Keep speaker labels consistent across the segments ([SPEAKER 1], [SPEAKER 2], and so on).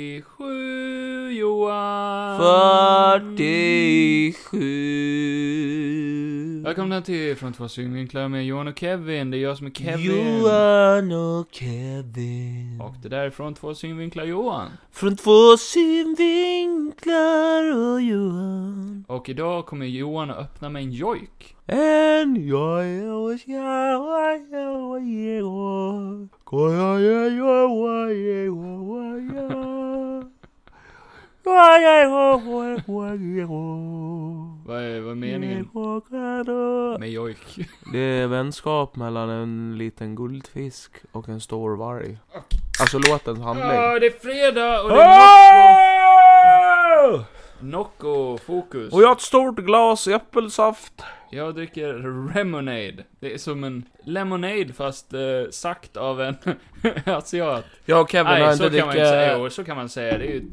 [SPEAKER 1] 47 Johan. Um.
[SPEAKER 2] 47
[SPEAKER 1] Välkomna till Från två synvinklar med Johan och Kevin. Det är jag som är Kevin.
[SPEAKER 2] Johan och Kevin
[SPEAKER 1] Och det där är Från två synvinklar Johan.
[SPEAKER 2] Från två synvinklar och Johan
[SPEAKER 1] Och idag kommer Johan att öppna med en jojk.
[SPEAKER 2] En jag är och jag och jag och jag och Går jag jag jag och jag och jag Går jag och jag och jag och
[SPEAKER 1] Vad är, vad är meningen med jojk?
[SPEAKER 2] Det är vänskap mellan en liten guldfisk och en stor varg. Alltså låtens handling. Ah!
[SPEAKER 1] Ja, det är fredag och det är Nocco. Nocco fokus.
[SPEAKER 2] Och jag har ett stort glas äppelsaft.
[SPEAKER 1] Jag dricker lemonade. Det är som en lemonade fast eh, sagt av en asiat.
[SPEAKER 2] Jag och Kevin har
[SPEAKER 1] Nej, så
[SPEAKER 2] inte
[SPEAKER 1] kan man inte säga.
[SPEAKER 2] drickat...
[SPEAKER 1] Jo, så kan man säga. Det är ju... det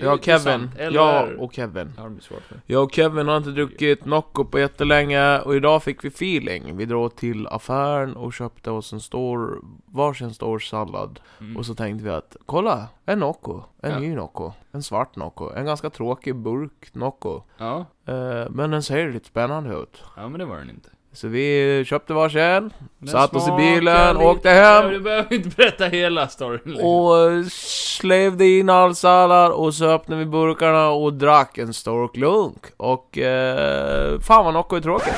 [SPEAKER 1] är ju
[SPEAKER 2] Jag och Kevin.
[SPEAKER 1] intressant. Eller...
[SPEAKER 2] Jag och Kevin.
[SPEAKER 1] Ja, det blir svårt för.
[SPEAKER 2] Jag och Kevin har inte druckit Nocco på jättelänge och idag fick vi feeling. Vi drog till affären och köpte oss en stor, varsin stor sallad.
[SPEAKER 1] Mm.
[SPEAKER 2] Och så tänkte vi att, kolla! En Nocco. En
[SPEAKER 1] Ja.
[SPEAKER 2] ny Nocco. En svart Nocco. En ganska tråkig burk Nocco.
[SPEAKER 1] Ja.
[SPEAKER 2] Eh, men den ser lite spännande ut.
[SPEAKER 1] ja, men det var den inte.
[SPEAKER 2] Så vi köpte varsin,
[SPEAKER 1] Den
[SPEAKER 2] Satt oss i
[SPEAKER 1] smakar
[SPEAKER 2] bilen,
[SPEAKER 1] lite-
[SPEAKER 2] åkte
[SPEAKER 1] Ja,
[SPEAKER 2] hem.
[SPEAKER 1] Du behöver inte berätta hela storyn liksom. längre.
[SPEAKER 2] och slevde in all sallad och så öppnade vi burkarna och drack en stor klunk. Och eh, fan vad Nocco är tråkigt.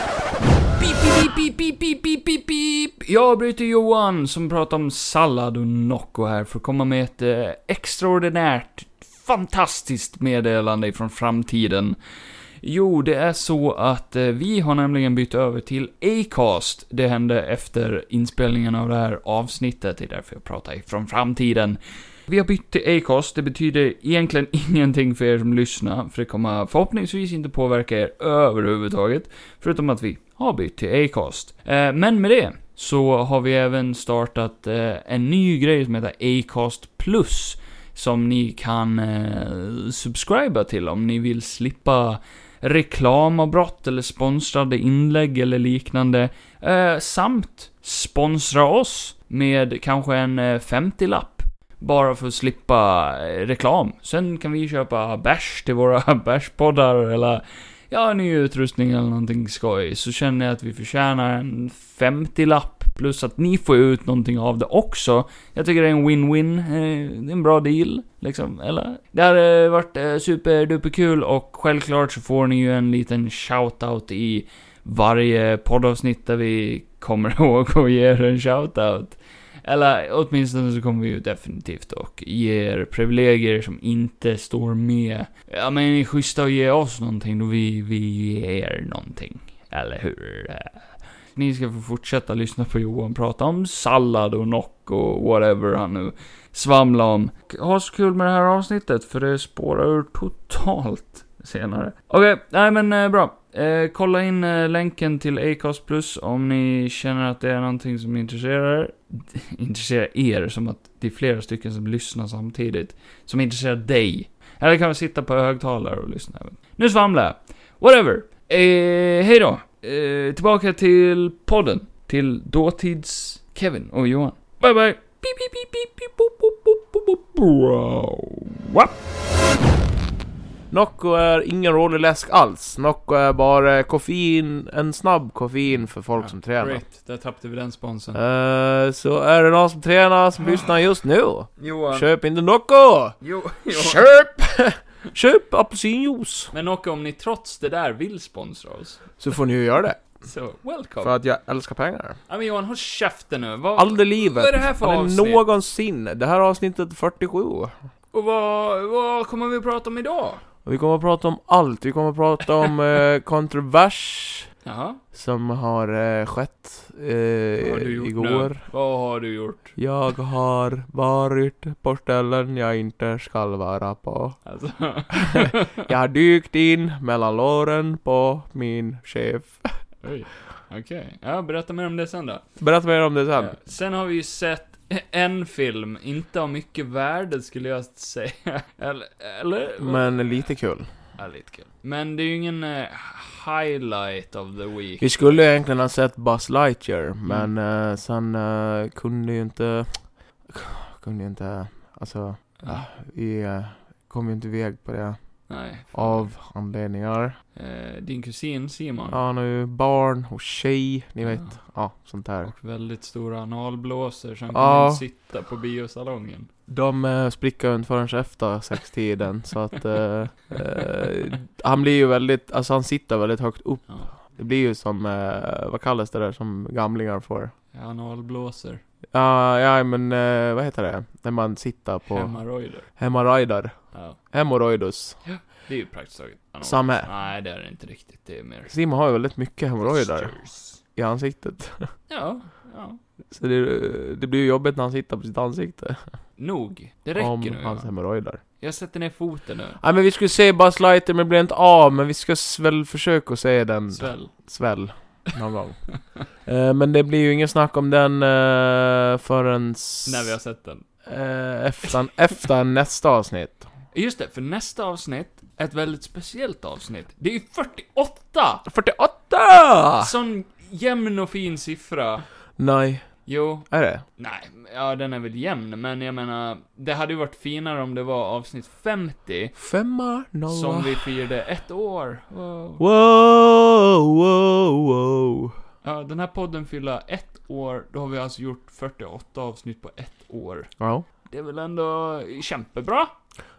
[SPEAKER 1] Pip, pip, pip, pip, pip, pip, pip, pip. Jag avbryter Johan som pratar om sallad och Nocco här för att komma med ett eh, extraordinärt, fantastiskt meddelande ifrån framtiden. Jo, det är så att eh, vi har nämligen bytt över till Acast. Det hände efter inspelningen av det här avsnittet, det är därför jag pratar ifrån framtiden. Vi har bytt till Acast, det betyder egentligen ingenting för er som lyssnar, för det kommer förhoppningsvis inte påverka er överhuvudtaget. Förutom att vi har bytt till Acast. Eh, men med det så har vi även startat eh, en ny grej som heter Acast Plus. Som ni kan eh, subscriba till om ni vill slippa reklamavbrott eller sponsrade inlägg eller liknande. Eh, samt sponsra oss med kanske en eh, 50-lapp. Bara för att slippa eh, reklam. Sen kan vi köpa bärs till våra bärspoddar eller ja, ny utrustning eller någonting skoj, så känner jag att vi förtjänar en 50-lapp plus att ni får ut någonting av det också. Jag tycker det är en win-win, eh, det är en bra deal, liksom, eller? Det hade varit eh, superduperkul och självklart så får ni ju en liten shout-out i varje poddavsnitt där vi kommer ihåg och ge er en shout-out. Eller åtminstone så kommer vi ju definitivt och ger privilegier som inte står med. Ja men ni är schyssta att ge oss någonting då vi, vi ger er någonting. Eller hur? Ni ska få fortsätta lyssna på Johan prata om sallad och nock och whatever han nu svamlar om. Ha så kul med det här avsnittet för det spårar ur totalt senare. Okej, nej men eh, bra. Eh, kolla in eh, länken till Acast Plus om ni känner att det är någonting som intresserar er intresserar er, som att det är flera stycken som lyssnar samtidigt, som intresserar dig. Eller kan vi sitta på högtalare och lyssna även. Nu svamlar jag. Whatever. Eh, hej då. Eh, tillbaka till podden. Till dåtids-Kevin och Johan. Bye bye. Beep, beep, beep, beep, beep, boop, boop, boop, boop, boop, bro. Wap.
[SPEAKER 2] Nocco är ingen rolig läsk alls. Nocco är bara koffein, en snabb koffein för folk som tränar.
[SPEAKER 1] Great, där tappade vi den sponsen.
[SPEAKER 2] Eh, så är det någon som tränar som lyssnar just nu,
[SPEAKER 1] Johan.
[SPEAKER 2] köp inte Nocco!
[SPEAKER 1] Jo,
[SPEAKER 2] Köp! Köp apelsinjuice!
[SPEAKER 1] Men och om ni trots det där vill sponsra oss,
[SPEAKER 2] Så får ni ju göra det.
[SPEAKER 1] så welcome.
[SPEAKER 2] För att jag älskar pengar.
[SPEAKER 1] Ja men Johan, håll käften nu. Vad,
[SPEAKER 2] Aldrig i livet.
[SPEAKER 1] Vad är det här för
[SPEAKER 2] Aldrig
[SPEAKER 1] avsnitt?
[SPEAKER 2] någonsin. Det här är avsnittet 47.
[SPEAKER 1] Och vad, vad kommer vi att prata om idag?
[SPEAKER 2] Och vi kommer att prata om allt. Vi kommer att prata om eh, kontrovers
[SPEAKER 1] Jaha,
[SPEAKER 2] som har eh, skett eh,
[SPEAKER 1] vad har du gjort
[SPEAKER 2] igår.
[SPEAKER 1] nu? Vad har du gjort?
[SPEAKER 2] Jag har varit på ställen jag inte skall vara på.
[SPEAKER 1] Alltså,
[SPEAKER 2] Jag har dykt in mellan låren på min chef.
[SPEAKER 1] oj, okej. Ja, berätta mer om det sen då.
[SPEAKER 2] Berätta mer om det sen.
[SPEAKER 1] Eh, Sen har vi ju sett en film, inte av mycket värde skulle jag säga. Eller? eller
[SPEAKER 2] Men lite kul.
[SPEAKER 1] Ja, lite kul. Men det är ju ingen eh, highlight of the week.
[SPEAKER 2] Vi skulle egentligen ha sett Buzz
[SPEAKER 1] Mm.
[SPEAKER 2] Lightyear, men eh, sen eh, kunde ju inte... Kunde ju inte... Alltså, ah, vi eh, kom ju inte iväg på det.
[SPEAKER 1] Nej.
[SPEAKER 2] Av anledningar.
[SPEAKER 1] Eh, din kusin Simon.
[SPEAKER 2] Ja, han har ju barn och tjej, ni vet.
[SPEAKER 1] Ja.
[SPEAKER 2] Ja, sånt där.
[SPEAKER 1] Och väldigt stora analblåsor som
[SPEAKER 2] Ja.
[SPEAKER 1] kommer att sitta på biosalongen.
[SPEAKER 2] De eh, sprickar inte förrän efter sextiden, så att... Eh, eh, han blir ju väldigt, alltså han sitter väldigt högt upp.
[SPEAKER 1] Ja.
[SPEAKER 2] Det blir ju som, eh, vad kallas det där som gamlingar får?
[SPEAKER 1] Analblåsor.
[SPEAKER 2] Ja, ja men eh, vad heter det? När man sitter på...
[SPEAKER 1] Hemorrojder.
[SPEAKER 2] Hemorrojder.
[SPEAKER 1] Ja.
[SPEAKER 2] Hemorrojdus.
[SPEAKER 1] Det är ju praktiskt taget analblåsor.
[SPEAKER 2] Samma.
[SPEAKER 1] Nej, det är det inte riktigt. Det är mer...
[SPEAKER 2] Simon har ju väldigt mycket hemorrojder
[SPEAKER 1] Fistures.
[SPEAKER 2] i ansiktet.
[SPEAKER 1] Ja, ja.
[SPEAKER 2] Så det, det blir ju jobbigt när han sitter på sitt ansikte.
[SPEAKER 1] Nog. Det räcker
[SPEAKER 2] om
[SPEAKER 1] nu.
[SPEAKER 2] hans
[SPEAKER 1] Johan.
[SPEAKER 2] hemorrojder.
[SPEAKER 1] Jag sätter ner foten nu.
[SPEAKER 2] Nej men vi skulle se Buzz Lightyear men det blev inte av, men vi ska s- väl försöka se den
[SPEAKER 1] Sväll.
[SPEAKER 2] sväll någon gång. Eh, men det blir ju inget snack om den uh, förrän... s-
[SPEAKER 1] När vi har sett den.
[SPEAKER 2] eh, efter, efter nästa avsnitt.
[SPEAKER 1] Just det, för nästa avsnitt är ett väldigt speciellt avsnitt. Det är ju 48!
[SPEAKER 2] 48!
[SPEAKER 1] Sån jämn och fin siffra.
[SPEAKER 2] Nej,
[SPEAKER 1] Jo,
[SPEAKER 2] är det?
[SPEAKER 1] nej, ja den är väl jämn, men jag menar, det hade ju varit finare om det var avsnitt 50,
[SPEAKER 2] Femma,
[SPEAKER 1] som
[SPEAKER 2] nolla.
[SPEAKER 1] vi firade ett år. Wow.
[SPEAKER 2] Wow, wow, wow.
[SPEAKER 1] Ja, den här podden fyller ett år, då har vi alltså gjort 48 avsnitt på ett år.
[SPEAKER 2] Ja.
[SPEAKER 1] Det är väl ändå kämpebra?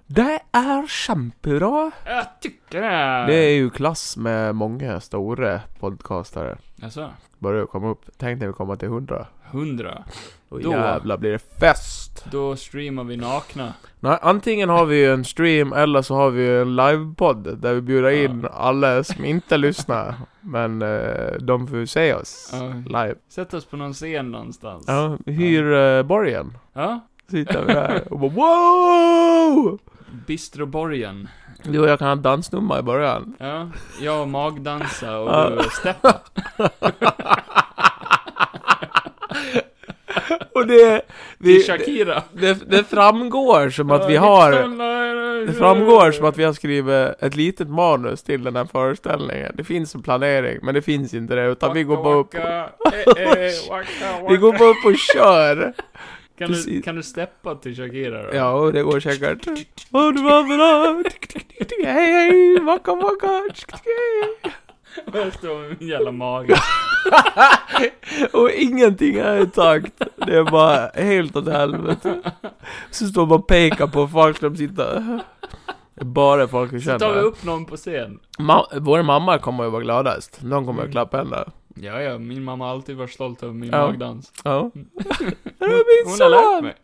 [SPEAKER 2] Det är kämpebra.
[SPEAKER 1] Jag tycker det!
[SPEAKER 2] Det är ju klass med många stora podcastare.
[SPEAKER 1] Alltså,
[SPEAKER 2] Börjar komma upp. Tänk när vi kommer till 100.
[SPEAKER 1] 100.
[SPEAKER 2] Då
[SPEAKER 1] Då.
[SPEAKER 2] jävlar blir det fest!
[SPEAKER 1] Då streamar vi nakna.
[SPEAKER 2] Nej, antingen har vi ju en stream eller så har vi ju en livepodd där vi bjuder
[SPEAKER 1] Ja.
[SPEAKER 2] in alla som inte lyssnar. Men eh, de får ju se oss
[SPEAKER 1] Ja.
[SPEAKER 2] live.
[SPEAKER 1] Sätt oss på någon scen någonstans.
[SPEAKER 2] Ja, hyr eh, borgen.
[SPEAKER 1] Ja,
[SPEAKER 2] Sitter vi där och bara wow!
[SPEAKER 1] Bistroborgen.
[SPEAKER 2] Du och jag kan ha dansnummer i början.
[SPEAKER 1] Ja, jag magdansar
[SPEAKER 2] Ja.
[SPEAKER 1] och du steppar.
[SPEAKER 2] Och det...
[SPEAKER 1] Vi,
[SPEAKER 2] Vi,
[SPEAKER 1] Shakira.
[SPEAKER 2] det, det framgår som att vi har... Det framgår som att vi har skrivit ett litet manus till den här föreställningen. Det finns en planering, men det finns inte det, utan vi går bara upp...
[SPEAKER 1] Eh,
[SPEAKER 2] Vi går bara upp och kör!
[SPEAKER 1] Kan du,
[SPEAKER 2] precis.
[SPEAKER 1] kan du steppa till Shakira då?
[SPEAKER 2] Ja, och det går säkert. Och det var bra! Hej, hej! Waka, waka!
[SPEAKER 1] Jag står med min jävla mage.
[SPEAKER 2] Och ingenting är i takt. Det är bara helt åt helvete. Så står man och pekar på folk som sitter... Det är Bara folk vi
[SPEAKER 1] Så tar vi
[SPEAKER 2] känner.
[SPEAKER 1] upp någon på scen.
[SPEAKER 2] Ma- vår mamma kommer ju vara gladast. Någon kommer att klappa henne.
[SPEAKER 1] Ja, ja, min mamma har alltid varit stolt över min
[SPEAKER 2] Ja.
[SPEAKER 1] magdans.
[SPEAKER 2] Ja. Det är min
[SPEAKER 1] Hon har lärt
[SPEAKER 2] son!
[SPEAKER 1] mig.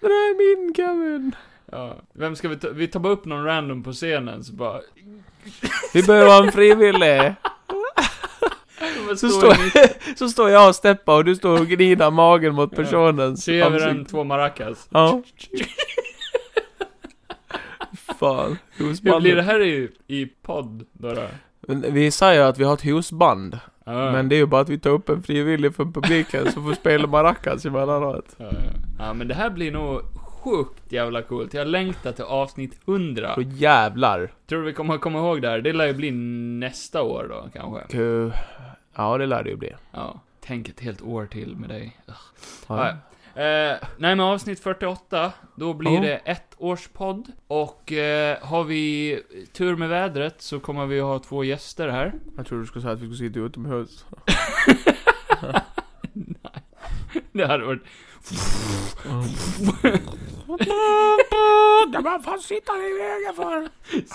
[SPEAKER 2] Det är min Kevin!
[SPEAKER 1] Ja. Vem ska vi ta? Vi tar bara upp någon random på scenen, så bara...
[SPEAKER 2] Vi behöver en frivillig!
[SPEAKER 1] Vad
[SPEAKER 2] Så
[SPEAKER 1] står
[SPEAKER 2] står,
[SPEAKER 1] det mitt?
[SPEAKER 2] så står jag och steppar och du står och gnider magen mot personens
[SPEAKER 1] Se över en
[SPEAKER 2] ansikte.
[SPEAKER 1] två maracas.
[SPEAKER 2] Ja. Fan.
[SPEAKER 1] Hur blir det
[SPEAKER 2] Husbandet.
[SPEAKER 1] här i, i podd då? då?
[SPEAKER 2] Men Vi säger att vi har ett husband.
[SPEAKER 1] Ja.
[SPEAKER 2] Men det är ju bara att vi tar upp en frivillig från publiken som får spela maracas emellanåt.
[SPEAKER 1] Ja, ja. ja, men det här blir nog sjukt jävla coolt. Jag längtar till avsnitt 100.
[SPEAKER 2] Så jävlar.
[SPEAKER 1] Tror du vi kommer komma ihåg det här? Det lär ju bli nästa år då, kanske.
[SPEAKER 2] Ku- Ja, det lär det ju bli.
[SPEAKER 1] Ja. Tänk ett helt år till med dig. Ja,
[SPEAKER 2] Ja.
[SPEAKER 1] ja. Eh, nej, men avsnitt 48, då blir
[SPEAKER 2] Ja.
[SPEAKER 1] det ett års podd. Och eh, har vi tur med vädret så kommer vi ha två gäster här.
[SPEAKER 2] Jag tror du skulle säga att vi skulle sitta utomhus.
[SPEAKER 1] Det hade varit...
[SPEAKER 2] Ja, men fan sitter ni i vägen för?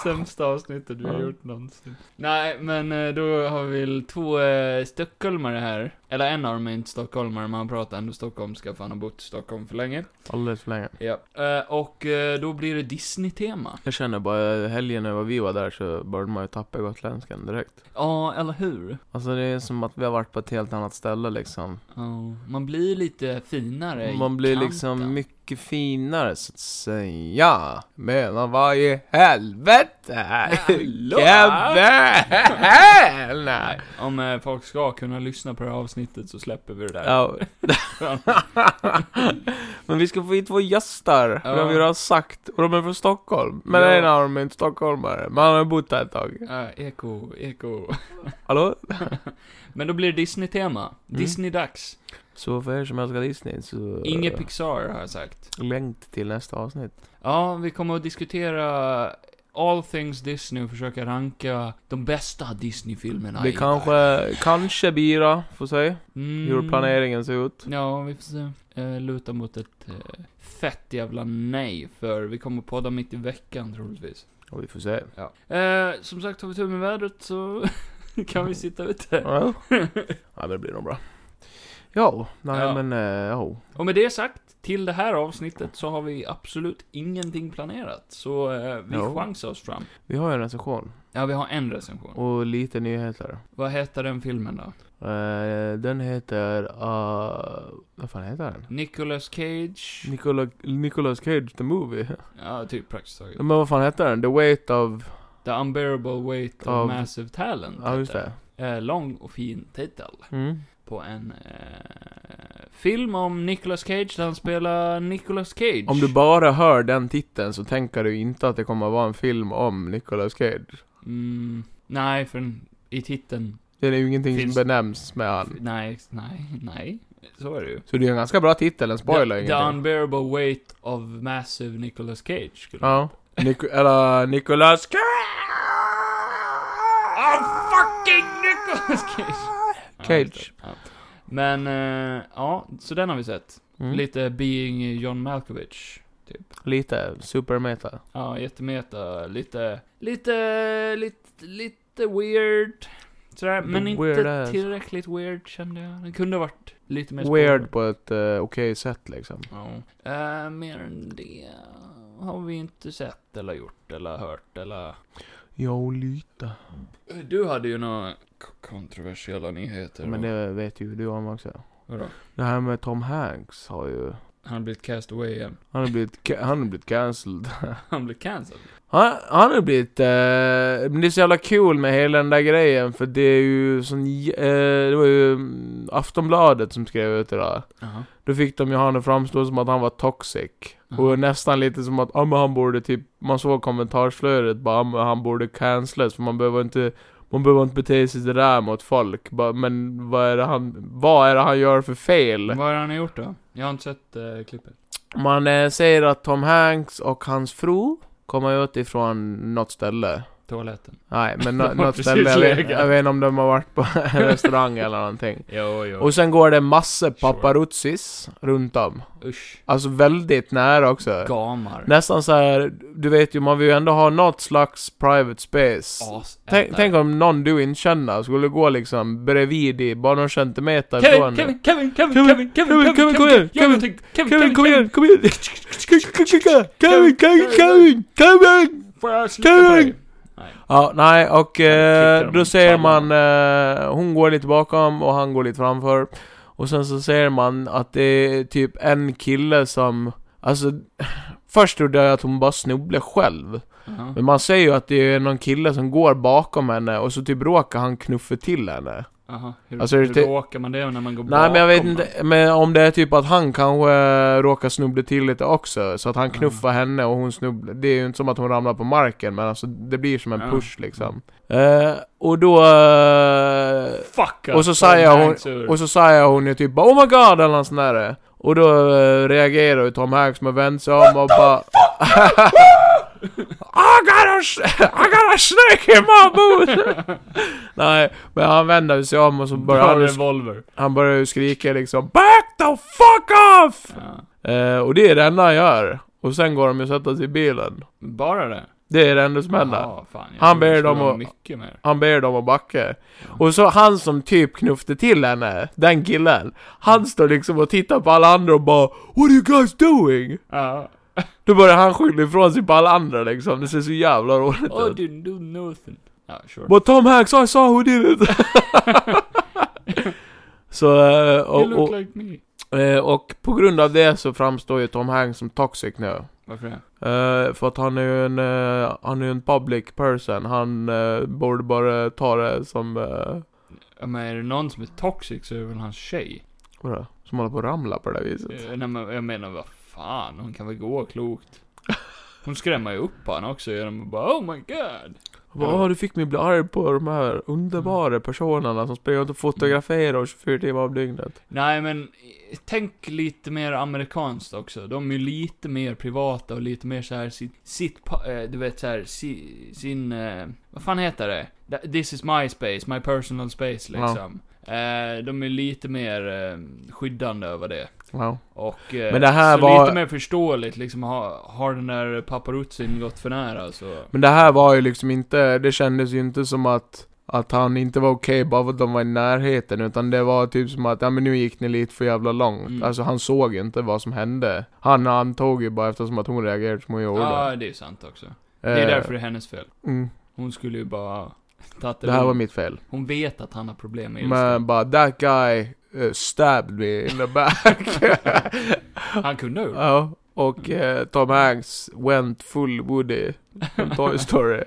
[SPEAKER 1] Sämsta avsnittet vi har
[SPEAKER 2] Ja.
[SPEAKER 1] gjort någonsin. Nej, men eh, då har vi väl två eh, stockholmare här. Eller en av dem är inte stockholmare, men han pratar ändå stockholmska för han har bott i Stockholm för länge.
[SPEAKER 2] Alldeles för länge.
[SPEAKER 1] Ja. Eh, och eh, då blir det Disney-tema.
[SPEAKER 2] Jag känner bara helgen när vi var där så började man ju tappa gotländskan direkt.
[SPEAKER 1] Ja, eller hur?
[SPEAKER 2] Alltså det är som att vi har varit på ett helt annat ställe liksom.
[SPEAKER 1] Ja, man blir lite finare i
[SPEAKER 2] Man blir
[SPEAKER 1] kanten.
[SPEAKER 2] liksom mycket finare så att säga. Men vad i helvete!
[SPEAKER 1] Hallå!
[SPEAKER 2] Jävel!
[SPEAKER 1] Om eh, folk ska kunna lyssna på det här avsnittet så släpper vi det där.
[SPEAKER 2] Ja. men vi ska få hit två gäster,
[SPEAKER 1] Ja.
[SPEAKER 2] det har vi redan sagt. Och de är från Stockholm. Men
[SPEAKER 1] Ja.
[SPEAKER 2] en av dem är inte stockholmare, men han har bott här ett tag.
[SPEAKER 1] Ja, Eh, eko, eko.
[SPEAKER 2] Hallå?
[SPEAKER 1] Men då blir det Disney-tema.
[SPEAKER 2] Mm.
[SPEAKER 1] Disney-dags.
[SPEAKER 2] Så för er som älskar Disney så...
[SPEAKER 1] Inget Pixar har jag sagt.
[SPEAKER 2] Längt till nästa avsnitt.
[SPEAKER 1] Ja, vi kommer att diskutera all things Disney och försöka ranka de bästa Disney-filmerna.
[SPEAKER 2] det
[SPEAKER 1] i-
[SPEAKER 2] kanske, kanske blir då, får se
[SPEAKER 1] Mm.
[SPEAKER 2] hur planeringen ser ut.
[SPEAKER 1] Ja, vi får se. Eh, luta mot ett eh, fett jävla nej, för vi kommer podda mitt i veckan troligtvis.
[SPEAKER 2] Och vi får se.
[SPEAKER 1] Ja. Eh, som sagt, har vi tur med vädret så kan vi sitta ute.
[SPEAKER 2] Ja, ja men det blir nog bra. Ja, nej
[SPEAKER 1] Ja.
[SPEAKER 2] men eh, ja.
[SPEAKER 1] Och med det sagt, till det här avsnittet så har vi absolut ingenting planerat. Så eh, vi
[SPEAKER 2] Jo.
[SPEAKER 1] chansar oss fram.
[SPEAKER 2] Vi har ju en recension
[SPEAKER 1] Ja, vi har en recension.
[SPEAKER 2] och lite nyheter.
[SPEAKER 1] Vad heter den filmen då?
[SPEAKER 2] Eh, den heter... eh, vad fan heter den?
[SPEAKER 1] Nicolas Cage?
[SPEAKER 2] Nicola, Nicolas Cage the Movie.
[SPEAKER 1] ja, typ praktiskt taget.
[SPEAKER 2] Men vad fan heter den? The Weight of...
[SPEAKER 1] The unbearable weight of,
[SPEAKER 2] Av-
[SPEAKER 1] massive talent.
[SPEAKER 2] Ja, just
[SPEAKER 1] heter
[SPEAKER 2] det.
[SPEAKER 1] den. Eh, lång och fin titel.
[SPEAKER 2] Mm.
[SPEAKER 1] på en eh, film om Nicolas Cage där han spelar Nicolas Cage.
[SPEAKER 2] Om du bara hör den titeln så tänker du inte att det kommer att vara en film om Nicolas Cage.
[SPEAKER 1] mm, nej, för den- i titeln.
[SPEAKER 2] Det är ju ingenting
[SPEAKER 1] Finns-
[SPEAKER 2] som benämns med han.
[SPEAKER 1] Nej, nej, nej. Så är det ju.
[SPEAKER 2] Så det är en ganska bra titel, den spoilar
[SPEAKER 1] the, the
[SPEAKER 2] ingenting.
[SPEAKER 1] unbearable weight of massive Nicolas Cage. Skulle
[SPEAKER 2] Ja. Nic eller Nicolas Cage!
[SPEAKER 1] I'm Ah, fucking Nicolas Cage! Ja, just
[SPEAKER 2] Cage.
[SPEAKER 1] det. Ja. Men, eh, ja, så den har vi sett.
[SPEAKER 2] Mm. Lite,
[SPEAKER 1] Lite being John Malkovich.
[SPEAKER 2] lite supermeta.
[SPEAKER 1] Ja, jättemeta. Lite, lite, lite, lite weird. Sådär, men
[SPEAKER 2] The
[SPEAKER 1] inte
[SPEAKER 2] weird ass.
[SPEAKER 1] tillräckligt weird kände jag. Det kunde ha varit lite mer
[SPEAKER 2] Weird
[SPEAKER 1] spår.
[SPEAKER 2] på ett eh, okej sätt liksom.
[SPEAKER 1] Ja. Eh, mer än det har vi inte sett eller gjort eller hört eller...
[SPEAKER 2] Ja, lite.
[SPEAKER 1] Du hade ju några k- kontroversiella nyheter.
[SPEAKER 2] Men
[SPEAKER 1] och-
[SPEAKER 2] det vet ju du om också.
[SPEAKER 1] Vadå?
[SPEAKER 2] Det här med Tom Hanks har ju...
[SPEAKER 1] Han har blivit cast away igen.
[SPEAKER 2] Han har blivit, ca- han har blivit cancelled.
[SPEAKER 1] Han blev cancelled.
[SPEAKER 2] Han, han har blivit... Eh, men det är så jävla cool med hela den där grejen för det är ju sån... j- Eh, det var ju mm, Aftonbladet som skrev ut det där.
[SPEAKER 1] Jaha.
[SPEAKER 2] Då fick de ju han att framstå som att han var toxic.
[SPEAKER 1] Jaha.
[SPEAKER 2] Och nästan lite som att, ja men han borde typ, man såg kommentarsflödet bara, ja, men han borde cancelas för man behöver inte, man behöver inte bete sig sådär mot folk. Bara, men vad är det han, vad är det han gör för fel?
[SPEAKER 1] Vad har han gjort då? Jag har inte sett eh, klippet.
[SPEAKER 2] Man eh, säger att Tom Hanks och hans fru kommer ut ifrån något ställe.
[SPEAKER 1] Toaletten.
[SPEAKER 2] Nej, men
[SPEAKER 1] De har
[SPEAKER 2] nå- något
[SPEAKER 1] precis
[SPEAKER 2] ställe. Jag vet,
[SPEAKER 1] legat.
[SPEAKER 2] jag vet inte om de har varit på en restaurang eller någonting.
[SPEAKER 1] Jo, jo.
[SPEAKER 2] Och sen går det massor
[SPEAKER 1] Sure.
[SPEAKER 2] paparazzis runt om.
[SPEAKER 1] Usch.
[SPEAKER 2] Alltså väldigt nära också.
[SPEAKER 1] Gamar.
[SPEAKER 2] Nästan så här, du vet ju, man vill ju ändå ha något slags private space.
[SPEAKER 1] As-
[SPEAKER 2] Tänk, tänk om någon du inte känner skulle gå liksom bredvid i bara någon centimeter ifrån dig.
[SPEAKER 1] Kevin, Kevin,
[SPEAKER 2] Kevin, Kevin, Kevin, kom igen, Kevin, Kevin, kom igen, kom igen! Kevin, Kevin, Kevin, Kevin!
[SPEAKER 1] Får jag
[SPEAKER 2] Kevin!
[SPEAKER 1] dig? Nej.
[SPEAKER 2] Ja, nej, och
[SPEAKER 1] Jag
[SPEAKER 2] eh,
[SPEAKER 1] kickar dem
[SPEAKER 2] då ser
[SPEAKER 1] i
[SPEAKER 2] man, eh, hon går lite bakom och han går lite framför. Och sen så ser man att det är typ en kille som, alltså, först trodde jag att hon bara snubblade själv.
[SPEAKER 1] Jaha.
[SPEAKER 2] Men man ser ju att det är någon kille som går bakom henne och så typ råkar han knuffa till henne.
[SPEAKER 1] Jaha. Hur,
[SPEAKER 2] Alltså,
[SPEAKER 1] hur
[SPEAKER 2] det-
[SPEAKER 1] råkar man det när man går
[SPEAKER 2] Nej men jag vet
[SPEAKER 1] bakom
[SPEAKER 2] inte, men om det är typ att han kanske eh, råkar snubbla till lite också. Så att han
[SPEAKER 1] Ja.
[SPEAKER 2] knuffar henne och hon snubblar. Det är ju inte som att hon ramlar på marken men alltså det blir som
[SPEAKER 1] Ja. Mm.
[SPEAKER 2] en push liksom. Eh, och då... eh,
[SPEAKER 1] den? Fuck
[SPEAKER 2] och så
[SPEAKER 1] alltså,
[SPEAKER 2] säger
[SPEAKER 1] Tom
[SPEAKER 2] hon-
[SPEAKER 1] Hanks ur-
[SPEAKER 2] och så säger hon ju typ bara, 'Oh my god' eller nåt sånt där. Och då eh, reagerar ju Tom Hanks med vänt sig om och bara... I gotta, sh- I gotta snake in my boot! Nej, men han vänder sig om och så börjar
[SPEAKER 1] Bra
[SPEAKER 2] han, ju sk-
[SPEAKER 1] revolver.
[SPEAKER 2] han börjar ju skrika liksom 'Back the fuck off!'
[SPEAKER 1] Ja.
[SPEAKER 2] Eh, och det är det enda han gör. Och sen går de ju och sätter sig i bilen.
[SPEAKER 1] Bara det?
[SPEAKER 2] Det är det enda som händer.
[SPEAKER 1] Jaha, fan. Jag
[SPEAKER 2] Han
[SPEAKER 1] trodde
[SPEAKER 2] ber
[SPEAKER 1] det skulle
[SPEAKER 2] dem
[SPEAKER 1] vara
[SPEAKER 2] att-
[SPEAKER 1] Mycket mer.
[SPEAKER 2] Han ber dem att backa. Och så han som typ knuffade till henne, den killen. Han står liksom och tittar på alla andra och bara What are you guys doing?
[SPEAKER 1] Ja.
[SPEAKER 2] Då börjar han skylla ifrån sig på alla andra liksom. Det ser så jävla roligt
[SPEAKER 1] Oh,
[SPEAKER 2] ut.
[SPEAKER 1] didn't do nothing. Ja, sure.
[SPEAKER 2] But Tom Hanks, I saw who did it! så, eh,
[SPEAKER 1] You
[SPEAKER 2] och,
[SPEAKER 1] look
[SPEAKER 2] och,
[SPEAKER 1] like me.
[SPEAKER 2] eh, och på grund av det så framstår ju Tom Hanks som toxic nu.
[SPEAKER 1] Varför det?
[SPEAKER 2] Eh, för att han är ju en, eh, han är ju en public person. Han eh, borde bara ta det som... eh,
[SPEAKER 1] Ja, men är det någon som är toxic så är det väl hans tjej.
[SPEAKER 2] Vadå? Som håller på att ramla på det där viset.
[SPEAKER 1] Eh, Nej, men jag menar vad fan, hon kan väl gå klokt. Hon skrämmer ju upp honom också genom att bara oh my god.
[SPEAKER 2] Och bara, "Åh, du fick mig bli arg på de här
[SPEAKER 1] Mm.
[SPEAKER 2] underbara personerna som springer runt och fotograferar 24 timmar om dygnet.
[SPEAKER 1] Nej men, eh, tänk lite mer amerikanskt också. De är ju lite mer privata och lite mer så här sitt, sitt pa- eh, du vet så här, si, sin, eh, vad fan heter det? Th- This is my space, my personal space
[SPEAKER 2] Ja.
[SPEAKER 1] liksom. Eh, de är lite mer eh, skyddande över det.
[SPEAKER 2] Ja.
[SPEAKER 1] Och, eh,
[SPEAKER 2] Men det här
[SPEAKER 1] så
[SPEAKER 2] var-
[SPEAKER 1] lite mer förståeligt liksom, har, har den där paparuzzin gått för nära så...
[SPEAKER 2] Men det här var ju liksom inte, det kändes ju inte som att att han inte var okej bara för att de var i närheten utan det var typ som att ja men nu gick ni lite för jävla långt.
[SPEAKER 1] Mm.
[SPEAKER 2] Alltså han såg ju inte vad som hände. Han antog ju bara eftersom att hon reagerade som hon gjorde.
[SPEAKER 1] Ja, det är sant också. Det är
[SPEAKER 2] Eh,
[SPEAKER 1] därför det är hennes fel.
[SPEAKER 2] Mm,
[SPEAKER 1] Hon skulle ju bara... tagit
[SPEAKER 2] det här var
[SPEAKER 1] lugnt.
[SPEAKER 2] mitt fel.
[SPEAKER 1] Hon vet att han har problem med ilska.
[SPEAKER 2] Men bara that guy eh, stabbed me in the back.
[SPEAKER 1] Han kunde ha gjort det.
[SPEAKER 2] ja, och eh, Tom Hanks went full Woody från Toy Story.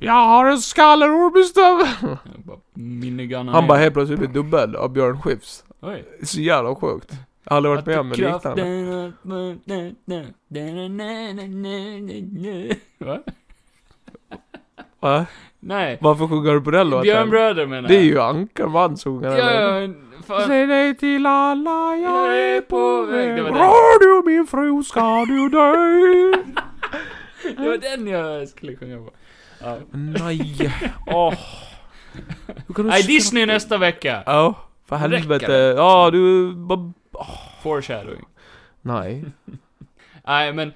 [SPEAKER 2] Jag har en skallerorm i stöveln!
[SPEAKER 1] Jag bara minnegunnar
[SPEAKER 2] Han
[SPEAKER 1] ner.
[SPEAKER 2] bara helt plötsligt blir dubbad av Björn Skifs.
[SPEAKER 1] Oj.
[SPEAKER 2] Så jävla sjukt. Jag har aldrig varit med om något liknande.
[SPEAKER 1] liknande. Va?
[SPEAKER 2] Va?
[SPEAKER 1] Nej.
[SPEAKER 2] Varför sjunger du på den låten?
[SPEAKER 1] Björnbröder menar
[SPEAKER 2] Det är ju Ankerman som sjunger
[SPEAKER 1] jag.
[SPEAKER 2] den låten.
[SPEAKER 1] Ja, fan.
[SPEAKER 2] Säg nej till alla, jag är på väg.
[SPEAKER 1] Det var den.
[SPEAKER 2] Rör du min fru ska du dö.
[SPEAKER 1] Det var den jag skulle sjunga på. Ja.
[SPEAKER 2] Nej. Åh. Hur kan du
[SPEAKER 1] Nej,
[SPEAKER 2] skratta?
[SPEAKER 1] Disney nästa vecka!
[SPEAKER 2] Ja, för
[SPEAKER 1] Räcker
[SPEAKER 2] helvete.
[SPEAKER 1] det?
[SPEAKER 2] Ja, du... bara- Mm.
[SPEAKER 1] Foreshadowing.
[SPEAKER 2] Nej.
[SPEAKER 1] Nej, men eh,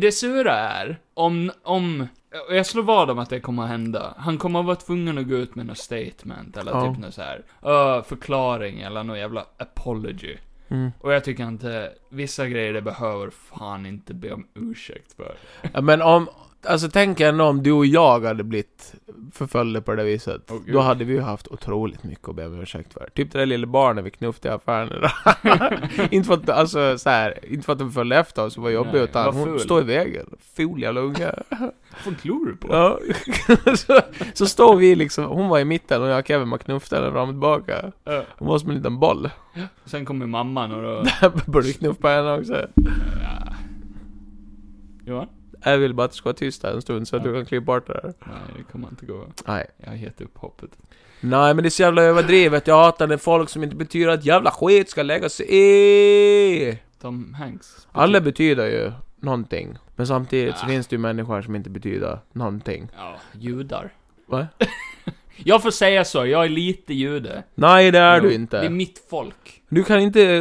[SPEAKER 1] det sura är, om, om, och jag slår vad om att det kommer att hända. Han kommer att vara tvungen att gå ut med något statement, eller
[SPEAKER 2] Ja.
[SPEAKER 1] typ något så här, ö, förklaring, eller någon jävla apology.
[SPEAKER 2] Mm.
[SPEAKER 1] Och jag tycker inte, vissa grejer det behöver fan inte be om ursäkt för.
[SPEAKER 2] Ja, Men om... Alltså tänk ändå om du och jag hade blivit förföljda på det viset.
[SPEAKER 1] Åh, gud.
[SPEAKER 2] Då hade vi ju haft otroligt mycket att be om ursäkt för. Typ det där lilla barnet vi knuffade i affären idag. inte för att, alltså, så här, inte för att den följde efter oss och var jobbig
[SPEAKER 1] Nej,
[SPEAKER 2] utan
[SPEAKER 1] var
[SPEAKER 2] hon
[SPEAKER 1] ful.
[SPEAKER 2] står i vägen. Ful jävla unge.
[SPEAKER 1] Vad fan klor du på?
[SPEAKER 2] Ja. så, så står vi liksom, hon var i mitten och jag och Kevin bara knuffade henne fram och tillbaka.
[SPEAKER 1] Ö,
[SPEAKER 2] Hon var som en liten boll.
[SPEAKER 1] Sen kommer mamman och då,
[SPEAKER 2] Började knuffa henne också.
[SPEAKER 1] ja. Johan?
[SPEAKER 2] Jag vill bara att du ska vara tyst här en stund så att du kan klippa bort det där.
[SPEAKER 1] Nej, det kommer inte gå.
[SPEAKER 2] Nej.
[SPEAKER 1] Jag har gett upp hoppet.
[SPEAKER 2] Nej men det är så jävla överdrivet. Jag hatar när folk som inte betyder att jävla skit ska lägga sig i.
[SPEAKER 1] Tom Hanks?
[SPEAKER 2] Alla betyder ju någonting. Men samtidigt så
[SPEAKER 1] Ah.
[SPEAKER 2] finns det ju människor som inte betyder någonting.
[SPEAKER 1] Ja, judar.
[SPEAKER 2] Va?
[SPEAKER 1] Jag får säga så, jag är lite jude.
[SPEAKER 2] Nej det är
[SPEAKER 1] Jo,
[SPEAKER 2] du
[SPEAKER 1] Det är
[SPEAKER 2] inte.
[SPEAKER 1] mitt folk.
[SPEAKER 2] Du kan inte,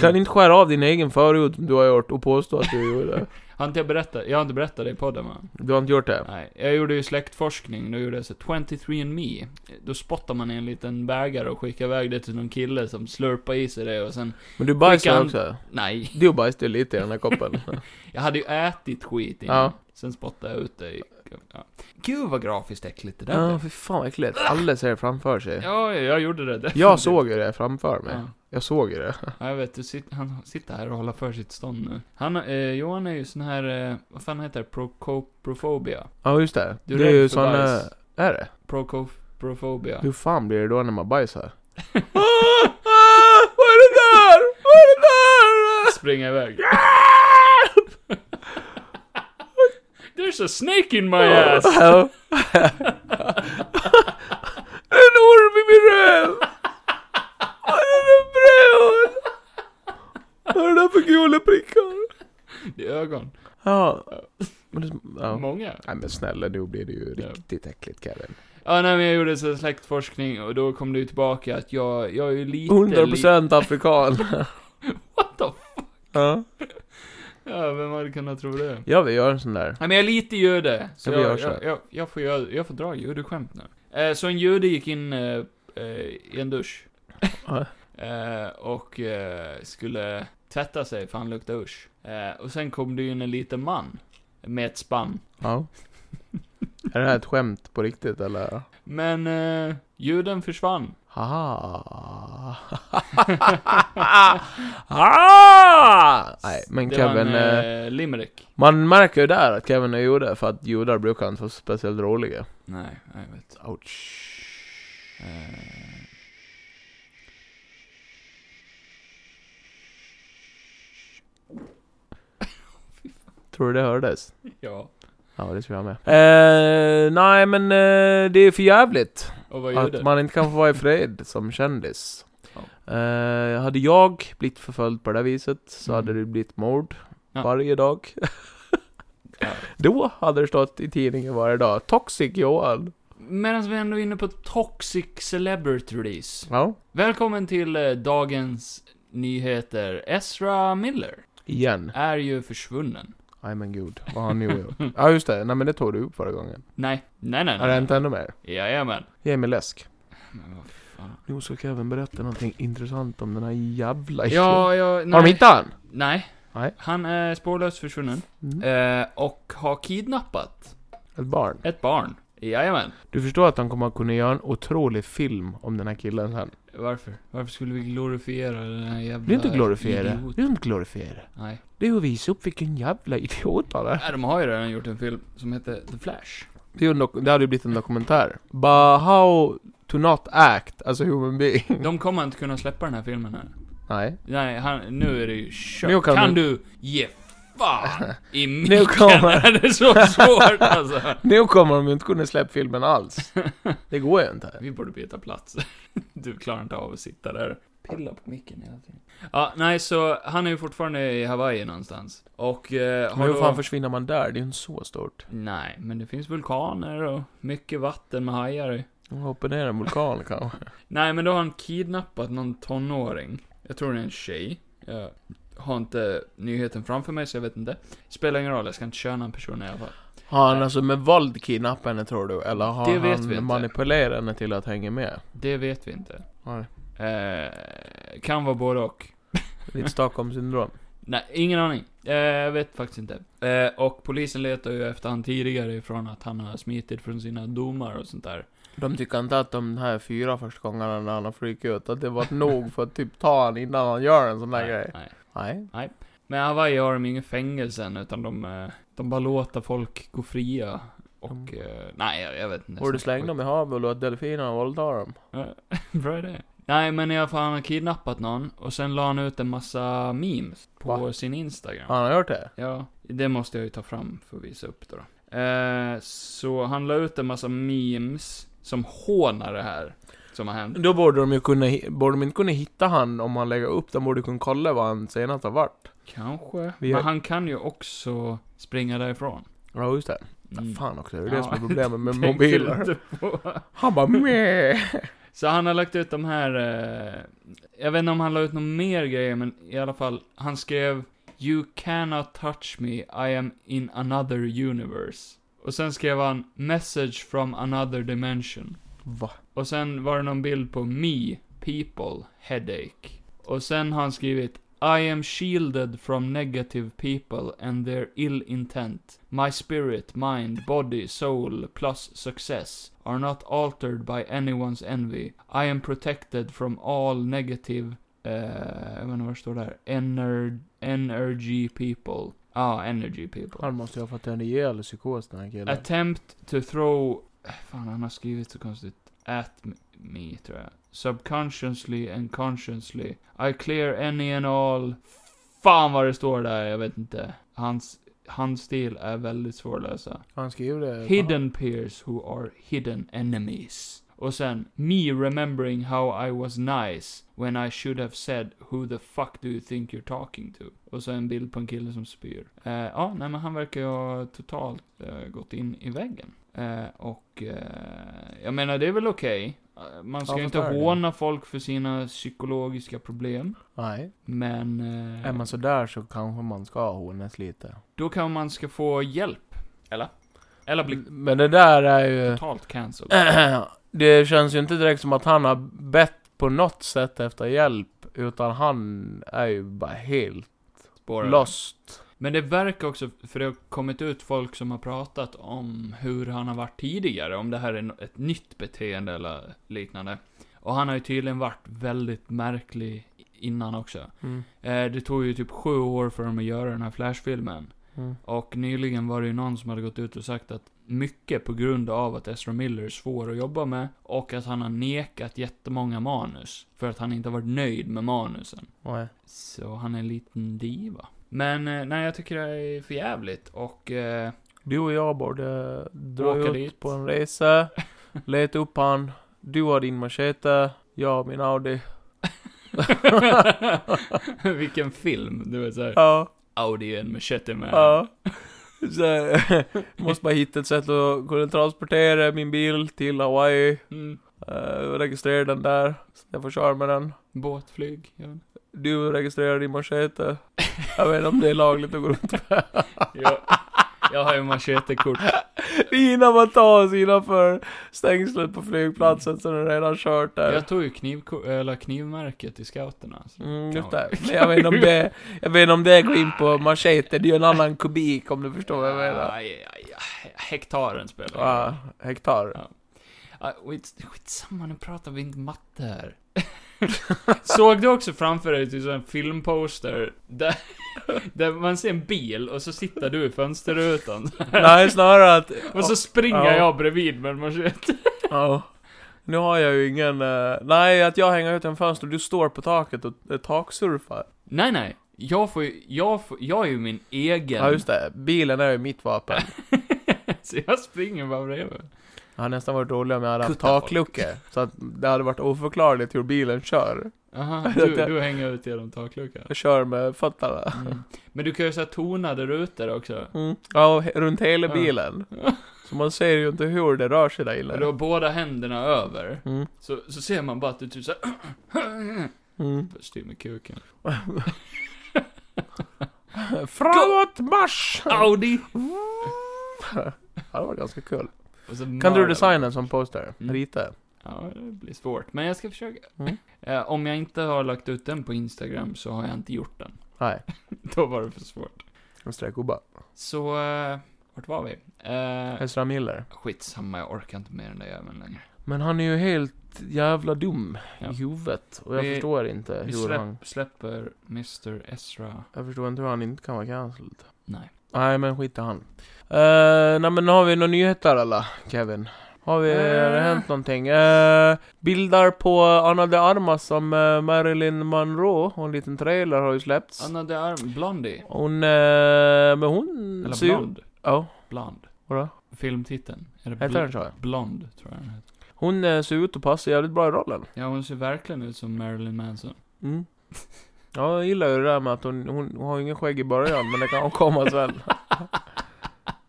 [SPEAKER 2] kan inte skära av din egen förut som du har gjort och påstå att du gjorde det.
[SPEAKER 1] Har inte jag berättat? Jag har inte berättat det i podden va?
[SPEAKER 2] Du har inte gjort det?
[SPEAKER 1] Nej. Jag gjorde ju släktforskning, då gjorde jag så 23andMe. Då spottar man i en liten bägare och skickar iväg det till någon kille som slurpar i sig det och sen...
[SPEAKER 2] Men du bajsar
[SPEAKER 1] Skicka han-
[SPEAKER 2] också?
[SPEAKER 1] Nej.
[SPEAKER 2] Du bajsade ju lite i den här koppen.
[SPEAKER 1] Jag hade ju ätit skit innan.
[SPEAKER 2] Ja.
[SPEAKER 1] Sen spottade jag ut det i... Ja. Gud vad grafiskt äckligt det där
[SPEAKER 2] Ja,
[SPEAKER 1] blev.
[SPEAKER 2] fy fan vad äckligt. Alla ser det framför sig.
[SPEAKER 1] Ja, ja, jag gjorde det. definitivt.
[SPEAKER 2] Jag såg ju det framför mig.
[SPEAKER 1] Ja.
[SPEAKER 2] Jag såg ju det.
[SPEAKER 1] Ja, jag vet, du sit, han sitter här och håller för sitt stånd nu. Han, eh, Johan är ju sån här, eh, vad fan heter det? Procoprofobia.
[SPEAKER 2] Ja, just det.
[SPEAKER 1] Du är
[SPEAKER 2] det är
[SPEAKER 1] rädd
[SPEAKER 2] ju
[SPEAKER 1] för
[SPEAKER 2] eh, såna...
[SPEAKER 1] bajs.
[SPEAKER 2] Är det?
[SPEAKER 1] Procoprofobia.
[SPEAKER 2] Hur fan blir det då när man bajsar? Ah, ah, vad är det där? Vad är det där?
[SPEAKER 1] Springa iväg.
[SPEAKER 2] Ah!
[SPEAKER 1] There's a snake in my ass!
[SPEAKER 2] Ja. en orm i min röv! Vad är det där bröd? Vad är det där för gula prickar?
[SPEAKER 1] Det är ögon.
[SPEAKER 2] Ja. Men det, ja.
[SPEAKER 1] Många.
[SPEAKER 2] Nej men snälla, nu blir det ju
[SPEAKER 1] Ja.
[SPEAKER 2] riktigt äckligt Kevin.
[SPEAKER 1] Ja, nej men jag gjorde så här släktforskning och då kom det ju tillbaka att jag, jag är ju lite...
[SPEAKER 2] 100% afrikan.
[SPEAKER 1] What the f-
[SPEAKER 2] ja.
[SPEAKER 1] Ja, vem hade kunnat tro det?
[SPEAKER 2] Jag vill göra en sån där.
[SPEAKER 1] Nej men jag är lite jude, så
[SPEAKER 2] Ja, vi
[SPEAKER 1] jag,
[SPEAKER 2] gör så.
[SPEAKER 1] jag, jag, jag, får, göra- jag får dra judeskämt nu. Eh, så en jude gick in eh, eh, i en dusch.
[SPEAKER 2] Ja.
[SPEAKER 1] eh, och eh, skulle tvätta sig för han luktade usch. Eh, och sen kom det in en liten man. Med ett spann.
[SPEAKER 2] Ja. Är det här ett skämt på riktigt eller?
[SPEAKER 1] Men eh, juden försvann.
[SPEAKER 2] Haha. ah! Nej, men
[SPEAKER 1] det
[SPEAKER 2] Kevin,
[SPEAKER 1] var
[SPEAKER 2] eh,
[SPEAKER 1] en eh, limerick.
[SPEAKER 2] man märker ju där att Kevin är jude för att judar brukar inte vara speciellt roliga.
[SPEAKER 1] Nej, jag vet.
[SPEAKER 2] Ouch.
[SPEAKER 1] Eh,
[SPEAKER 2] Tror du det hördes?
[SPEAKER 1] ja.
[SPEAKER 2] Ja, det tror jag med. Eh, nej, men eh, det är för jävligt
[SPEAKER 1] Och vad
[SPEAKER 2] att man inte kan få vara i fred som kändis.
[SPEAKER 1] Ja.
[SPEAKER 2] Eh, hade jag blivit förföljd på det här viset så
[SPEAKER 1] Mm.
[SPEAKER 2] hade det blivit mord
[SPEAKER 1] Ja.
[SPEAKER 2] varje dag.
[SPEAKER 1] Ja.
[SPEAKER 2] Då hade det stått i tidningen varje dag. Toxic Johan.
[SPEAKER 1] Medan vi ändå är inne på toxic celebrities.
[SPEAKER 2] Ja.
[SPEAKER 1] Välkommen till eh, dagens nyheter. Ezra Miller
[SPEAKER 2] Igen.
[SPEAKER 1] är ju försvunnen.
[SPEAKER 2] Nej men gud, vad har han nu gjort? Ja just det, nej men det tog du upp förra gången.
[SPEAKER 1] Nej, nej, nej,
[SPEAKER 2] Har det
[SPEAKER 1] nej.
[SPEAKER 2] hänt ännu mer?
[SPEAKER 1] Jajamän.
[SPEAKER 2] Ge mig läsk.
[SPEAKER 1] Men vad fan.
[SPEAKER 2] Nu ska jag även berätta någonting intressant om den här jävla
[SPEAKER 1] Ja, jag...
[SPEAKER 2] Har de
[SPEAKER 1] Nej.
[SPEAKER 2] hittat han?
[SPEAKER 1] nej.
[SPEAKER 2] Nej.
[SPEAKER 1] Han är spårlöst försvunnen.
[SPEAKER 2] Mm.
[SPEAKER 1] Eh, och har kidnappat
[SPEAKER 2] Ett barn.
[SPEAKER 1] ett barn. Jajamän.
[SPEAKER 2] Du förstår att de kommer att kunna göra en otrolig film om den här killen sen?
[SPEAKER 1] Varför? Varför skulle vi glorifiera den här jävla...
[SPEAKER 2] Det är inte glorifiera.
[SPEAKER 1] idiot?
[SPEAKER 2] Det är inte glorifiera.
[SPEAKER 1] Nej.
[SPEAKER 2] Det är att visa upp vilken jävla idiot han är.
[SPEAKER 1] Nej, de har ju redan gjort en film som heter The Flash.
[SPEAKER 2] Det, är ju en dok- det hade ju blivit en dokumentär. But how to not act as a human being.
[SPEAKER 1] De kommer inte kunna släppa den här filmen här.
[SPEAKER 2] Nej.
[SPEAKER 1] Nej, han, nu är det ju
[SPEAKER 2] Nu
[SPEAKER 1] kört.
[SPEAKER 2] kan
[SPEAKER 1] Kan, du ge fan i micken?
[SPEAKER 2] Nu kommer-
[SPEAKER 1] Är det så svårt alltså?
[SPEAKER 2] Nu kommer de ju inte kunna släppa filmen alls. Det går ju inte.
[SPEAKER 1] Vi borde byta plats. Du klarar inte av att sitta där och pilla på micken hela tiden. Ja, nej, så han är ju fortfarande i Hawaii någonstans. Och eh,
[SPEAKER 2] Men
[SPEAKER 1] har
[SPEAKER 2] hur
[SPEAKER 1] då...
[SPEAKER 2] fan försvinner man där? Det är ju inte så stort.
[SPEAKER 1] Nej, men det finns vulkaner och mycket vatten med hajar i.
[SPEAKER 2] De hoppar ner i en vulkan kanske.
[SPEAKER 1] Nej, men då har han kidnappat någon tonåring. Jag tror det är en tjej. Jag har inte nyheten framför mig, så jag vet inte. Spelar ingen roll, jag ska inte köna en person i alla fall.
[SPEAKER 2] Har han alltså med våld kidnappat henne tror du? Eller har
[SPEAKER 1] Det vet vi inte.
[SPEAKER 2] han manipulerat henne till att hänga med?
[SPEAKER 1] Det vet vi inte.
[SPEAKER 2] Nej.
[SPEAKER 1] Eh, kan vara både och.
[SPEAKER 2] Lite Stockholmssyndrom.
[SPEAKER 1] Nej, ingen aning. Eh, jag vet faktiskt inte. Eh, och polisen letar ju efter han tidigare ifrån att han har smitit från sina domar och sånt där.
[SPEAKER 2] De tycker inte att de här fyra första gångerna när han har flugit ut, att det var nog för att typ ta han innan han gör en sån där grej.
[SPEAKER 1] nej.
[SPEAKER 2] Nej.
[SPEAKER 1] Men i Hawaii har de ingen fängelsen, utan de, eh, de bara låter folk gå fria. Och, eh, nej, jag, jag vet inte.
[SPEAKER 2] Borde Mm. du slänga dem i havet och låta delfinerna våldta dem?
[SPEAKER 1] Bra idé. Nej, men i alla fall, han har kidnappat någon och sen la han ut en massa memes på
[SPEAKER 2] Va?
[SPEAKER 1] sin Instagram.
[SPEAKER 2] Han har gjort det?
[SPEAKER 1] Ja, det måste jag ju ta fram för att visa upp då. då. Eh, så han la ut en massa memes som hånar det här som har hänt.
[SPEAKER 2] Då borde de ju kunna, hi- borde de inte kunna hitta han om han lägger upp, de borde kunna kolla vad han senast har varit.
[SPEAKER 1] Kanske.
[SPEAKER 2] Vi har-
[SPEAKER 1] Men han kan ju också springa därifrån.
[SPEAKER 2] Ja, just det.
[SPEAKER 1] Mm.
[SPEAKER 2] Fan också, det är det
[SPEAKER 1] Ja,
[SPEAKER 2] som är problemet med
[SPEAKER 1] Tänker
[SPEAKER 2] mobiler.
[SPEAKER 1] inte på.
[SPEAKER 2] Han bara meh.
[SPEAKER 1] Så han har lagt ut de här, eh, jag vet inte om han la ut någon mer grejer, men i alla fall, han skrev You cannot touch me, I am in another universe. Och sen skrev han Message from another dimension.
[SPEAKER 2] Va?
[SPEAKER 1] Och sen var det någon bild på me, people, headache. Och sen har han skrivit I am shielded from negative people and their ill intent. My spirit, mind, body, soul, plus success are not altered by anyone's envy. I am protected from all negative, eh, jag vet inte vad det står där, ener energy people. ah, energy people.
[SPEAKER 2] Han måste ju ha fått en rejäl psykos den här killen.
[SPEAKER 1] Attempt to throw... Fan, han har skrivit så konstigt. At m- me, tror jag. Subconsciously and consciously. I clear any and all. Fan vad det står där, jag vet inte. Hans handstil är väldigt svårläsa.
[SPEAKER 2] Han skrev det.
[SPEAKER 1] Hidden peers who are hidden enemies. Och sen, me remembering how I was nice when I should have said who the fuck do you think you're talking to? Och så en bild på en kille som spyr. Eh, ja, nej men han verkar ju ha totalt eh, gått in i väggen. Eh, och eh, jag menar, det är väl okej. Eh, Man ska
[SPEAKER 2] Ja,
[SPEAKER 1] ju
[SPEAKER 2] fast
[SPEAKER 1] inte
[SPEAKER 2] det är det.
[SPEAKER 1] håna folk för sina psykologiska problem.
[SPEAKER 2] Nej.
[SPEAKER 1] Men eh,
[SPEAKER 2] Är man sådär så kanske man ska hånas lite.
[SPEAKER 1] då kan man ska få hjälp. Mm. Eller? Eller bli
[SPEAKER 2] Men det där är ju...
[SPEAKER 1] totalt cancelled.
[SPEAKER 2] Eh, Det känns ju inte direkt som att han har bett på något sätt efter hjälp. Utan han är ju bara helt
[SPEAKER 1] Spårar.
[SPEAKER 2] lost.
[SPEAKER 1] Men det verkar också, för det har kommit ut folk som har pratat om hur han har varit tidigare, om det här är no- ett nytt beteende eller liknande. Och han har ju tydligen varit väldigt
[SPEAKER 2] Mm,
[SPEAKER 1] märklig innan också. Eh, det tog ju typ sju år för dem att göra den här Flash-filmen.
[SPEAKER 2] Mm.
[SPEAKER 1] Och nyligen var det ju någon som hade gått ut och sagt att mycket på grund av att Ezra Miller är svår att jobba med och att han har nekat jättemånga manus för att han inte har varit nöjd med manusen.
[SPEAKER 2] Nej.
[SPEAKER 1] Så han är en liten diva. Men eh, nej, jag tycker det är för jävligt och eh,
[SPEAKER 2] Du och jag borde dra
[SPEAKER 1] Åka
[SPEAKER 2] ut
[SPEAKER 1] dit.
[SPEAKER 2] på en resa, leta upp han. Du har din machete, jag har min Audi.
[SPEAKER 1] Vilken film, du vet såhär.
[SPEAKER 2] Ja,
[SPEAKER 1] Audi är en machete man.
[SPEAKER 2] ja. Så, eh, måste bara hitta ett sätt att kunna transportera min bil till Hawaii.
[SPEAKER 1] Mm.
[SPEAKER 2] Uh, registrera den där, så jag får köra med den.
[SPEAKER 1] Båtflyg, jag vet inte.
[SPEAKER 2] Du registrerar din machete. Jag vet inte om det är lagligt att gå runt
[SPEAKER 1] jag, jag har ju machetekort.
[SPEAKER 2] Innan man tar sig innanför stängslet på flygplatsen så är det redan kört där.
[SPEAKER 1] Jag tog ju knivko- eller knivmärket i scouterna. Så.
[SPEAKER 2] Mm, just det. Men jag vet inte om det, jag vet inte om det är in på machete, det är ju en annan kubik om du förstår vad jag menar.
[SPEAKER 1] Aj, aj, aj. Hektaren spelar
[SPEAKER 2] Ja, hektar.
[SPEAKER 1] Ah, skits- Skitsamma, nu pratar vi inte matte här. Såg du också framför dig typ så en filmposter där, där man ser en bil och så sitter du i fönsterrutan.
[SPEAKER 2] Nej, snarare att...
[SPEAKER 1] Och så springer
[SPEAKER 2] Ja.
[SPEAKER 1] jag bredvid med en machete.
[SPEAKER 2] Ja. Nu har jag ju ingen... eh, nej, att jag hänger ut en fönster och du står på taket och eh, taksurfar.
[SPEAKER 1] Nej, nej. Jag får ju, jag får, jag är ju min egen.
[SPEAKER 2] Ja, just det. Bilen är ju mitt vapen.
[SPEAKER 1] Så jag springer bara bredvid.
[SPEAKER 2] Det hade nästan varit roligare om jag hade haft
[SPEAKER 1] Kutta folk.
[SPEAKER 2] taklucka. Så att det hade varit oförklarligt hur bilen kör.
[SPEAKER 1] Aha, du, du hänger ut genom takluckan.
[SPEAKER 2] Jag kör med fötterna.
[SPEAKER 1] Mm. Men du kan ju säga tonade rutor också.
[SPEAKER 2] Mm. Ja, och he- runt hela
[SPEAKER 1] Ja.
[SPEAKER 2] bilen. Så man ser ju inte hur det rör sig där
[SPEAKER 1] Och du har
[SPEAKER 2] inne.
[SPEAKER 1] båda händerna över.
[SPEAKER 2] Mm.
[SPEAKER 1] Så, så ser man bara att du typ såhär...
[SPEAKER 2] Mm.
[SPEAKER 1] Styr med kuken.
[SPEAKER 2] Framåt marsch!
[SPEAKER 1] Audi!
[SPEAKER 2] Ja, det var ganska kul.
[SPEAKER 1] Och så
[SPEAKER 2] Kan du
[SPEAKER 1] mördar-
[SPEAKER 2] designa en sån poster?
[SPEAKER 1] Mm.
[SPEAKER 2] Rita?
[SPEAKER 1] Ja, det blir svårt. Men jag ska försöka.
[SPEAKER 2] Mm.
[SPEAKER 1] Eh, om jag inte har lagt ut den på Instagram så har jag inte gjort den.
[SPEAKER 2] Nej,
[SPEAKER 1] Då var det för svårt.
[SPEAKER 2] en streckgubbe.
[SPEAKER 1] Så, eh, vart var vi? Eh,
[SPEAKER 2] Ezra Miller.
[SPEAKER 1] skitsamma, jag orkar inte med den där jäveln längre.
[SPEAKER 2] Men han är ju helt jävla dum
[SPEAKER 1] Ja.
[SPEAKER 2] i huvudet. Och jag
[SPEAKER 1] Vi-
[SPEAKER 2] förstår inte
[SPEAKER 1] Vi
[SPEAKER 2] hur han...
[SPEAKER 1] släpp, släpper Mr. Ezra.
[SPEAKER 2] Jag förstår inte hur han inte kan vara cancelled.
[SPEAKER 1] Nej.
[SPEAKER 2] Nej men skit i han. Uh, nej men har vi några nyheter eller Kevin? Har vi, har det
[SPEAKER 1] Eh.
[SPEAKER 2] hänt någonting? Uh, bilder på Anna de Armas som eh, Marilyn Monroe och en liten trailer har ju släppts.
[SPEAKER 1] Anna de Arm, Blondie.
[SPEAKER 2] Hon, eh, men hon...
[SPEAKER 1] Eller
[SPEAKER 2] ser ju-
[SPEAKER 1] Blond.
[SPEAKER 2] Ja,
[SPEAKER 1] Blond.
[SPEAKER 2] vadå?
[SPEAKER 1] Filmtiteln. Är det
[SPEAKER 2] Heter den
[SPEAKER 1] bl-
[SPEAKER 2] så?
[SPEAKER 1] Blond, tror jag den heter.
[SPEAKER 2] Hon eh, ser ut att passa jävligt bra i rollen.
[SPEAKER 1] Ja, hon ser verkligen ut som Marilyn Manson.
[SPEAKER 2] Mm. Ja, jag gillar ju det där med att hon, hon, hon har ju ingen skägg i början, men det kan hon komma sen.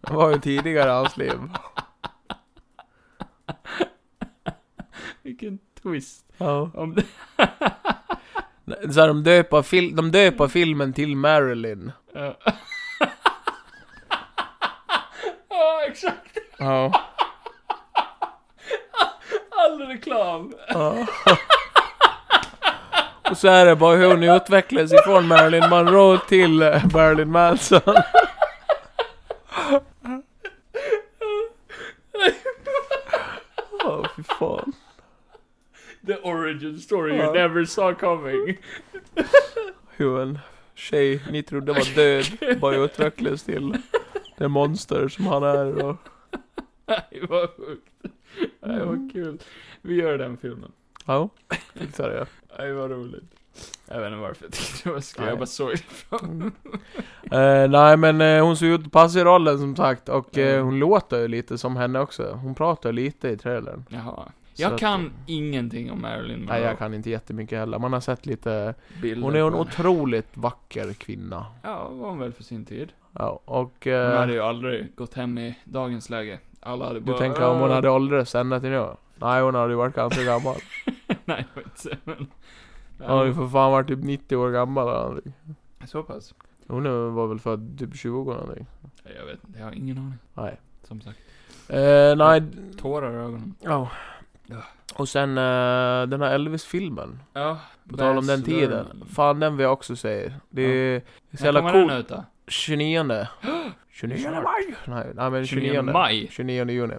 [SPEAKER 2] Det var ju tidigare i hans liv.
[SPEAKER 1] Vilken twist.
[SPEAKER 2] Ja.
[SPEAKER 1] Om
[SPEAKER 2] Så här, de döper, fil- de döper filmen till Marilyn.
[SPEAKER 1] Ja. Ja, exakt.
[SPEAKER 2] Ja.
[SPEAKER 1] All reklam.
[SPEAKER 2] Och så är det bara hur hon utvecklas ifrån Marilyn Monroe till eh, Marilyn Manson. Åh, fy fan.
[SPEAKER 1] The origin story you
[SPEAKER 2] Ja.
[SPEAKER 1] never saw coming.
[SPEAKER 2] Hur en tjej ni trodde var död bara utvecklas till det monster som han är och...
[SPEAKER 1] Det var sjukt. Det var kul. Vi gör den filmen.
[SPEAKER 2] Ja, fixar det.
[SPEAKER 1] Det var roligt. Jag vet inte varför jag tyckte det var skoj.
[SPEAKER 2] Nej.
[SPEAKER 1] Jag bara såg det.
[SPEAKER 2] Mm. Eh, nej men eh, hon ser ut att passa i rollen som sagt och
[SPEAKER 1] Mm.
[SPEAKER 2] eh, hon låter ju lite som henne också. Hon pratar lite i trailern.
[SPEAKER 1] Jaha.
[SPEAKER 2] Så
[SPEAKER 1] Jag
[SPEAKER 2] att-
[SPEAKER 1] kan ingenting om Marilyn Monroe.
[SPEAKER 2] Nej jag kan inte jättemycket heller. Man har sett lite...
[SPEAKER 1] Bilder
[SPEAKER 2] Hon är en
[SPEAKER 1] på henne.
[SPEAKER 2] otroligt vacker kvinna.
[SPEAKER 1] Ja, var hon väl för sin tid.
[SPEAKER 2] Ja, och...
[SPEAKER 1] Hon
[SPEAKER 2] Eh,
[SPEAKER 1] hade ju aldrig gått hem i dagens läge. Alla hade bara...
[SPEAKER 2] du tänker om hon hade åldrats ända till nu? Nej hon hade ju varit ganska gammal.
[SPEAKER 1] Nej, jag vet inte. Men...
[SPEAKER 2] Hon har ju för fan varit typ 90 år gammal eller någonting.
[SPEAKER 1] Så pass?
[SPEAKER 2] Hon är- var väl född typ 20 eller någonting.
[SPEAKER 1] Jag vet inte, jag har ingen aning.
[SPEAKER 2] Nej.
[SPEAKER 1] Som sagt.
[SPEAKER 2] Eh, nej...
[SPEAKER 1] Tårar i ögonen.
[SPEAKER 2] Ja. Och sen eh, den här Elvis-filmen.
[SPEAKER 1] Ja.
[SPEAKER 2] På tal om den tiden. Fan den vill jag också se. Det är det är så jävla
[SPEAKER 1] När kommer
[SPEAKER 2] coolt.
[SPEAKER 1] den ut då?
[SPEAKER 2] 29. 29
[SPEAKER 1] Snart.
[SPEAKER 2] maj? Nej, nej men 29.
[SPEAKER 1] 29 maj?
[SPEAKER 2] 29 juni.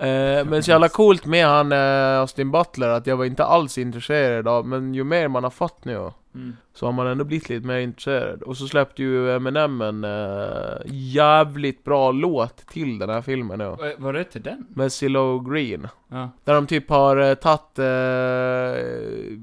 [SPEAKER 2] Eh, men så jävla coolt med han eh, Austin Butler att jag var inte alls intresserad av, men ju mer man har fått nu
[SPEAKER 1] Mm.
[SPEAKER 2] Så har man ändå blivit lite mer intresserad. Och så släppte ju Eminem en eh, jävligt bra låt till den här filmen nu.
[SPEAKER 1] Eh, Var det till den?
[SPEAKER 2] Med Cilla Green.
[SPEAKER 1] Ja.
[SPEAKER 2] Där de typ har eh, tagit, eh,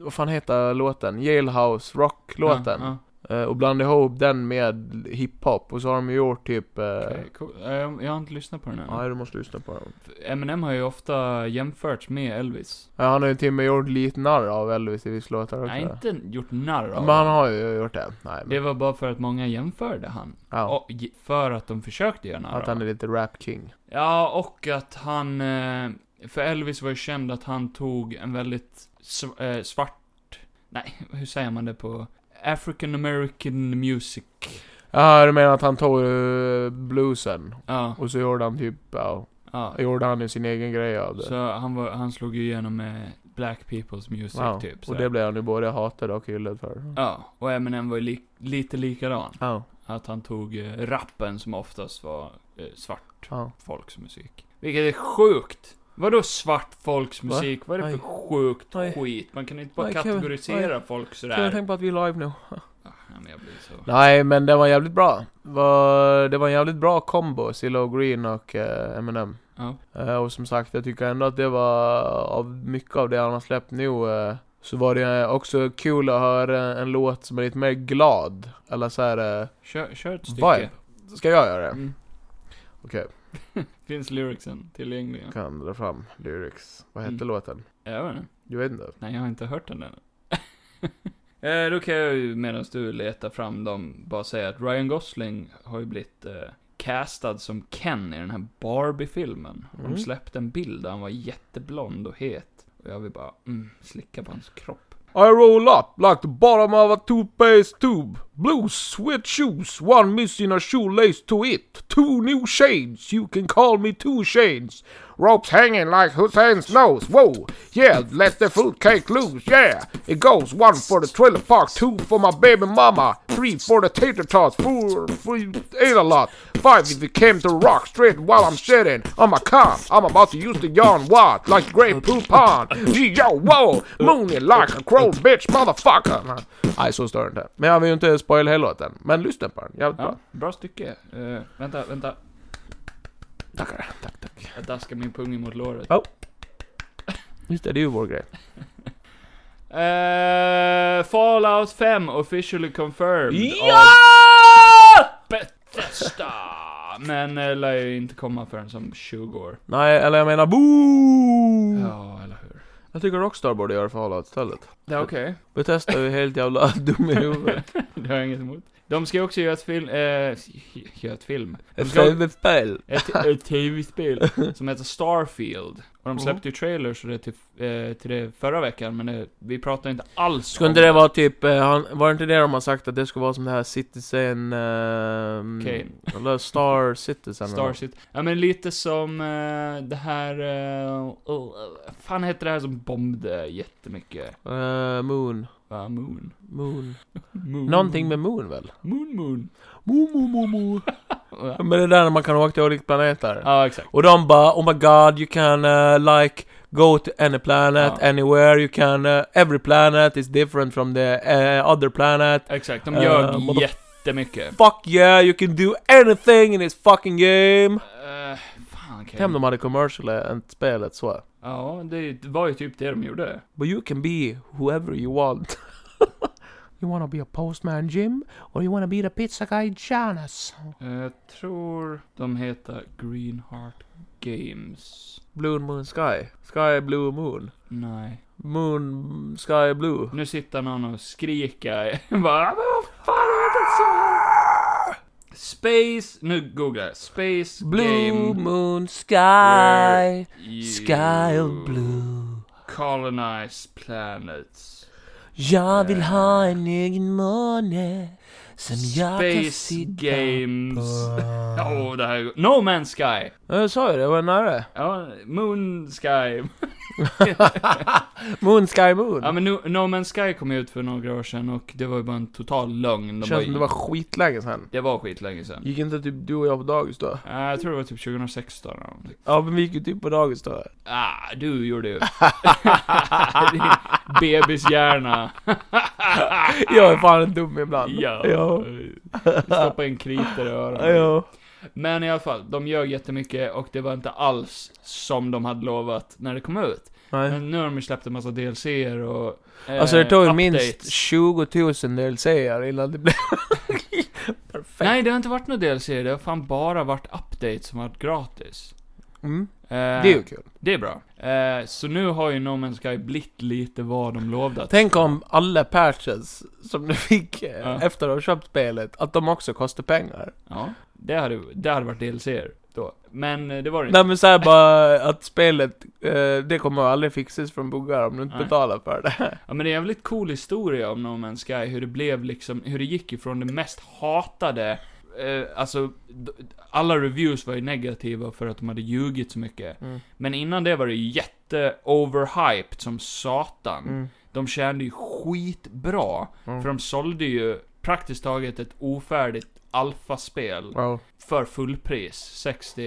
[SPEAKER 2] vad fan heter låten? Jailhouse Rock-låten.
[SPEAKER 1] Ja,
[SPEAKER 2] Eh, och blandat ihop den med hiphop. Och så har de ju gjort typ... eh,
[SPEAKER 1] ja. Okej, cool. Eh, Jag har inte lyssnat på den än.
[SPEAKER 2] Nej, du måste lyssna på den.
[SPEAKER 1] Eminem har ju ofta jämförts med Elvis.
[SPEAKER 2] Ja, han har ju till och med gjort lite narr av Elvis i vissa låtar också.
[SPEAKER 1] Nej, inte gjort narr av
[SPEAKER 2] Men han
[SPEAKER 1] honom.
[SPEAKER 2] har ju gjort det. Nej, men,
[SPEAKER 1] Det var bara för att många jämförde han.
[SPEAKER 2] ja,
[SPEAKER 1] Och, ge- för att de försökte göra narr av
[SPEAKER 2] att han är lite rap king.
[SPEAKER 1] Ja, och att han... eh, För Elvis var ju känd att han tog en väldigt sv- eh, svart... Nej, hur säger man det på... African American music.
[SPEAKER 2] Ja, du menar att han tog eh, bluesen.
[SPEAKER 1] Ja,
[SPEAKER 2] Och så gjorde han typ, ja,
[SPEAKER 1] ja.
[SPEAKER 2] gjorde han ju sin egen grej av det.
[SPEAKER 1] Så han, var, han slog ju igenom med Black People's Music,
[SPEAKER 2] ja.
[SPEAKER 1] typ. Så.
[SPEAKER 2] och det blev han ju både hatad och hyllad för.
[SPEAKER 1] Ja, och Eminem var ju li- lite likadan.
[SPEAKER 2] Ja.
[SPEAKER 1] Att han tog eh, rappen som oftast var eh, svart
[SPEAKER 2] ja.
[SPEAKER 1] folks musik. Vilket är sjukt! Vadå svart folks musik? Vad är det för sjukt
[SPEAKER 2] Aj.
[SPEAKER 1] skit? Man kan inte bara
[SPEAKER 2] Aj, Kevin.
[SPEAKER 1] kategorisera folk sådär.
[SPEAKER 2] på att vi är live nu.
[SPEAKER 1] Ah, nej, men jag blir så...
[SPEAKER 2] Nej, men det var jävligt bra. Var- Det var en jävligt bra kombo, Cilla Green och eh, Eminem.
[SPEAKER 1] Ja.
[SPEAKER 2] Eh, och som sagt, jag tycker ändå att det var, av mycket av det han har släppt nu, eh, så var det också kul att höra en låt som är lite mer glad. Eller såhär, eh,
[SPEAKER 1] Kör, kör ett stycke.
[SPEAKER 2] vibe. Ska jag göra det?
[SPEAKER 1] Mm.
[SPEAKER 2] Okej,
[SPEAKER 1] Finns lyricsen tillgängliga?
[SPEAKER 2] kan dra fram lyrics. Vad hette
[SPEAKER 1] Mm.
[SPEAKER 2] låten?
[SPEAKER 1] Jag vet inte.
[SPEAKER 2] Du vet inte?
[SPEAKER 1] Nej, jag har inte hört den än. eh, då kan jag ju medan du letar fram dem bara säga att Ryan Gosling har ju blivit eh, castad som Ken i den här Barbie-filmen. Och
[SPEAKER 2] Mm.
[SPEAKER 1] De släppte en bild där han var jätteblond och het. Och jag vill bara, mm, slicka på hans kropp.
[SPEAKER 2] I roll up like the bottom of a toothpaste tube. Blue sweat shoes, one missing a shoelace to it. Two new shades, you can call me two shades. Ropes hanging like Hussein's nose. Whoa, yeah, let the fruitcake loose, yeah. It goes one for the trailer park, two for my baby mama, three for the tater tots, four for you ate a lot, five if you came to rock straight while I'm sitting on my car. I'm about to use the yarn wad like great poupon. Gee, yo, whoa, moony like a crow bitch motherfucker. Nej, så stör inte. Men jag vill ju inte spoila hela låten. Men lyssna på den, jävligt
[SPEAKER 1] Ja, bra stycke. Eh, vänta, vänta.
[SPEAKER 2] Tackar, tack, tack.
[SPEAKER 1] Jag daskar min pung emot låret.
[SPEAKER 2] Just det, det är ju vår grej.
[SPEAKER 1] Eh, Fallout 5 officially confirmed.
[SPEAKER 2] Ja!
[SPEAKER 1] av Bethesda! Men eh, lär ju inte komma förrän som 20 år.
[SPEAKER 2] Nej, eller jag menar boo!
[SPEAKER 1] Ja, eller hur?
[SPEAKER 2] Jag tycker Rockstar borde göra förhållandet istället.
[SPEAKER 1] Det är okej.
[SPEAKER 2] Bethesda är ju helt jävla dum i huvudet.
[SPEAKER 1] Det har jag inget emot. De ska ju också göra ett film, eh, göra ett film. De
[SPEAKER 2] Ett
[SPEAKER 1] ska-
[SPEAKER 2] tv-spel.
[SPEAKER 1] Ett, ett tv-spel som heter Starfield. Och de släppte ju
[SPEAKER 2] Mm.
[SPEAKER 1] trailers och det till, eh, till det förra veckan, men det, vi pratar inte alls
[SPEAKER 2] Skulle
[SPEAKER 1] om
[SPEAKER 2] inte det vara typ, eh, han, var det inte det de har sagt att det skulle vara som det här Citizen... ehm,
[SPEAKER 1] Kane.
[SPEAKER 2] Eller Star Citizen eller
[SPEAKER 1] Star
[SPEAKER 2] nåt?
[SPEAKER 1] City. Ja men lite som eh, det här, eh, oh, eh, fan heter det här som bombade jättemycket?
[SPEAKER 2] Eh, moon.
[SPEAKER 1] Va, Moon?
[SPEAKER 2] Moon.
[SPEAKER 1] Moon.
[SPEAKER 2] Någonting med Moon väl?
[SPEAKER 1] Moon Moon.
[SPEAKER 2] Moon, moon, moon, moon. Men det är där man kan åka till olika planeter.
[SPEAKER 1] Ja, exakt.
[SPEAKER 2] Och de bara oh my god you can eh, like go to any planet,
[SPEAKER 1] Ja.
[SPEAKER 2] anywhere, you can eh, every planet is different from the eh, other planet.
[SPEAKER 1] Exakt, de
[SPEAKER 2] Eh,
[SPEAKER 1] ljög
[SPEAKER 2] motherf-
[SPEAKER 1] jättemycket.
[SPEAKER 2] Fuck yeah you can do anything in this fucking game!
[SPEAKER 1] Uh, fan, kan
[SPEAKER 2] Tänk om de hade commercial än spelet så.
[SPEAKER 1] Ja, det var ju typ det de gjorde.
[SPEAKER 2] But you can be whoever you want. you wanna be a postman Jim? Or you wanna be the pizza guy Jonas?
[SPEAKER 1] Eh, Jag tror de heter Greenheart Games.
[SPEAKER 2] Blue moon sky. Sky blue moon.
[SPEAKER 1] Nej.
[SPEAKER 2] Moon sky blue.
[SPEAKER 1] Nu sitter någon och skriker. Bara, "Men vad fan heter det så här?" Space, nu googlar jag. Space
[SPEAKER 2] Blue
[SPEAKER 1] Game.
[SPEAKER 2] moon
[SPEAKER 1] Where
[SPEAKER 2] sky.
[SPEAKER 1] you
[SPEAKER 2] Sky of blue.
[SPEAKER 1] Colonize planets.
[SPEAKER 2] Jag vill ha en egen måne som jag kan
[SPEAKER 1] Space
[SPEAKER 2] sitta
[SPEAKER 1] Games. Åh,
[SPEAKER 2] på.
[SPEAKER 1] det här är... No Man's Sky!
[SPEAKER 2] Ja, jag sa ju det, det var nära.
[SPEAKER 1] Ja, Moon Sky.
[SPEAKER 2] Moon sky moon.
[SPEAKER 1] Ja men no, no Man's Sky kom ju ut för några år sedan och det var ju bara en total lögn. De
[SPEAKER 2] Känns som det var skitlänge sen.
[SPEAKER 1] det var skitlänge sedan.
[SPEAKER 2] Gick inte typ du och jag på dagis då?
[SPEAKER 1] Uh, jag tror det var typ 2016 eller någonting.
[SPEAKER 2] Ja men vi gick ju typ på dagis då.
[SPEAKER 1] Ah, du gjorde ju. Din Bebishjärna.
[SPEAKER 3] Jag är fan dum ibland.
[SPEAKER 1] Ja.
[SPEAKER 3] Ja.
[SPEAKER 1] Stoppa in kriter i öronen.
[SPEAKER 3] Ja.
[SPEAKER 1] Men i alla fall, de ljög jättemycket och det var inte alls som de hade lovat när det kom ut.
[SPEAKER 3] Nej.
[SPEAKER 1] Men nu har de ju släppt en massa DLCer och... eh,
[SPEAKER 3] Alltså det tog minst
[SPEAKER 1] updates.
[SPEAKER 3] 20 000 DLC-er innan det blev... Perfekt.
[SPEAKER 1] Nej, det har inte varit några DLCer, det har fan bara varit updates som har varit gratis.
[SPEAKER 3] Mm.
[SPEAKER 1] Eh,
[SPEAKER 3] Det är ju kul.
[SPEAKER 1] Det är bra. Eh, så nu har ju No Man's Sky blivit lite vad de lovade. att-
[SPEAKER 3] Tänk om alla patches som du fick eh,
[SPEAKER 1] Ja.
[SPEAKER 3] efter att ha köpt spelet, att de också kostar pengar.
[SPEAKER 1] Ja, det hade, det hade varit DLCer då. Men eh, det var det inte.
[SPEAKER 3] Nej men såhär bara att spelet, eh, det kommer aldrig fixas från buggar om du inte
[SPEAKER 1] Nej.
[SPEAKER 3] betalar för det.
[SPEAKER 1] Ja men det är en väldigt cool historia om No Man's Sky, hur det blev liksom, hur det gick ifrån det mest hatade, eh, alltså, d- alla reviews var ju negativa för att de hade ljugit så mycket.
[SPEAKER 3] Mm.
[SPEAKER 1] Men innan det var det ju jätte-overhyped som satan. De
[SPEAKER 3] Mm.
[SPEAKER 1] tjänade ju skitbra,
[SPEAKER 3] Mm.
[SPEAKER 1] för de sålde ju praktiskt taget ett ofärdigt alfaspel
[SPEAKER 3] Wow.
[SPEAKER 1] för fullpris, 60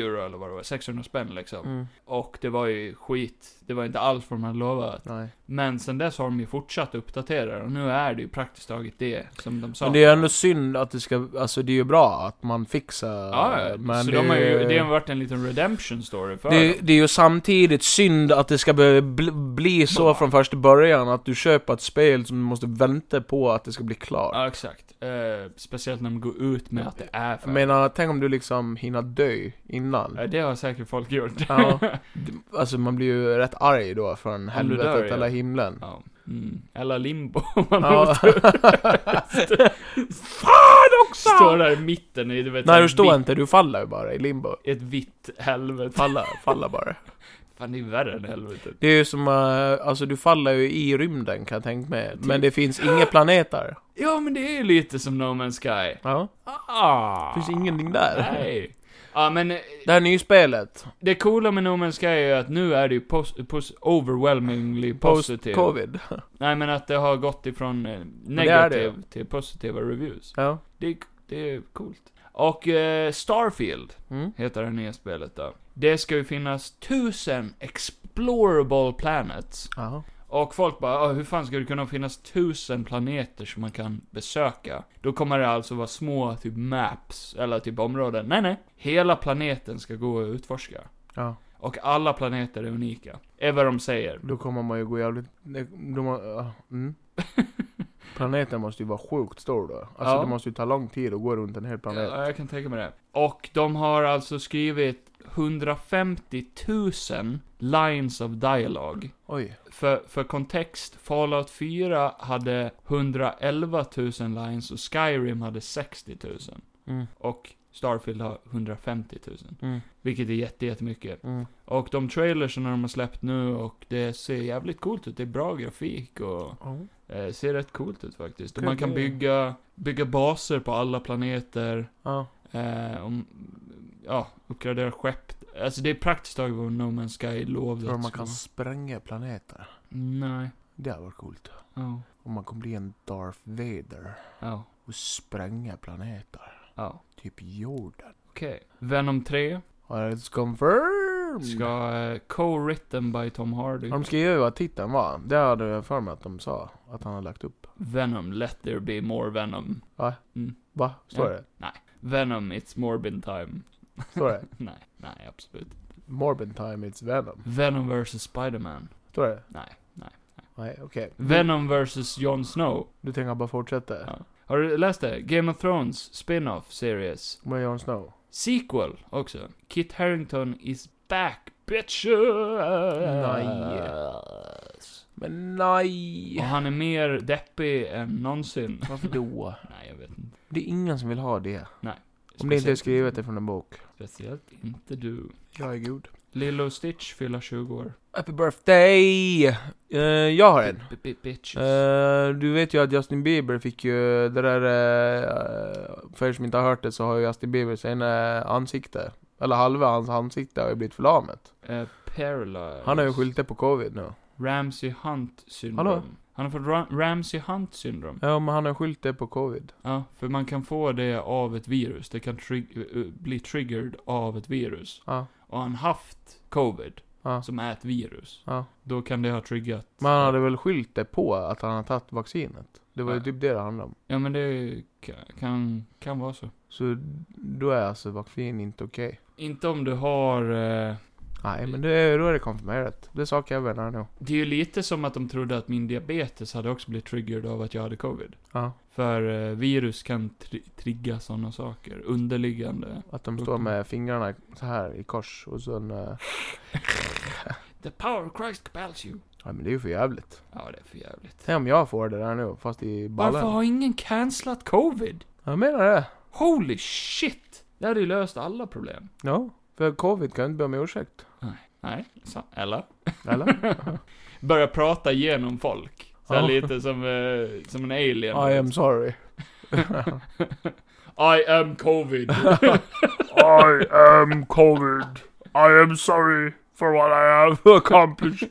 [SPEAKER 1] euro eller vad det var, 600 spänn liksom.
[SPEAKER 3] Mm.
[SPEAKER 1] Och det var ju skit, det var inte alls vad de hade lovat.
[SPEAKER 3] Nej.
[SPEAKER 1] Men sen dess har de ju fortsatt uppdatera och nu är det ju praktiskt taget det som de sa.
[SPEAKER 3] Men det är ändå synd att det ska, alltså det är ju bra att man fixar.
[SPEAKER 1] Ja, ja.
[SPEAKER 3] men
[SPEAKER 1] så
[SPEAKER 3] det,
[SPEAKER 1] de har ju,
[SPEAKER 3] är-
[SPEAKER 1] det har varit en liten redemption story för
[SPEAKER 3] det,
[SPEAKER 1] dem.
[SPEAKER 3] det är ju samtidigt synd att det ska behöva bli, bli så från första början att du köper ett spel som du måste vänta på att det ska bli klart.
[SPEAKER 1] Ja, exakt. Eh, speciellt när de går ut med att det är
[SPEAKER 3] Jag
[SPEAKER 1] för...
[SPEAKER 3] menar, tänk om du liksom hinner dö innan.
[SPEAKER 1] Ja, det har säkert folk gjort.
[SPEAKER 3] Ja. D- Alltså man blir ju rätt arg då från helvetet
[SPEAKER 1] dör, ja.
[SPEAKER 3] eller himlen.
[SPEAKER 1] Ja. Mm. Eller limbo, om man
[SPEAKER 3] Ja.
[SPEAKER 1] har otur. Står där i mitten i, du vet,
[SPEAKER 3] Nej
[SPEAKER 1] ett
[SPEAKER 3] du står
[SPEAKER 1] vitt-
[SPEAKER 3] inte, du faller ju bara i limbo.
[SPEAKER 1] ett vitt helvete.
[SPEAKER 3] Falla, falla bara.
[SPEAKER 1] Fan, det är värre än helvetet.
[SPEAKER 3] Det är ju som, eh, alltså du faller ju i rymden kan jag tänka mig. Men
[SPEAKER 1] Typ.
[SPEAKER 3] det finns inga planeter.
[SPEAKER 1] Ja, men det är ju lite som No Man's Sky.
[SPEAKER 3] Ja.
[SPEAKER 1] Ah.
[SPEAKER 3] Finns ingenting där.
[SPEAKER 1] Nej. Ja, men eh,
[SPEAKER 3] Det här nyspelet,
[SPEAKER 1] det coola med No Man's Sky är ju att nu är det ju pos- pos- overwhelmingly positivt.
[SPEAKER 3] post-covid.
[SPEAKER 1] Nej, men att det har gått ifrån eh,
[SPEAKER 3] är det
[SPEAKER 1] negativ till positiva reviews.
[SPEAKER 3] Ja.
[SPEAKER 1] Det är, det är coolt. Och eh, Starfield
[SPEAKER 3] Mm.
[SPEAKER 1] heter det nya spelet då. Det ska ju finnas tusen explorable planets.
[SPEAKER 3] Jaha.
[SPEAKER 1] Och folk bara, "Ah, hur fan ska det kunna finnas tusen planeter som man kan besöka? Då kommer det alltså vara små typ maps, eller typ områden. Nej, nej. Hela planeten ska gå att utforska.
[SPEAKER 3] Ja.
[SPEAKER 1] Och alla planeter är unika. Är vad de säger.
[SPEAKER 3] Då kommer man ju gå jävligt... det- De, har- ja, mm. Planeten måste ju vara sjukt stor då. Alltså
[SPEAKER 1] Ja.
[SPEAKER 3] det måste ju ta lång tid att gå runt en hel planet.
[SPEAKER 1] Ja, jag kan tänka mig det. Och de har alltså skrivit 150 000 lines of dialogue.
[SPEAKER 3] Oj.
[SPEAKER 1] För, för kontext, Fallout 4 hade 111 000 lines och Skyrim hade 60 000.
[SPEAKER 3] Mm.
[SPEAKER 1] Och Starfield har 150 000.
[SPEAKER 3] Mm.
[SPEAKER 1] Vilket är jätte, jättemycket.
[SPEAKER 3] Mm.
[SPEAKER 1] Och de trailersen de har släppt nu och det ser jävligt coolt ut. Det är bra grafik och
[SPEAKER 3] Ja.
[SPEAKER 1] eh, ser rätt coolt ut faktiskt. Och
[SPEAKER 3] Kul,
[SPEAKER 1] man kan
[SPEAKER 3] ja.
[SPEAKER 1] bygga, bygga baser på alla planeter.
[SPEAKER 3] Ja.
[SPEAKER 1] Eh, om, ja, uppgradera skepp. Alltså det är praktiskt taget vad No Man's Sky lovade.
[SPEAKER 3] Tror du
[SPEAKER 1] att
[SPEAKER 3] man
[SPEAKER 1] skulle
[SPEAKER 3] kan spränga planeter?
[SPEAKER 1] vara. Nej.
[SPEAKER 3] Det hade varit coolt.
[SPEAKER 1] Ja.
[SPEAKER 3] Om man kommer bli en Darth Vader
[SPEAKER 1] Ja.
[SPEAKER 3] och spränga planeter.
[SPEAKER 1] Ja.
[SPEAKER 3] Typ jorden.
[SPEAKER 1] Okej. Venom 3
[SPEAKER 3] Well, It's confirmed!
[SPEAKER 1] ska eh, co-written by Tom Hardy.
[SPEAKER 3] Har de skrivit vad titeln var? Det hade jag för mig att de sa. Att han hade lagt upp.
[SPEAKER 1] Venom, let there be more Venom.
[SPEAKER 3] Va?
[SPEAKER 1] Mm.
[SPEAKER 3] Va? Står
[SPEAKER 1] Ja.
[SPEAKER 3] det?
[SPEAKER 1] Venom, it's morbid time.
[SPEAKER 3] Står det?
[SPEAKER 1] nej, nej absolut.
[SPEAKER 3] Morbid time it's Venom.
[SPEAKER 1] Venom vs Spiderman.
[SPEAKER 3] Står det?
[SPEAKER 1] Nej, nej.
[SPEAKER 3] Nej, okej.
[SPEAKER 1] Venom vs Jon Snow.
[SPEAKER 3] Du tänker bara fortsätta?
[SPEAKER 1] Ja. Har du läst det? Game of Thrones spin-off series.
[SPEAKER 3] Med Jon Snow?
[SPEAKER 1] Sequel också. Kit Harington is back, bitches!
[SPEAKER 3] Men
[SPEAKER 1] Och
[SPEAKER 3] nej!
[SPEAKER 1] han är mer deppig än någonsin.
[SPEAKER 3] Varför då?
[SPEAKER 1] Nej, jag vet inte.
[SPEAKER 3] Det är ingen som vill ha det. Om det inte är
[SPEAKER 1] Speciellt-
[SPEAKER 3] skrivet ifrån en bok.
[SPEAKER 1] Speciellt inte du.
[SPEAKER 3] Jag är god.
[SPEAKER 1] Lilo Stitch fyller 20 år.
[SPEAKER 3] Happy birthday! Eh, jag har en.
[SPEAKER 1] B- b- Bitches.
[SPEAKER 3] Eh, du vet ju att Justin Bieber fick ju det där, eh, för er som inte har hört det så har ju Justin Bieber sin eh, ansikte, eller halva hans ansikte har ju blivit förlamat.
[SPEAKER 1] Eh, paralyzed.
[SPEAKER 3] Han har ju skyltat på covid nu.
[SPEAKER 1] Ramsey Hunt syndrom.
[SPEAKER 3] Hallå?
[SPEAKER 1] Han har fått Ra- Ramsey Hunt syndrom.
[SPEAKER 3] Ja men han har skylt det på covid.
[SPEAKER 1] Ja, för man kan få det av ett virus. eh, Det kan trig- eh, bli triggered av ett virus.
[SPEAKER 3] Ja.
[SPEAKER 1] Och han haft covid.
[SPEAKER 3] Ja.
[SPEAKER 1] som är ett virus.
[SPEAKER 3] Ja.
[SPEAKER 1] Då kan det ha triggat...
[SPEAKER 3] Men han hade väl skylt det på att han har tagit vaccinet? Det var ju
[SPEAKER 1] Ja.
[SPEAKER 3] typ det det handlade om.
[SPEAKER 1] Ja men det ka- kan, kan vara så.
[SPEAKER 3] Så då är alltså vaccin inte okej.
[SPEAKER 1] Inte om du har... Eh,
[SPEAKER 3] Nej, men det, är- då är det konfirmerat. Det sa Kevin här nu.
[SPEAKER 1] det är ju lite som att de trodde att min diabetes hade också blivit triggered av att jag hade covid.
[SPEAKER 3] Ja.
[SPEAKER 1] För eh, virus kan tri- trigga sådana saker. Underliggande.
[SPEAKER 3] Att de står med fingrarna så här i kors och sen... eh,
[SPEAKER 1] The power of Christ compels you.
[SPEAKER 3] Ja, men det är ju för jävligt.
[SPEAKER 1] Ja, det är för jävligt.
[SPEAKER 3] Tänk om jag får det där nu, fast i
[SPEAKER 1] Varför
[SPEAKER 3] ballen.
[SPEAKER 1] har ingen cancelat covid?
[SPEAKER 3] Jag menar det.
[SPEAKER 1] Holy shit! Det hade ju löst alla problem.
[SPEAKER 3] Ja. För covid kan jag inte be om ursäkt.
[SPEAKER 1] Nej, sa- eller?
[SPEAKER 3] Eller?
[SPEAKER 1] Börja prata genom folk. Så här
[SPEAKER 3] Ja.
[SPEAKER 1] lite som, eh, som en alien.
[SPEAKER 3] I am sorry.
[SPEAKER 1] I am covid.
[SPEAKER 2] I am COVID. I am sorry for what I have accomplished.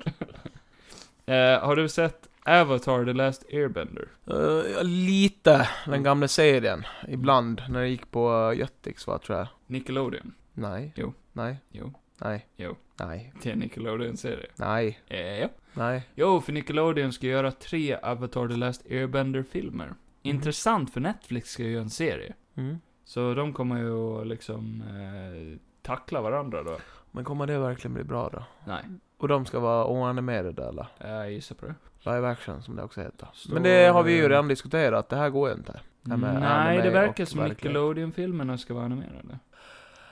[SPEAKER 1] Eh, har du sett Avatar The Last Airbender?
[SPEAKER 3] Eh, lite.
[SPEAKER 1] Mm.
[SPEAKER 3] Den gamla serien. Ibland. När det gick på uh, Jetix, va, tror jag.
[SPEAKER 1] Nickelodeon?
[SPEAKER 3] Nej.
[SPEAKER 1] Jo.
[SPEAKER 3] Nej.
[SPEAKER 1] Jo.
[SPEAKER 3] Nej.
[SPEAKER 1] Jo.
[SPEAKER 3] Nej.
[SPEAKER 1] Det är en Nickelodeon-serie.
[SPEAKER 3] Nej.
[SPEAKER 1] Eh, ja.
[SPEAKER 3] Nej.
[SPEAKER 1] Jo, för Nickelodeon ska göra tre Avatar The Last Airbender-filmer. Intressant, för Netflix ska ju göra en serie.
[SPEAKER 3] Mm.
[SPEAKER 1] Så de kommer ju att liksom eh, tackla varandra då.
[SPEAKER 3] Men kommer det verkligen bli bra då?
[SPEAKER 1] Nej, eh,
[SPEAKER 3] Och de ska vara oanimerade eller?
[SPEAKER 1] jag gissar på det.
[SPEAKER 3] Live action som det också heter.
[SPEAKER 1] Står-
[SPEAKER 3] Men det har vi ju redan diskuterat, det här går ju inte. Ja,
[SPEAKER 1] Nej,
[SPEAKER 3] men
[SPEAKER 1] det
[SPEAKER 3] anime
[SPEAKER 1] verkar
[SPEAKER 3] och
[SPEAKER 1] som
[SPEAKER 3] verklighet.
[SPEAKER 1] Nickelodeon-filmerna ska vara animerade.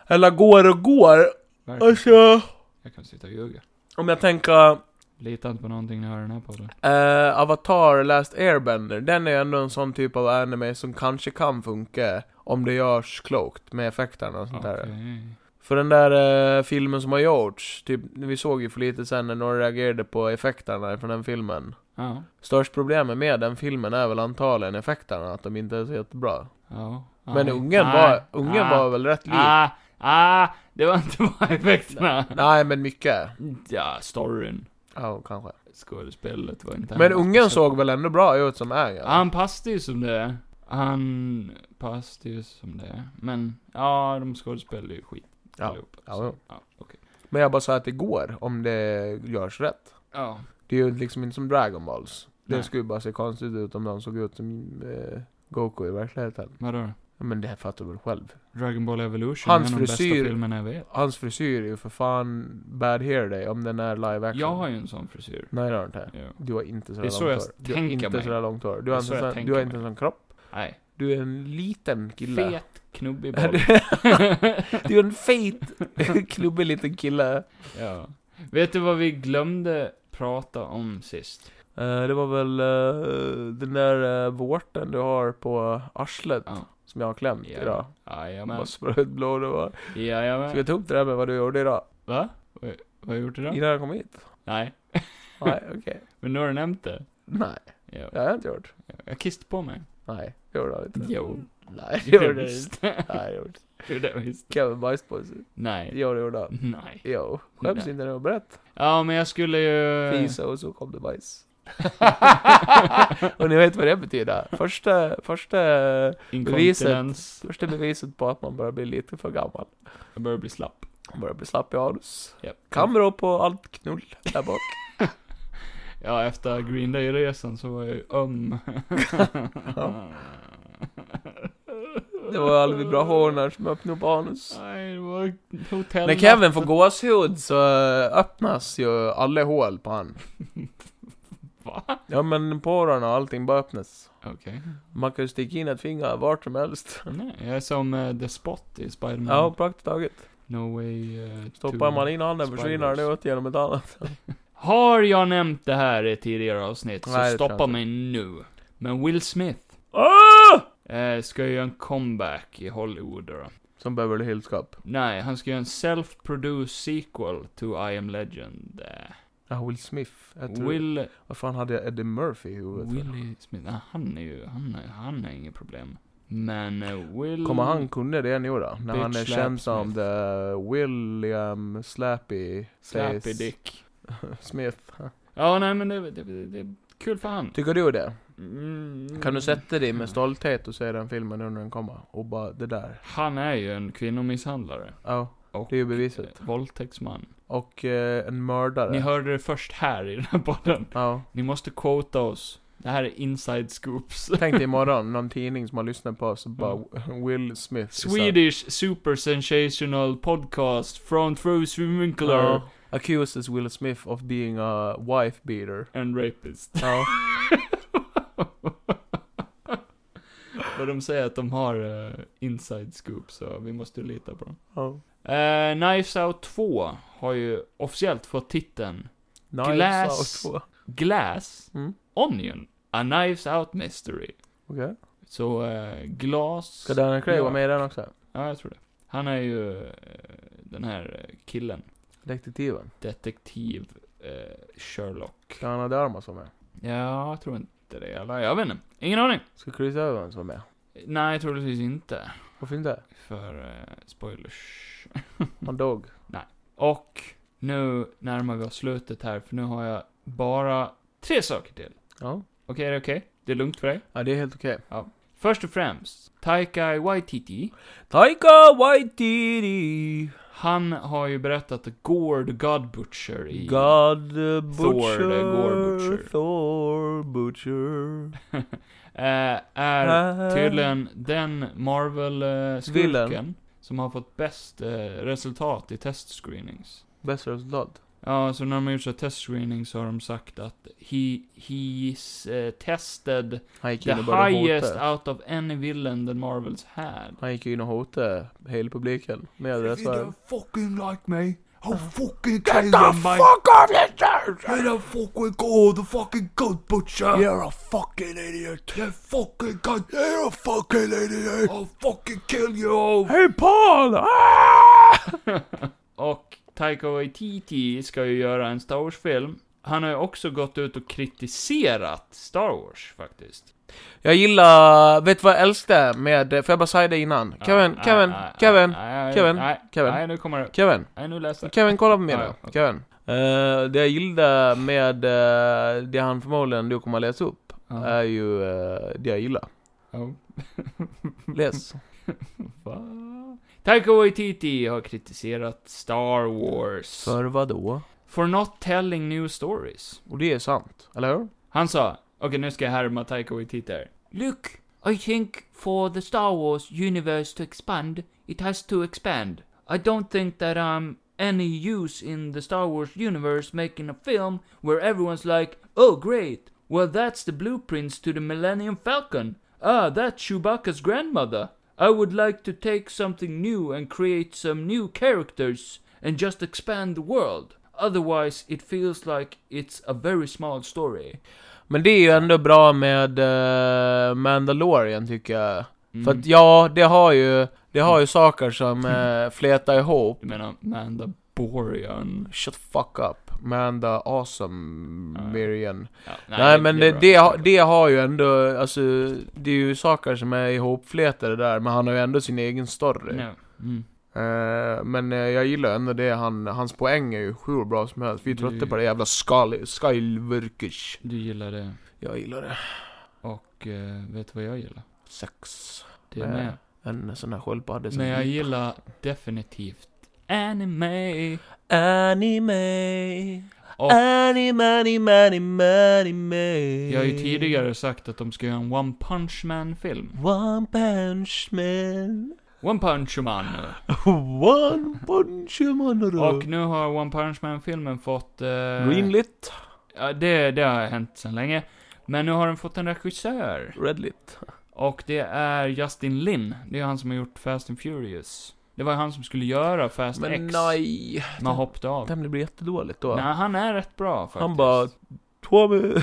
[SPEAKER 3] Eller går och går,
[SPEAKER 1] Verkligen.
[SPEAKER 3] alltså.
[SPEAKER 1] Jag kan sitta och ljuga.
[SPEAKER 3] Om jag tänker,
[SPEAKER 1] Lita inte på någonting när jag hör den här podden.
[SPEAKER 3] eh, Avatar Last Airbender, den är ju ändå en sån typ av anime som kanske kan funka om det görs klokt med effekterna och sånt där.
[SPEAKER 1] Okej.
[SPEAKER 3] För den där eh, filmen som har gjorts, typ, vi såg ju för lite sen när några reagerade på effekterna från den filmen.
[SPEAKER 1] Ja.
[SPEAKER 3] Störst problemet med den filmen är väl antagligen effekterna, att de inte är så jättebra.
[SPEAKER 1] Ja.
[SPEAKER 3] Men
[SPEAKER 1] Nej.
[SPEAKER 3] ungen
[SPEAKER 1] Nej.
[SPEAKER 3] var, ungen
[SPEAKER 1] Ah.
[SPEAKER 3] var väl rätt lik?
[SPEAKER 1] Ah, ah, det var inte bara effekterna.
[SPEAKER 3] Nej, men mycket.
[SPEAKER 1] Ja, storyn.
[SPEAKER 3] Ja, kanske.
[SPEAKER 1] Skådespelet var inte...
[SPEAKER 3] Men
[SPEAKER 1] här.
[SPEAKER 3] ungen såg väl ändå bra ut som är? Ja.
[SPEAKER 1] Han passade ju som det. är. Han passade ju som det. är. Men, ja, de skådespelade ju skit.
[SPEAKER 3] Ja.
[SPEAKER 1] allihopa,
[SPEAKER 3] Ja,
[SPEAKER 1] så-
[SPEAKER 3] jo.
[SPEAKER 1] ja, okej.
[SPEAKER 3] Men jag bara sa att det går, om det görs rätt.
[SPEAKER 1] Ja.
[SPEAKER 3] Det är ju liksom inte som Dragon Balls. Det
[SPEAKER 1] Nej.
[SPEAKER 3] skulle ju bara se konstigt ut om de såg ut som eh, Goku i verkligheten.
[SPEAKER 1] Vadå?
[SPEAKER 3] Ja, Men det fattar du väl själv?
[SPEAKER 1] Dragon Ball Evolution
[SPEAKER 3] Hans
[SPEAKER 1] är en av de bästa
[SPEAKER 3] frisyr-
[SPEAKER 1] filmerna jag vet.
[SPEAKER 3] Hans frisyr är ju för fan bad hair day om den är live action.
[SPEAKER 1] Jag har ju en sån frisyr.
[SPEAKER 3] Nej, det har du inte.
[SPEAKER 1] Ja.
[SPEAKER 3] Du har inte sådär
[SPEAKER 1] Det är så jag
[SPEAKER 3] långt hår. Du har
[SPEAKER 1] tänker
[SPEAKER 3] inte
[SPEAKER 1] mig.
[SPEAKER 3] sådär långt hår. Du
[SPEAKER 1] Det är
[SPEAKER 3] har,
[SPEAKER 1] så
[SPEAKER 3] inte,
[SPEAKER 1] jag
[SPEAKER 3] sån,
[SPEAKER 1] tänker
[SPEAKER 3] du
[SPEAKER 1] mig.
[SPEAKER 3] har inte en sån kropp.
[SPEAKER 1] Nej.
[SPEAKER 3] Du är en liten kille.
[SPEAKER 1] Fet, knubbig boll.
[SPEAKER 3] Du är en fet, klubbig liten kille.
[SPEAKER 1] ja. Vet du vad vi glömde prata om sist?
[SPEAKER 3] Eh, det var väl eh, den där eh, vårtan du har på arslet
[SPEAKER 1] Ja.
[SPEAKER 3] som jag har klämt
[SPEAKER 1] Ja.
[SPEAKER 3] idag.
[SPEAKER 1] Jajamän.
[SPEAKER 3] Bara spröt blod och bara. Ska
[SPEAKER 1] Jajamän.
[SPEAKER 3] jag ta upp det där med vad du gjorde idag?
[SPEAKER 1] Va? Vad vad har jag gjort idag?
[SPEAKER 3] Innan jag kom hit?
[SPEAKER 1] Nej.
[SPEAKER 3] Nej, okej.
[SPEAKER 1] Men nu har du nämnt det.
[SPEAKER 3] Nej,
[SPEAKER 1] Ja.
[SPEAKER 3] det har jag inte gjort.
[SPEAKER 1] Jag kissade på mig.
[SPEAKER 3] Nej, det gjorde jag inte.
[SPEAKER 1] Jo.
[SPEAKER 3] Nej, det gjorde jag inte.
[SPEAKER 1] visst.
[SPEAKER 3] Nej, det gjorde jag inte.
[SPEAKER 1] Du det visst.
[SPEAKER 3] Kevin bajspåse.
[SPEAKER 1] Nej.
[SPEAKER 3] Jo, det gjorde jag.
[SPEAKER 1] Nej.
[SPEAKER 3] Jo. Skäms
[SPEAKER 1] Nej. Eh.
[SPEAKER 3] inte när jag berättar.
[SPEAKER 1] Ja, men jag skulle ju...
[SPEAKER 3] Fisa och så kom det bajs. och ni vet vad det betyder? Första, första
[SPEAKER 1] Inkontinens.
[SPEAKER 3] Första beviset på att man börjar bli lite för gammal.
[SPEAKER 1] Jag börjar bli slapp.
[SPEAKER 3] Man börjar bli slapp i anus.
[SPEAKER 1] Japp.
[SPEAKER 3] Kan bero på allt knull där bak.
[SPEAKER 1] Ja, efter Green Day-resan så var jag ju öm.
[SPEAKER 3] Det var alla vibrationer som öppnade upp anus.
[SPEAKER 1] Nej, det var hotell.
[SPEAKER 3] När Kevin får gåshud så eh, öppnas ju alla hål på han.
[SPEAKER 1] Va?
[SPEAKER 3] Ja men porarna och allting bara öppnas.
[SPEAKER 1] Okej.
[SPEAKER 3] Man kan ju sticka in ett finger vart som helst.
[SPEAKER 1] Nej, jag är som eh, The Spot i Spider-Man.
[SPEAKER 3] Ja, praktiskt taget.
[SPEAKER 1] No way eh,
[SPEAKER 3] Stoppar
[SPEAKER 1] to-
[SPEAKER 3] man in handen försvinner
[SPEAKER 1] Spiders.
[SPEAKER 3] det ut genom ett annat.
[SPEAKER 1] Har jag nämnt det här i ett tidigare avsnitt så
[SPEAKER 3] Nej, det tror jag
[SPEAKER 1] stoppa
[SPEAKER 3] inte.
[SPEAKER 1] mig nu. Men Will Smith
[SPEAKER 3] Ah!
[SPEAKER 1] eh, ska ju göra en comeback i Hollywood då.
[SPEAKER 3] Som Beverly Hills Cop.
[SPEAKER 1] Nej, han ska göra en self-produced sequel to I am legend. Eh,
[SPEAKER 3] Ja, Will Smith. Jag tror...
[SPEAKER 1] Will...
[SPEAKER 3] Vad fan hade jag Eddie Murphy i huvudet? för?
[SPEAKER 1] Willie Smith. Nej, han är ju... Han är, han är inget problem. Men eh, Will...
[SPEAKER 3] Kommer han kunna det nu då? När
[SPEAKER 1] Bitch
[SPEAKER 3] han är
[SPEAKER 1] slap
[SPEAKER 3] känd som
[SPEAKER 1] Smith.
[SPEAKER 3] the William Slappy
[SPEAKER 1] Slappy
[SPEAKER 3] Face
[SPEAKER 1] dick.
[SPEAKER 3] Smith.
[SPEAKER 1] Ja, nej men det, det, det, det är kul för han.
[SPEAKER 3] Tycker du det?
[SPEAKER 1] Mm.
[SPEAKER 3] Kan du sätta dig med stolthet och se den filmen nu när den kommer? Och bara det där.
[SPEAKER 1] Han är ju en kvinnomisshandlare.
[SPEAKER 3] Ja.
[SPEAKER 1] Och
[SPEAKER 3] Det är ju beviset.
[SPEAKER 1] eh, våldtäktsman.
[SPEAKER 3] Och eh, en
[SPEAKER 1] Ni
[SPEAKER 3] mördare.
[SPEAKER 1] hörde det först här i den här podden.
[SPEAKER 3] Ja.
[SPEAKER 1] Ni måste quota oss. Det här är inside scoops.
[SPEAKER 3] Tänk dig imorgon, någon tidning som har lyssnat på oss och bara Will Smith. is a-
[SPEAKER 1] Mm. Swedish super sensational podcast from through swimmingler
[SPEAKER 3] Ja. accuses Will Smith of being a wife beater.
[SPEAKER 1] and rapist.
[SPEAKER 3] Ja.
[SPEAKER 1] Och de säger att de har eh, inside scoop, så vi måste lita på dem.
[SPEAKER 3] ja.
[SPEAKER 1] Eh, Knives Out 2 har ju officiellt fått titeln
[SPEAKER 3] Knives
[SPEAKER 1] Glass.
[SPEAKER 3] Out två.
[SPEAKER 1] Glass
[SPEAKER 3] Mm.
[SPEAKER 1] Onion, A Knives Out Mystery.
[SPEAKER 3] Okej.
[SPEAKER 1] Så eh, glas...
[SPEAKER 3] Ska Daniel Craig vara med i den också?
[SPEAKER 1] Ja, jag tror det. Han är ju eh, den här eh, killen.
[SPEAKER 3] Detektiven.
[SPEAKER 1] Detektiv eh, Sherlock.
[SPEAKER 3] Ska Anna de Armas vara med?
[SPEAKER 1] Ja, jag tror inte det. Eller jag vet inte. Ingen aning.
[SPEAKER 3] Ska Chris Evans vara med?
[SPEAKER 1] Nej, troligtvis inte.
[SPEAKER 3] Varför inte?
[SPEAKER 1] För eh, spoilers. Mm.
[SPEAKER 3] Han dog.
[SPEAKER 1] Och nu närmar vi oss slutet här, för nu har jag bara tre saker till.
[SPEAKER 3] Ja.
[SPEAKER 1] Okej, är det okej? Det är lugnt för dig?
[SPEAKER 3] Ja, det är helt okej.
[SPEAKER 1] Först och främst, Taika Waititi.
[SPEAKER 3] Taika Waititi!
[SPEAKER 1] Han har ju berättat att Gore the God Butcher i...
[SPEAKER 3] God the
[SPEAKER 1] Thor,
[SPEAKER 3] Butcher.
[SPEAKER 1] det är Gore Butcher.
[SPEAKER 3] Thor Butcher.
[SPEAKER 1] eh, är
[SPEAKER 3] Äh.
[SPEAKER 1] tydligen den Marvel-skurken
[SPEAKER 3] Villen.
[SPEAKER 1] som har fått bäst eh, resultat i testscreenings.
[SPEAKER 3] Bästa resultat.
[SPEAKER 1] Ja, så när de har gjort så här testscreening så har de sagt att he, he's eh, tested
[SPEAKER 3] Han gick
[SPEAKER 1] the
[SPEAKER 3] in och började
[SPEAKER 1] highest
[SPEAKER 3] hota.
[SPEAKER 1] out of any villain that Marvels had.
[SPEAKER 3] Han gick in och hotade hela publiken. Med det svärd.
[SPEAKER 1] fucking like me,
[SPEAKER 2] Uh,
[SPEAKER 3] I'll
[SPEAKER 1] fucking
[SPEAKER 2] off this church!
[SPEAKER 1] the fuck with God, the fucking God Butcher!
[SPEAKER 2] You're a fucking idiot!
[SPEAKER 1] The fucking God,
[SPEAKER 2] You're a fucking idiot!
[SPEAKER 1] I'll fucking kill you all!
[SPEAKER 3] Hey Paul! Ah!
[SPEAKER 1] Och Taika Waititi ska ju göra en Star Wars-film. Han har ju också gått ut och kritiserat Star Wars, faktiskt.
[SPEAKER 3] Jag gillar, vet du vad jag älskar med, får jag bara säga det innan? Kevin,
[SPEAKER 1] Ja,
[SPEAKER 3] Kevin,
[SPEAKER 1] nej, nej,
[SPEAKER 3] Kevin,
[SPEAKER 1] nej, nej,
[SPEAKER 3] Kevin,
[SPEAKER 1] nej,
[SPEAKER 3] Kevin.
[SPEAKER 1] ah, Nej, nu kommer det.
[SPEAKER 3] Kevin,
[SPEAKER 1] Nej, nu läser jag.
[SPEAKER 3] Kevin kolla på mig
[SPEAKER 1] Ja,
[SPEAKER 3] nu,
[SPEAKER 1] ja, okej.
[SPEAKER 3] Kevin. Eh, det jag gillar med eh, det han förmodligen då kommer att läsa upp, är
[SPEAKER 1] Ja.
[SPEAKER 3] ju eh, det jag gillar.
[SPEAKER 1] Ja.
[SPEAKER 3] Läs.
[SPEAKER 1] Va? Taika Waititi har kritiserat Star Wars.
[SPEAKER 3] För vad då?
[SPEAKER 1] For not telling new stories.
[SPEAKER 3] Och det är sant, eller hur?
[SPEAKER 1] Han sa, okej nu ska jag härma Taika Waititi här. Look, I think for the Star Wars universe to expand, it has to expand. I don't think that I'm any use in the Star Wars universe making a film where everyone's like, oh great, well that's the blueprints to the Millennium Falcon. Ah, that's Chewbacca's grandmother. I would like to take something new and create some new characters and just expand the world. Otherwise, it feels like it's a very small story.
[SPEAKER 3] Men det är ju ändå bra med eh, Mandalorian tycker jag.
[SPEAKER 1] Mm.
[SPEAKER 3] För att ja, det har ju, det har ju saker som uh, flätar ihop.
[SPEAKER 1] Du menar Mandaborian?
[SPEAKER 3] Shut the fuck up. Manda awesome
[SPEAKER 1] Ja.
[SPEAKER 3] Mirian.
[SPEAKER 1] Ja,
[SPEAKER 3] Nej, men det,
[SPEAKER 1] är bra.
[SPEAKER 3] det, har- det har ju ändå, alltså det är ju saker som är ihopflätade där, men han har ju ändå sin egen story.
[SPEAKER 1] Ja. Mm.
[SPEAKER 3] Eh, men eh, jag gillar ändå det, han, hans poäng är ju hur bra som helst. Vi är
[SPEAKER 1] Det-
[SPEAKER 3] trötta på det jävla skal, skalverkers.
[SPEAKER 1] Du gillar det.
[SPEAKER 3] Jag gillar det.
[SPEAKER 1] Och eh, vet du vad jag gillar?
[SPEAKER 3] Sex.
[SPEAKER 1] Det är
[SPEAKER 3] Nej.
[SPEAKER 1] med.
[SPEAKER 3] En sån här sköldpadda som...
[SPEAKER 1] Men jag gillar definitivt anime.
[SPEAKER 3] Anime.
[SPEAKER 1] Och-
[SPEAKER 3] Anime, anime, anime, anime.
[SPEAKER 1] Jag har ju tidigare sagt att de ska göra en One Punch Man-film.
[SPEAKER 3] One punch man.
[SPEAKER 1] One Punch Man.
[SPEAKER 3] One punch man.
[SPEAKER 1] Och nu har One Punch Man-filmen fått... Eh,
[SPEAKER 3] Greenlit,
[SPEAKER 1] Ja, det, det har hänt sedan länge. Men nu har den fått en regissör.
[SPEAKER 3] redlit.
[SPEAKER 1] Och det är Justin Lin. Det är han som har gjort Fast and Furious. Det var ju han som skulle göra Fast
[SPEAKER 3] Men
[SPEAKER 1] X.
[SPEAKER 3] nej.
[SPEAKER 1] Men han hoppade av.
[SPEAKER 3] Den blir jättedåligt då.
[SPEAKER 1] Nej, han är rätt bra faktiskt.
[SPEAKER 3] han bara... Tommy...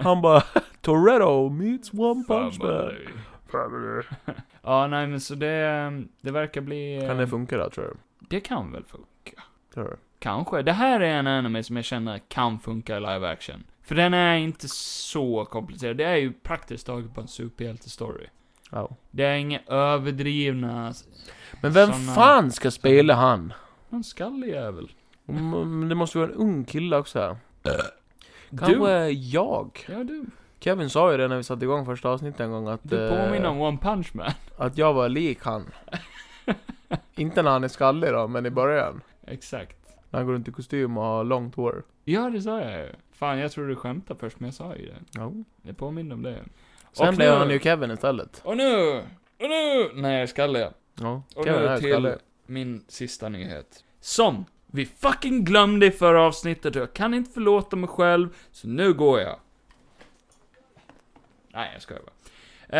[SPEAKER 3] han bara... Toretto meets one
[SPEAKER 1] Fan
[SPEAKER 3] punch
[SPEAKER 1] vad
[SPEAKER 3] man.
[SPEAKER 1] det är. Ja, nej men så det, det verkar bli...
[SPEAKER 3] Kan det funka då tror du?
[SPEAKER 1] det kan väl funka.
[SPEAKER 3] Tror du?
[SPEAKER 1] Kanske. Det här är en anime som jag känner kan funka i live action. För den är inte så komplicerad. Det är ju praktiskt taget bara en superhjälte-story.
[SPEAKER 3] Ja.
[SPEAKER 1] Det är inga överdrivna...
[SPEAKER 3] Men vem
[SPEAKER 1] Såna-
[SPEAKER 3] fan ska spela han?
[SPEAKER 1] Någon skallig jävel.
[SPEAKER 3] Mm, Det måste vara en ung kille också. Kanske
[SPEAKER 1] Du.
[SPEAKER 3] jag.
[SPEAKER 1] Ja, du.
[SPEAKER 3] Kevin sa ju det när vi satte igång första avsnittet en gång eh, att...
[SPEAKER 1] Du påminner
[SPEAKER 3] eh,
[SPEAKER 1] om One Punch Man.
[SPEAKER 3] Att jag var lik han. Inte när han är skallig då, men i början.
[SPEAKER 1] Exakt.
[SPEAKER 3] När han går runt i kostym och har långt hår.
[SPEAKER 1] Ja, det sa jag ju. Fan, jag trodde du skämtade först, men jag sa ju det. Det påminner om det.
[SPEAKER 3] Sen
[SPEAKER 1] Och
[SPEAKER 3] blev
[SPEAKER 1] nu-
[SPEAKER 3] han ju Kevin istället.
[SPEAKER 1] Och nu! Och nu! Nej, skallig.
[SPEAKER 3] Ja.
[SPEAKER 1] Och
[SPEAKER 3] Kevin är
[SPEAKER 1] nu till
[SPEAKER 3] skallig.
[SPEAKER 1] min sista nyhet. Som vi fucking glömde i förra avsnittet och jag kan inte förlåta mig själv, så nu går jag. Nej, jag skojar bara.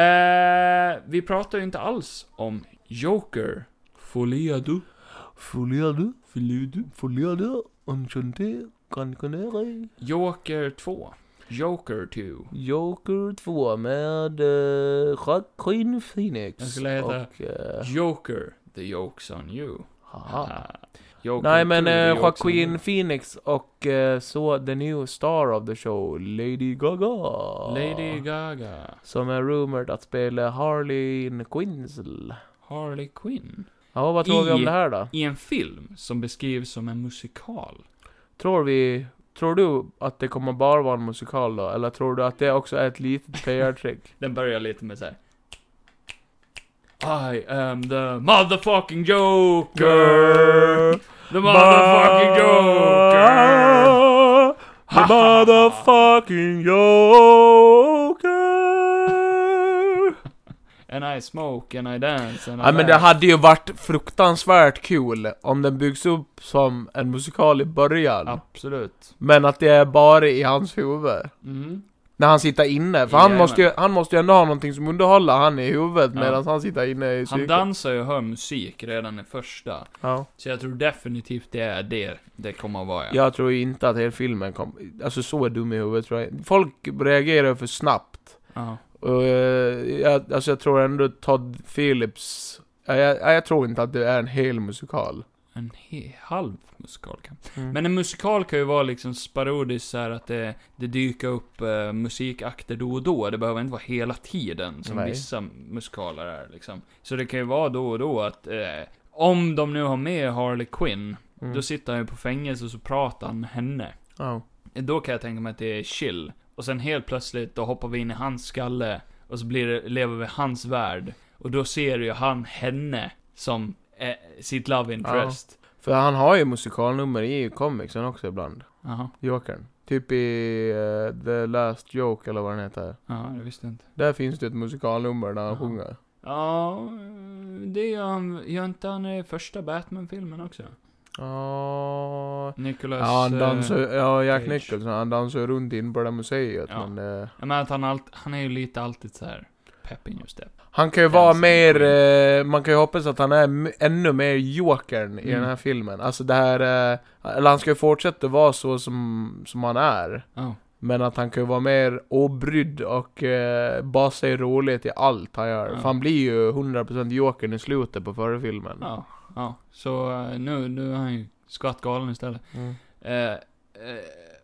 [SPEAKER 1] Eh, vi pratar ju inte alls om Joker. Foliado.
[SPEAKER 2] Följer du?
[SPEAKER 1] Foliado.
[SPEAKER 2] Följer du? Enchanté? Gran Canaria?
[SPEAKER 1] Joker 2. Joker 2.
[SPEAKER 3] Joker 2 med uh, Joaquin Phoenix.
[SPEAKER 1] Den skulle heta-
[SPEAKER 3] Och, eh,
[SPEAKER 1] Joker. The Jokes on you.
[SPEAKER 3] haha.
[SPEAKER 1] Ah. Joker
[SPEAKER 3] Nej men
[SPEAKER 1] 2, The
[SPEAKER 3] eh,
[SPEAKER 1] Jokes on
[SPEAKER 3] Joaquin
[SPEAKER 1] You.
[SPEAKER 3] Phoenix och eh, så the new star of the show, Lady Gaga.
[SPEAKER 1] Lady Gaga.
[SPEAKER 3] Som är rumored att spela Harley Quinzel.
[SPEAKER 1] Harley Quinn.
[SPEAKER 3] Ja, vad tror vi om
[SPEAKER 1] I-
[SPEAKER 3] det här då?
[SPEAKER 1] I en film som beskrivs som en musikal.
[SPEAKER 3] Tror vi... Tror du att det kommer bara vara en musikal då? Eller tror du att det också är ett litet PR-trick?
[SPEAKER 1] Den börjar lite med så här. I am the motherfucking joker! The motherfucking joker!
[SPEAKER 3] The motherfucking joker!
[SPEAKER 1] And I smoke and I dance and I
[SPEAKER 3] Ja men det
[SPEAKER 1] laugh.
[SPEAKER 3] hade ju varit fruktansvärt kul om den byggs upp som en musikal i början.
[SPEAKER 1] Absolut.
[SPEAKER 3] Men att det är bara i hans huvud.
[SPEAKER 1] Mm.
[SPEAKER 3] När han sitter inne, för han
[SPEAKER 1] Jajamän.
[SPEAKER 3] måste, ju, han måste ju ändå ha någonting som underhåller han i huvudet
[SPEAKER 1] Ja.
[SPEAKER 3] medan han sitter inne i
[SPEAKER 1] Han
[SPEAKER 3] psyket.
[SPEAKER 1] dansar ju och hör musik redan i första.
[SPEAKER 3] ja.
[SPEAKER 1] Så jag tror definitivt det är det det kommer att vara.
[SPEAKER 3] Jag tror ju inte att hela filmen kom... Alltså så är dum i huvudet tror jag Folk reagerar för snabbt.
[SPEAKER 1] Ja.
[SPEAKER 3] Och, eh, jag, alltså jag tror ändå Todd Phillips... Jag, jag, jag tror inte att det är en hel musikal.
[SPEAKER 1] En he- halv musikal kan.
[SPEAKER 3] Mm.
[SPEAKER 1] Men en musikal kan ju vara liksom sparodiskt så här att det, det dyker upp eh, musikakter då och då. Det behöver inte vara hela tiden som
[SPEAKER 3] Nej.
[SPEAKER 1] vissa musikaler är liksom. Så det kan ju vara då och då att eh, om de nu har med Harley Quinn,
[SPEAKER 3] Mm.
[SPEAKER 1] då sitter han ju på fängelse och så pratar han med henne.
[SPEAKER 3] Ja.
[SPEAKER 1] Då kan jag tänka mig att det är chill. Och sen helt plötsligt, då hoppar vi in i hans skalle. Och så blir det, lever vi i hans värld. Och då ser ju han henne som eh, sitt love interest.
[SPEAKER 3] För han har ju musikalnummer i comicsen också ibland.
[SPEAKER 1] Jaha,
[SPEAKER 3] Jokern. Typ i eh, The Last Joke eller vad den heter.
[SPEAKER 1] ja, det visste jag inte.
[SPEAKER 3] Där finns det ett musikalnummer när han
[SPEAKER 1] Aha.
[SPEAKER 3] sjunger.
[SPEAKER 1] Ja, eh, det gör han. Gör inte han i första Batman-filmen också?
[SPEAKER 3] Ja,
[SPEAKER 1] Nicholas...
[SPEAKER 3] Ja, han
[SPEAKER 1] eh,
[SPEAKER 3] dansar ja, Jack
[SPEAKER 1] Cage.
[SPEAKER 3] Nicholson, han dansar ju runt in på det museet
[SPEAKER 1] Ja.
[SPEAKER 3] men... eh,
[SPEAKER 1] Jag menar att han, allt, han är ju lite alltid så här pepping just det.
[SPEAKER 3] han kan ju vara
[SPEAKER 1] Dansar
[SPEAKER 3] mer,
[SPEAKER 1] in.
[SPEAKER 3] eh, man kan ju hoppas att han är m- ännu mer jokern i
[SPEAKER 1] Mm.
[SPEAKER 3] den här filmen. Alltså det här, eh, eller han ska ju fortsätta vara så som, som han är.
[SPEAKER 1] Ja.
[SPEAKER 3] Men att han kan ju vara mer obrydd och eh, bara se roligt i allt han gör.
[SPEAKER 1] Ja.
[SPEAKER 3] För han blir ju 100% jokern i slutet på förra filmen.
[SPEAKER 1] Ja. ja. Så eh, nu, nu är han ju skattgalen istället.
[SPEAKER 3] Mm.
[SPEAKER 1] Eh, eh,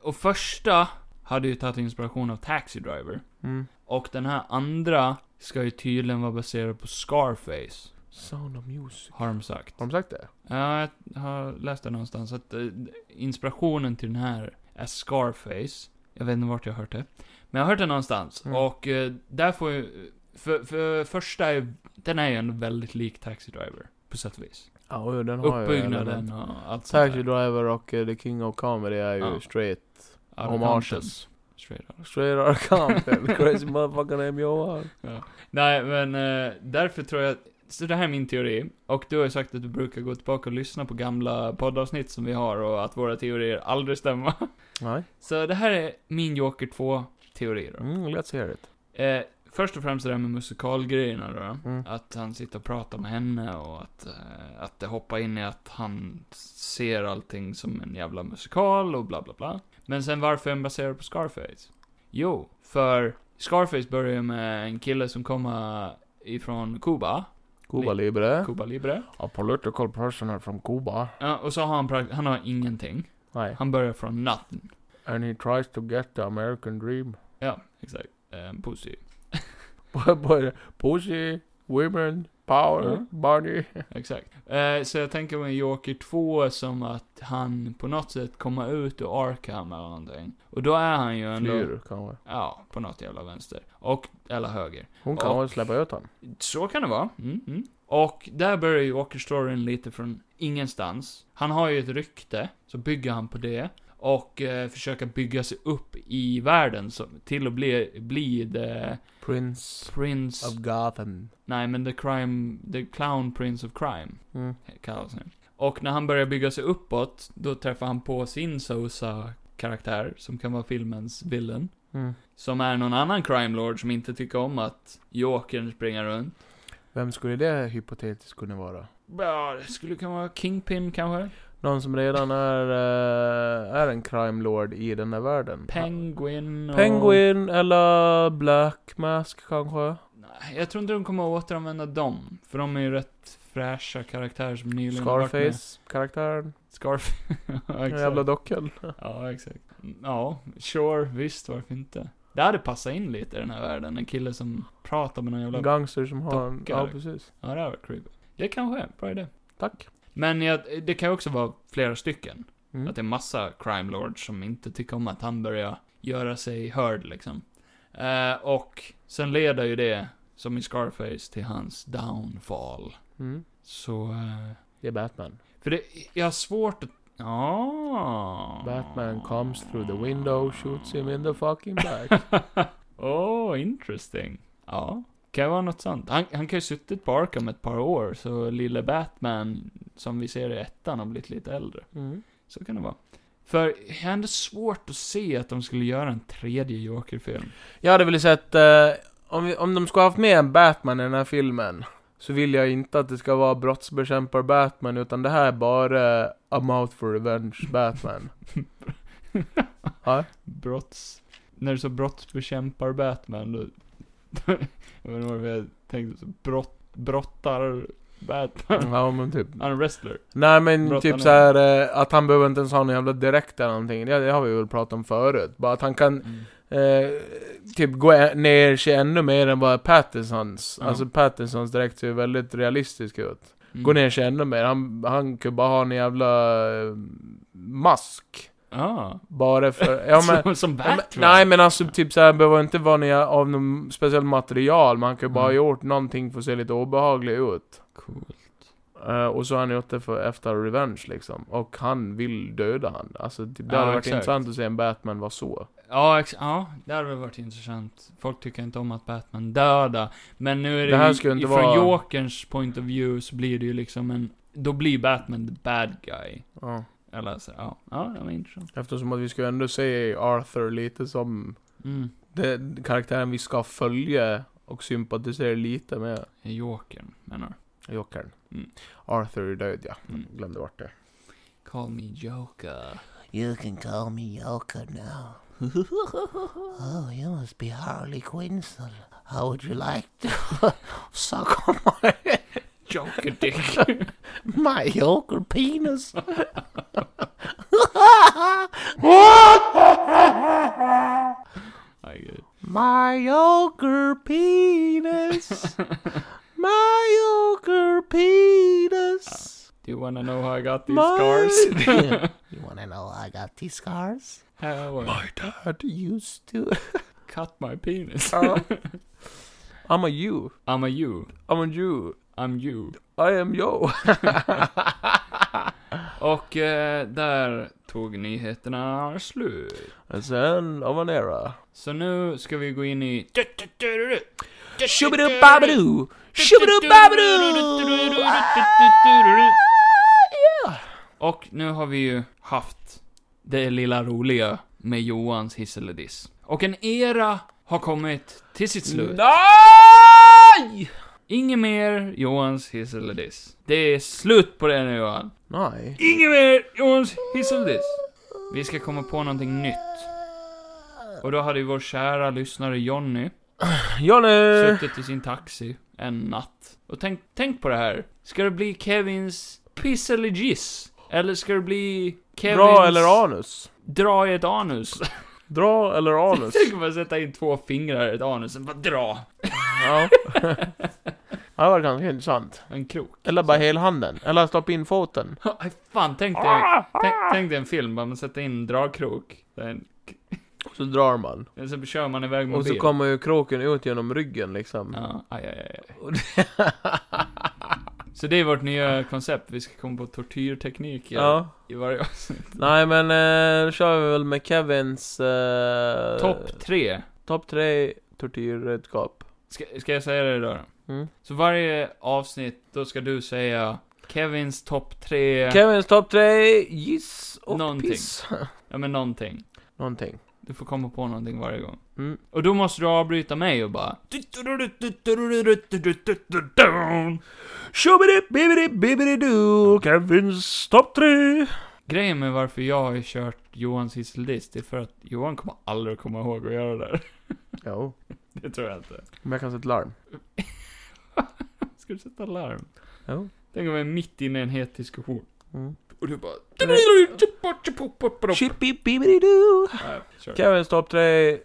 [SPEAKER 1] och första hade ju tagit inspiration av Taxi Driver.
[SPEAKER 3] Mm.
[SPEAKER 1] Och den här andra ska ju tydligen vara baserad på Scarface.
[SPEAKER 3] Sound of music.
[SPEAKER 1] Har de sagt.
[SPEAKER 3] Har de sagt det?
[SPEAKER 1] Ja, jag har läst det någonstans att eh, inspirationen till den här är Scarface. Jag vet inte vart jag har hört det. Men jag har hört det någonstans.
[SPEAKER 3] Mm.
[SPEAKER 1] Och eh, där får ju... För, för första är Den är ju ändå väldigt lik Taxi Driver. På sätt och vis.
[SPEAKER 3] Ja, och den har ju element.
[SPEAKER 1] Uppbyggnaden och allt sånt
[SPEAKER 3] Taxi
[SPEAKER 1] där.
[SPEAKER 3] Driver och eh, The King of Comedy är ju
[SPEAKER 1] Ja.
[SPEAKER 3] straight
[SPEAKER 1] Arroganten.
[SPEAKER 3] homages.
[SPEAKER 1] Straight out.
[SPEAKER 3] Straight out of Compton, crazy motherfucker named Johan.
[SPEAKER 1] Nej, men eh, därför tror jag... Så det här är min teori. Och du har ju sagt att du brukar gå tillbaka och lyssna på gamla poddavsnitt som vi har och att våra teorier aldrig stämmer.
[SPEAKER 3] Nej.
[SPEAKER 1] Så det här är min Joker 2-teori då.
[SPEAKER 3] Mm, let's hear it.
[SPEAKER 1] Eh, först och främst det där med musikalgrejerna då.
[SPEAKER 3] Mm.
[SPEAKER 1] Att han sitter och pratar med henne och att, eh, att det hoppar in i att han ser allting som en jävla musikal och bla bla bla. Men sen varför är den baserad på Scarface? Jo, för Scarface börjar ju med en kille som kommer ifrån Kuba,
[SPEAKER 3] Cuba Libre.
[SPEAKER 1] Kuba Libre.
[SPEAKER 3] A political personal from Cuba.
[SPEAKER 1] Ja, och så har han prakt- han har ingenting.
[SPEAKER 3] Nej.
[SPEAKER 1] Han börjar från nothing.
[SPEAKER 3] And he tries to get the American dream.
[SPEAKER 1] Ja, exakt. Eh, positiv.
[SPEAKER 3] But Pussy, women, power,
[SPEAKER 1] Mm.
[SPEAKER 3] money.
[SPEAKER 1] Exakt. Eh, så jag tänker mig Joker 2 som att han på något sätt kommer ut ur Arkham eller någonting. Och då är han ju ändå...
[SPEAKER 3] Flyr kanske.
[SPEAKER 1] Ja, på något jävla vänster. Och, eller höger.
[SPEAKER 3] Hon kan
[SPEAKER 1] Ja.
[SPEAKER 3] väl släppa ut honom.
[SPEAKER 1] Så kan det vara. Mm, mm. Och där börjar ju Walker-storyn lite från ingenstans. Han har ju ett rykte, så bygger han på det. Och eh, försöker bygga sig upp i världen så, till att bli, bli the
[SPEAKER 3] Prince
[SPEAKER 1] Prince...
[SPEAKER 3] of Gotham.
[SPEAKER 1] Nej, men the crime... The clown prince of crime,
[SPEAKER 3] Mm.
[SPEAKER 1] kallas han. Och när han börjar bygga sig uppåt, då träffar han på sin Sosa-karaktär, som kan vara filmens villain.
[SPEAKER 3] Mm.
[SPEAKER 1] Som är någon annan crime lord som inte tycker om att Jokern springer runt.
[SPEAKER 3] Vem skulle det hypotetiskt kunna vara?
[SPEAKER 1] Ja, det skulle kunna vara Kingpin kanske?
[SPEAKER 3] Någon som redan är, eh, är en crime lord i den här världen.
[SPEAKER 1] Penguin och...
[SPEAKER 3] Penguin eller Black Mask kanske?
[SPEAKER 1] Nej, jag tror inte de kommer att återanvända dem. För de är ju rätt fräscha karaktärer som nyligen har varit med.
[SPEAKER 3] Scarface-karaktären?
[SPEAKER 1] Scarface. ja,
[SPEAKER 3] Den
[SPEAKER 1] exakt.
[SPEAKER 3] jävla dockan.
[SPEAKER 1] Ja, exakt. Ja, sure, visst, varför inte? Det hade passat in lite i den här världen, en kille som pratar med någon jävla...
[SPEAKER 3] En gangster som har en...
[SPEAKER 1] docka.
[SPEAKER 3] Ja, precis.
[SPEAKER 1] Ja, det hade varit creepy. Det kanske är, en bra idé.
[SPEAKER 3] Tack.
[SPEAKER 1] Men jag, det kan ju också vara flera stycken.
[SPEAKER 3] Mm.
[SPEAKER 1] Att det är massa crime lords som inte tycker om att han börjar göra sig hörd liksom. Eh, och sen leder ju det, som i Scarface, till hans downfall.
[SPEAKER 3] Mm.
[SPEAKER 1] Så... eh,
[SPEAKER 3] Det är Batman.
[SPEAKER 1] för det, jag har svårt att... Ja.
[SPEAKER 3] Batman comes through the window, shoots him in the fucking back.
[SPEAKER 1] oh, interesting. Ja. Kan vara något sånt. Han, han kan ju suttit på Arkham ett par år, så lille Batman, som vi ser i ettan, har blivit lite äldre.
[SPEAKER 3] Mm.
[SPEAKER 1] Så kan det vara. För jag har ändå svårt att se att de skulle göra en tredje Joker-film.
[SPEAKER 3] Jag hade velat sett, eh, om, vi, om de skulle haft med en Batman i den här filmen, så vill jag inte att det ska vara brottsbekämpar-Batman, utan det här är bara eh, I'm out for revenge-Batman. ja,
[SPEAKER 1] Brotts... När du sa brottsbekämpar Batman, då... jag vet inte varför jag tänkte så. Brott, brottar Batman.
[SPEAKER 3] ja men typ.
[SPEAKER 1] Han är en wrestler.
[SPEAKER 3] Nej men
[SPEAKER 1] Brottarna.
[SPEAKER 3] typ såhär, eh, att han behöver inte ens ha någon jävla direkt eller någonting, det, det har vi väl pratat om förut. Bara att han kan
[SPEAKER 1] Mm.
[SPEAKER 3] eh, typ gå ä- ner sig ännu mer än vad Pattinsons,
[SPEAKER 1] Ja.
[SPEAKER 3] alltså Pattinsons direkt ser ju väldigt realistisk ut.
[SPEAKER 1] Mm.
[SPEAKER 3] Gå ner sig ännu mer. Han, han kunde bara ha en jävla eh, mask.
[SPEAKER 1] Ah.
[SPEAKER 3] Bara för... Ja, men,
[SPEAKER 1] som, som
[SPEAKER 3] ja,
[SPEAKER 1] Batman?
[SPEAKER 3] men, nej men alltså typ såhär, behöver inte vara nya, av något speciellt material. Men han kunde bara ha
[SPEAKER 1] Mm.
[SPEAKER 3] gjort någonting för att se lite obehaglig ut.
[SPEAKER 1] Cool.
[SPEAKER 3] Eh, och så har han gjort det för, efter revenge liksom. Och han vill döda han. Alltså typ, det
[SPEAKER 1] Ja,
[SPEAKER 3] hade varit
[SPEAKER 1] exakt.
[SPEAKER 3] intressant att se en Batman vara så.
[SPEAKER 1] Ja, ex- ja, det hade väl varit intressant. Folk tycker inte om att Batman dödar. Men nu är det,
[SPEAKER 3] Det här
[SPEAKER 1] ju-
[SPEAKER 3] skulle inte
[SPEAKER 1] ifrån
[SPEAKER 3] vara-
[SPEAKER 1] Jokerns point of view så blir det ju liksom en... Då blir Batman the bad guy.
[SPEAKER 3] Ja.
[SPEAKER 1] Eller så, ja. Ja, det var intressant.
[SPEAKER 3] Eftersom att vi ska ändå se Arthur lite som
[SPEAKER 1] Mm.
[SPEAKER 3] den karaktären vi ska följa och sympatisera lite med.
[SPEAKER 1] Jokern, menar du?
[SPEAKER 3] Jokern.
[SPEAKER 1] Mm.
[SPEAKER 3] Arthur är död ja.
[SPEAKER 1] Mm.
[SPEAKER 3] Glömde bort det.
[SPEAKER 1] Call me Joker.
[SPEAKER 2] You can call me Yoker now. oh, you must be Harley Quinzel. How would you like to suck on my,
[SPEAKER 1] Joker dick.
[SPEAKER 2] my Yoker penis?
[SPEAKER 1] I get it.
[SPEAKER 2] My Yoker penis. My Yoker penis.
[SPEAKER 1] Do you wanna know how I got these
[SPEAKER 2] My-
[SPEAKER 1] scars?
[SPEAKER 2] you wanna know how I got these scars?
[SPEAKER 1] how I
[SPEAKER 2] Dad used to.
[SPEAKER 1] cut my penis.
[SPEAKER 3] Uh, I'm a you.
[SPEAKER 1] I'm a you.
[SPEAKER 3] I'm a you.
[SPEAKER 1] I'm you.
[SPEAKER 3] I am yo.
[SPEAKER 1] Och eh, där tog nyheterna slut.
[SPEAKER 3] It's the end of an era.
[SPEAKER 1] Så nu ska vi gå in i...
[SPEAKER 2] Shubidoo-babadoo! Shubidoo-babadoo!
[SPEAKER 1] Och nu har vi ju haft det lilla roliga med Johans hiss eller diss. Och en era har kommit till sitt slut.
[SPEAKER 3] Nej!
[SPEAKER 1] Inget mer Johans hiss eller diss. Det är slut på det nu Johan.
[SPEAKER 3] Nej.
[SPEAKER 1] Inget mer Johans hiss eller diss. Vi ska komma på någonting nytt. Och då hade ju vår kära lyssnare Jonny
[SPEAKER 3] Johnny!
[SPEAKER 1] suttit i sin taxi en natt. Och tänk, tänk på det här. Ska det bli Kevins piss eller giss? Eller ska det bli Kevins...
[SPEAKER 3] Dra eller anus?
[SPEAKER 1] Dra i ett anus.
[SPEAKER 3] Dra eller anus?
[SPEAKER 1] Tänk om man sätta in två fingrar i ett anus och bara dra.
[SPEAKER 3] ja. Det var ganska intressant.
[SPEAKER 1] En krok.
[SPEAKER 3] Eller bara hela handen. Eller stoppa in foten.
[SPEAKER 1] Aj, Fan, tänk dig,
[SPEAKER 3] Ah!
[SPEAKER 1] tänk, tänk dig en film, bara man sätter in en dragkrok. Sen,
[SPEAKER 3] Och så drar man.
[SPEAKER 1] sen kör man iväg med
[SPEAKER 3] Och så
[SPEAKER 1] bil.
[SPEAKER 3] kommer ju kroken ut genom ryggen liksom.
[SPEAKER 1] Ja, aj, aj, aj. aj. Så det är vårt nya koncept, vi ska komma på tortyrtekniker
[SPEAKER 3] Ja.
[SPEAKER 1] i varje avsnitt.
[SPEAKER 3] Nej men eh, då kör vi väl med Kevins... Eh,
[SPEAKER 1] Topp tre.
[SPEAKER 3] Topp tre tortyrredskap.
[SPEAKER 1] Ska, ska jag säga det idag då?
[SPEAKER 3] Mm.
[SPEAKER 1] Så varje avsnitt, då ska du säga Kevins topp tre,
[SPEAKER 3] Kevins topp tre, giss och
[SPEAKER 1] Någonting.
[SPEAKER 3] piss.
[SPEAKER 1] ja men någonting.
[SPEAKER 3] Någonting.
[SPEAKER 1] Du får komma på någonting varje gång.
[SPEAKER 3] Mm.
[SPEAKER 1] Och då måste du avbryta mig och bara...
[SPEAKER 3] Tjobbidi bibbidi bibbidi du, Kevins topp tre.
[SPEAKER 1] Grejen med varför jag har kört Johans hissellist, det är för att Johan kommer aldrig komma ihåg att göra det där.
[SPEAKER 3] Jo,
[SPEAKER 1] Det tror jag inte.
[SPEAKER 3] men jag kan sätta larm.
[SPEAKER 1] Ska du sätta larm?
[SPEAKER 3] Jo.
[SPEAKER 1] Tänk om jag är mitt inne i en het diskussion.
[SPEAKER 3] Mm.
[SPEAKER 1] Och du bara...
[SPEAKER 3] Chippy bibbidi du.
[SPEAKER 1] Nej, kör.
[SPEAKER 3] Kevins topp tre, eh,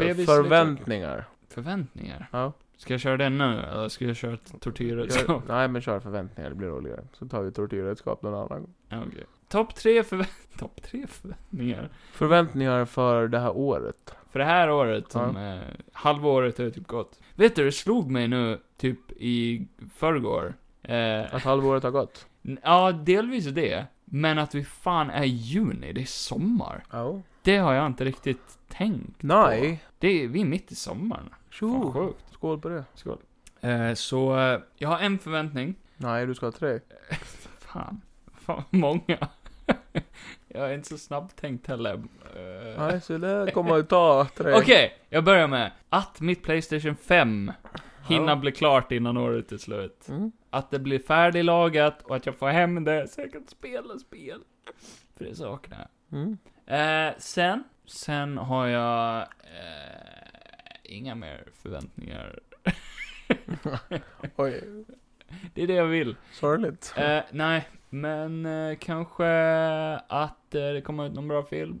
[SPEAKER 1] Bebis-
[SPEAKER 3] förväntningar.
[SPEAKER 1] Förväntningar?
[SPEAKER 3] Ja.
[SPEAKER 1] Ska jag köra den nu, eller ska jag köra ett tortyrredskap?
[SPEAKER 3] Nej men kör förväntningar, det blir roligare. Så tar vi tortyrredskap någon annan gång.
[SPEAKER 1] Ja, okej. Topp tre förväntningar. Topp tre förväntningar?
[SPEAKER 3] Förväntningar för det här året.
[SPEAKER 1] För det här året, som, eh, halva året har ju typ gått. Vet du, det slog mig nu, typ i förrgår. Eh,
[SPEAKER 3] Att halvåret har gått.
[SPEAKER 1] n- ja, delvis det. Men att vi fan är i juni, det är sommar.
[SPEAKER 3] Ja.
[SPEAKER 1] Det har jag inte riktigt tänkt på.
[SPEAKER 3] Nej. Oh.
[SPEAKER 1] Det är, vi är mitt i sommaren. Fan,
[SPEAKER 3] Tjo.
[SPEAKER 1] sjukt.
[SPEAKER 3] Skål på det.
[SPEAKER 1] Skål. Eh, så, eh, jag har en förväntning.
[SPEAKER 3] Nej, du ska ha tre.
[SPEAKER 1] Fan. Fan, vad många. jag är inte så snabbtänkt heller. Eh,
[SPEAKER 3] Nej, så det kommer att ta tre.
[SPEAKER 1] Okej, jag börjar med att mitt Playstation 5 hinner
[SPEAKER 3] Ja.
[SPEAKER 1] bli klart innan året är slut.
[SPEAKER 3] Mm.
[SPEAKER 1] Att det blir färdiglagat och att jag får hem det så jag kan spela spel. För det saknar jag.
[SPEAKER 3] Mm.
[SPEAKER 1] Eh, sen, sen har jag eh, inga mer förväntningar.
[SPEAKER 3] Oj,
[SPEAKER 1] Det är det jag vill.
[SPEAKER 3] sorgligt.
[SPEAKER 1] Eh, nej, men eh, kanske att eh, det kommer ut någon bra film.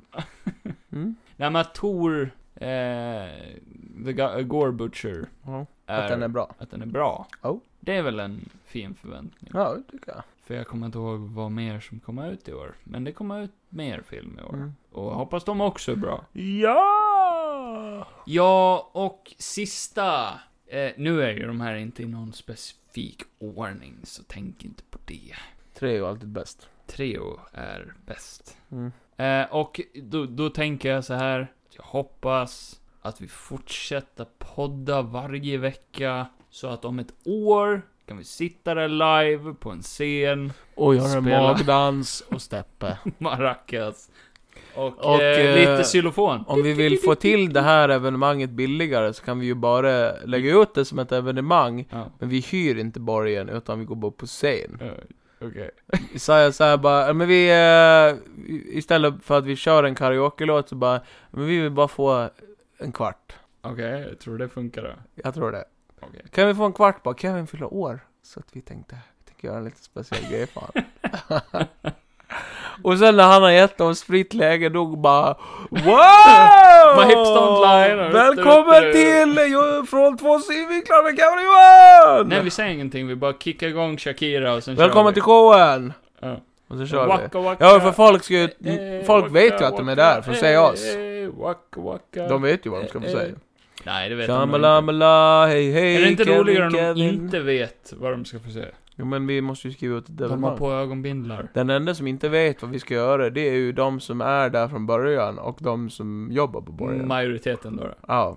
[SPEAKER 3] Mm.
[SPEAKER 1] Nej men att Tor, eh, The Go- Gore Butcher,
[SPEAKER 3] Ja. Att den är bra.
[SPEAKER 1] att den är bra.
[SPEAKER 3] Oh.
[SPEAKER 1] Det är väl en fin förväntning.
[SPEAKER 3] Ja, det tycker jag.
[SPEAKER 1] För jag kommer inte ihåg vad mer som kommer ut i år. Men det kommer ut mer film i år.
[SPEAKER 3] Mm.
[SPEAKER 1] Och jag hoppas de också är bra.
[SPEAKER 3] Ja!
[SPEAKER 1] Ja, och sista. Eh, nu är ju de här inte i någon specifik ordning, så tänk inte på det.
[SPEAKER 3] Tre är alltid bäst.
[SPEAKER 1] Treo är bäst.
[SPEAKER 3] Mm.
[SPEAKER 1] Eh, och då, då tänker jag så här. Jag hoppas att vi fortsätter podda varje vecka. Så att om ett år kan vi sitta där live på en scen,
[SPEAKER 3] Och
[SPEAKER 1] göra en
[SPEAKER 3] magdans och steppe.
[SPEAKER 1] maracas. Och,
[SPEAKER 3] Och,
[SPEAKER 1] eh,
[SPEAKER 3] eh,
[SPEAKER 1] lite xylofon.
[SPEAKER 3] Om vi vill få till det här evenemanget billigare så kan vi ju bara lägga ut det som ett evenemang.
[SPEAKER 1] Ja,
[SPEAKER 3] Men vi hyr inte borgen utan vi går bara på scen.
[SPEAKER 1] eh, okej.
[SPEAKER 3] Så jag så här bara, "Ja, men vi, eh, istället för att vi kör en karaoke-låt så bara, men vi vill bara få en kvart.
[SPEAKER 1] Okej, jag tror det funkar då.
[SPEAKER 3] Jag tror det.
[SPEAKER 1] Okej.
[SPEAKER 3] Kan vi få en kvart bara? Kevin fyller år. Så att vi tänkte, vi tänker göra en lite speciell grej för honom. Och sen när han har gett oss fritt läge, då bara Wow!
[SPEAKER 1] My hips don't lie, då.
[SPEAKER 3] Välkommen till jo, Från två synvinklar med Kevin och Johan!
[SPEAKER 1] Nej, vi säger ingenting. Vi bara kickar igång Shakira och sen
[SPEAKER 3] Välkommen till
[SPEAKER 1] kör
[SPEAKER 3] showen!
[SPEAKER 1] vi. Ja.
[SPEAKER 3] Och så kör vi.
[SPEAKER 1] Waka, waka.
[SPEAKER 3] Ja, för folk ska ju,
[SPEAKER 1] Eh,
[SPEAKER 3] folk
[SPEAKER 1] waka,
[SPEAKER 3] vet ju att de är
[SPEAKER 1] waka,
[SPEAKER 3] där för att se
[SPEAKER 1] eh,
[SPEAKER 3] oss.
[SPEAKER 1] eh, Waka, waka.
[SPEAKER 3] De vet ju vad de ska få
[SPEAKER 1] Eh,
[SPEAKER 3] säga.
[SPEAKER 1] Nej, det vet de nog inte.
[SPEAKER 3] Shamalama, hej hej
[SPEAKER 1] Är det inte
[SPEAKER 3] Kevin,
[SPEAKER 1] roligare om de
[SPEAKER 3] Kevin.
[SPEAKER 1] inte vet vad de ska få se?
[SPEAKER 3] Jo men vi måste ju skriva ut ett
[SPEAKER 1] De har
[SPEAKER 3] evenemang.
[SPEAKER 1] på ögonbindlar.
[SPEAKER 3] Den enda som inte vet vad vi ska göra, det är ju de som är där från början och de som jobbar på borgen.
[SPEAKER 1] Mm. Majoriteten då. då.
[SPEAKER 3] Ja.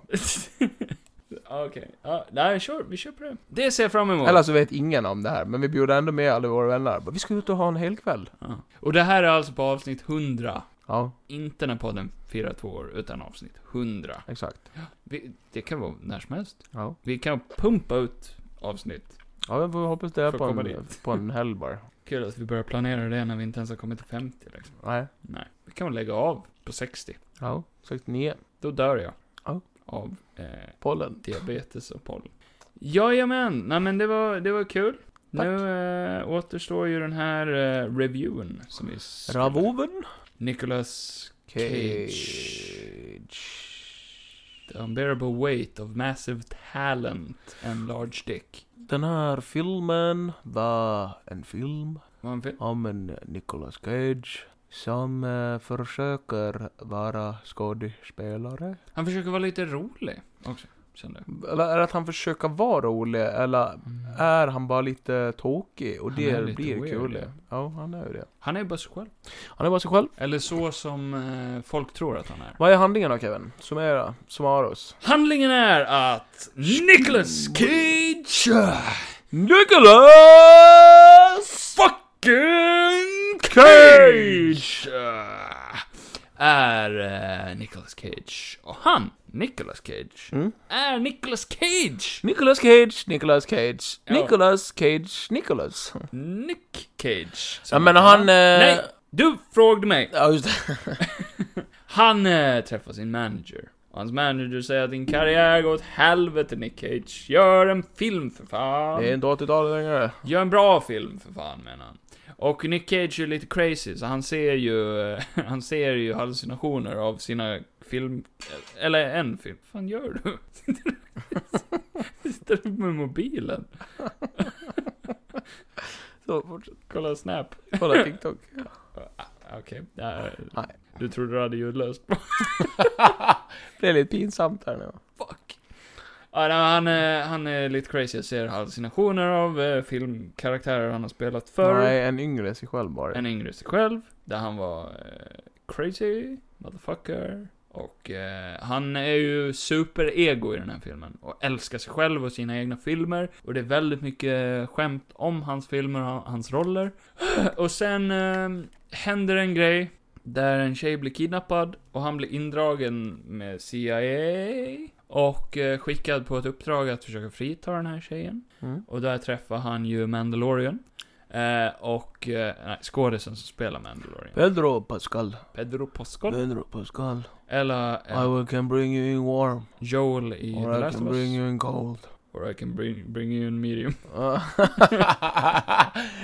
[SPEAKER 1] Okej. Ja, nej, kör. Vi kör på det. Det ser jag fram emot.
[SPEAKER 3] Eller så vet ingen om det här, men vi bjuder ändå med alla våra vänner. Bara, Vi ska ut och ha en hel kväll.
[SPEAKER 1] Ja. Och det här är alltså på avsnitt 100.
[SPEAKER 3] Ja,
[SPEAKER 1] Inte när podden firar två år, utan avsnitt 100.
[SPEAKER 3] exakt.
[SPEAKER 1] Vi, det kan vara när som helst.
[SPEAKER 3] Ja,
[SPEAKER 1] Vi kan pumpa ut avsnitt.
[SPEAKER 3] ja men vi hoppas det är
[SPEAKER 1] Får
[SPEAKER 3] på
[SPEAKER 1] komma
[SPEAKER 3] en, på en helg bara.
[SPEAKER 1] Kul att vi börjar planera det när vi inte ens har kommit till 50 liksom.
[SPEAKER 3] Nej.
[SPEAKER 1] Nej, vi kan väl lägga av på 60.
[SPEAKER 3] Ja, 69.
[SPEAKER 1] Då dör jag.
[SPEAKER 3] Ja.
[SPEAKER 1] Av eh,
[SPEAKER 3] Pollen.
[SPEAKER 1] diabetes och pollen. Jajamän, nej men det var, det var kul. Nu eh, återstår ju den här eh, reviewen som vi skulle-
[SPEAKER 3] Ravoven.
[SPEAKER 1] Nicolas Cage.
[SPEAKER 3] Cage.
[SPEAKER 1] The unbearable weight of massive talent and large dick.
[SPEAKER 3] Den här filmen var en film
[SPEAKER 1] Var han fel?
[SPEAKER 3] om en Nicolas Cage som eh, försöker vara skådespelare.
[SPEAKER 1] Han försöker vara lite rolig också. kände jag.
[SPEAKER 3] Eller är det att han försöker vara rolig, eller är han bara lite tokig? Och
[SPEAKER 1] Han
[SPEAKER 3] det
[SPEAKER 1] är lite
[SPEAKER 3] blir
[SPEAKER 1] weird,
[SPEAKER 3] kul.
[SPEAKER 1] ja.
[SPEAKER 3] Ja, han är ju det.
[SPEAKER 1] Han är bara sig själv.
[SPEAKER 3] Han är bara sig själv.
[SPEAKER 1] Eller så som eh, folk tror att han är.
[SPEAKER 3] Vad är handlingen då Kevin? Summera, svara oss.
[SPEAKER 1] Handlingen är att Nicolas Cage...
[SPEAKER 3] Nicholas!
[SPEAKER 1] Fucking
[SPEAKER 3] Cage!
[SPEAKER 1] Cage! eh, Är eh, Nicolas Cage. Och han, Nicolas Cage,
[SPEAKER 3] Mm.
[SPEAKER 1] är Nicolas Cage!
[SPEAKER 3] Nicolas Cage, Nicolas Cage,
[SPEAKER 1] Ja.
[SPEAKER 3] Nicolas Cage, Nicolas.
[SPEAKER 1] Nick Cage.
[SPEAKER 3] Ja men han... Eh...
[SPEAKER 1] Nej! Du frågade mig!
[SPEAKER 3] Ja just det.
[SPEAKER 1] Han eh, träffar sin manager. Och hans manager säger att din karriär går åt helvete Nick Cage. Gör en film för fan.
[SPEAKER 3] Det är inte 80-talet längre.
[SPEAKER 1] Gör en bra film för fan menar han. Och Nick Cage är lite crazy, så han ser ju, eh, han ser ju hallucinationer av sina film, eller en film. Vad fan gör du? Sitter du med mobilen?
[SPEAKER 3] Så fortsätt.
[SPEAKER 1] Kolla Snap.
[SPEAKER 3] Kolla TikTok.
[SPEAKER 1] Okej. där.
[SPEAKER 3] Nej.
[SPEAKER 1] Du trodde du hade ljudlöst.
[SPEAKER 3] det är lite pinsamt här nu.
[SPEAKER 1] Fuck. Ja, nej, han, är, han är lite crazy, jag ser hallucinationer av eh, filmkaraktärer han har spelat förr.
[SPEAKER 3] Nej, en yngre sig själv bara.
[SPEAKER 1] En yngre sig själv, där han var eh, crazy, motherfucker. Och eh, han är ju superego i den här filmen. Och älskar sig själv och sina egna filmer. Och det är väldigt mycket skämt om hans filmer och hans roller. Och sen eh, händer en grej. Där en tjej blir kidnappad och han blir indragen med CIA. Och eh, skickad på ett uppdrag att försöka frita den här tjejen.
[SPEAKER 3] Mm.
[SPEAKER 1] Och där träffar han ju Mandalorian. Eh, och eh, nej, skådisen som spelar Mandalorian.
[SPEAKER 3] Pedro Pascal.
[SPEAKER 1] Pedro Pascal.
[SPEAKER 3] Pedro Pascal.
[SPEAKER 1] Eller
[SPEAKER 3] I
[SPEAKER 1] eh,
[SPEAKER 3] will can bring you in warm.
[SPEAKER 1] Joel i
[SPEAKER 3] Or
[SPEAKER 1] The
[SPEAKER 3] I
[SPEAKER 1] Last of
[SPEAKER 3] can
[SPEAKER 1] Us.
[SPEAKER 3] bring you in cold.
[SPEAKER 1] Or I can bring, bring you in medium.
[SPEAKER 3] Ja.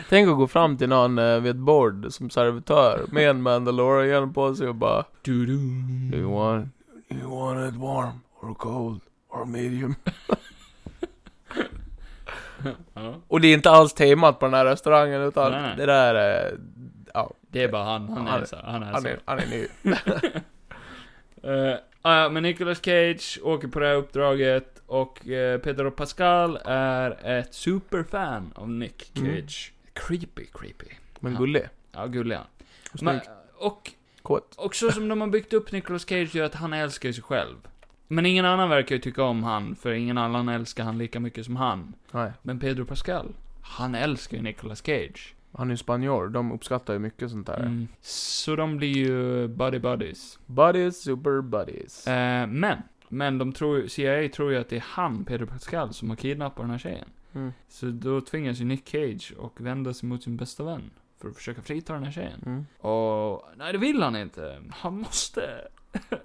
[SPEAKER 3] Tänk att gå fram till någon eh, vid ett bord som servitör med en Mandalorian på sig och bara
[SPEAKER 1] Du-du.
[SPEAKER 3] Do you want, do you want it warm or cold or medium?
[SPEAKER 1] Ja.
[SPEAKER 3] Och det är inte alls temat på den här restaurangen utan
[SPEAKER 1] Nej, nej.
[SPEAKER 3] det där är... Ja,
[SPEAKER 1] Det är bara han, han
[SPEAKER 3] Han
[SPEAKER 1] är
[SPEAKER 3] är-
[SPEAKER 1] så. Han är
[SPEAKER 3] han
[SPEAKER 1] så.
[SPEAKER 3] är, han är ny.
[SPEAKER 1] Eh, ah, ja, men Nicolas Cage åker på det här uppdraget och eh, Pedro Pascal är ett superfan av Nick
[SPEAKER 3] Mm.
[SPEAKER 1] Cage. Creepy, creepy.
[SPEAKER 3] Men
[SPEAKER 1] Ja.
[SPEAKER 3] gullig.
[SPEAKER 1] Ja, gullig han.
[SPEAKER 3] Och
[SPEAKER 1] Men, eh,
[SPEAKER 3] snygg.
[SPEAKER 1] och
[SPEAKER 3] Kåt.
[SPEAKER 1] Och så som de har byggt upp Nicolas Cage gör att han älskar ju sig själv. Men ingen annan verkar ju tycka om han, för ingen annan älskar han lika mycket som han.
[SPEAKER 3] Nej.
[SPEAKER 1] Men Pedro Pascal, han älskar ju Nicolas Cage.
[SPEAKER 3] Han är ju spanjor, de uppskattar ju mycket sånt där.
[SPEAKER 1] Mm. Så de blir ju buddy buddies.
[SPEAKER 3] Buddies, super buddies.
[SPEAKER 1] Eh, men, men de tror, CIA tror ju att det är han, Pedro Pascal, som har kidnappat den här tjejen.
[SPEAKER 3] Mm.
[SPEAKER 1] Så då tvingas ju Nick Cage och vända sig mot sin bästa vän. För att försöka frita den här tjejen.
[SPEAKER 3] Mm.
[SPEAKER 1] Och, nej det vill han inte. Han måste.
[SPEAKER 3] Så det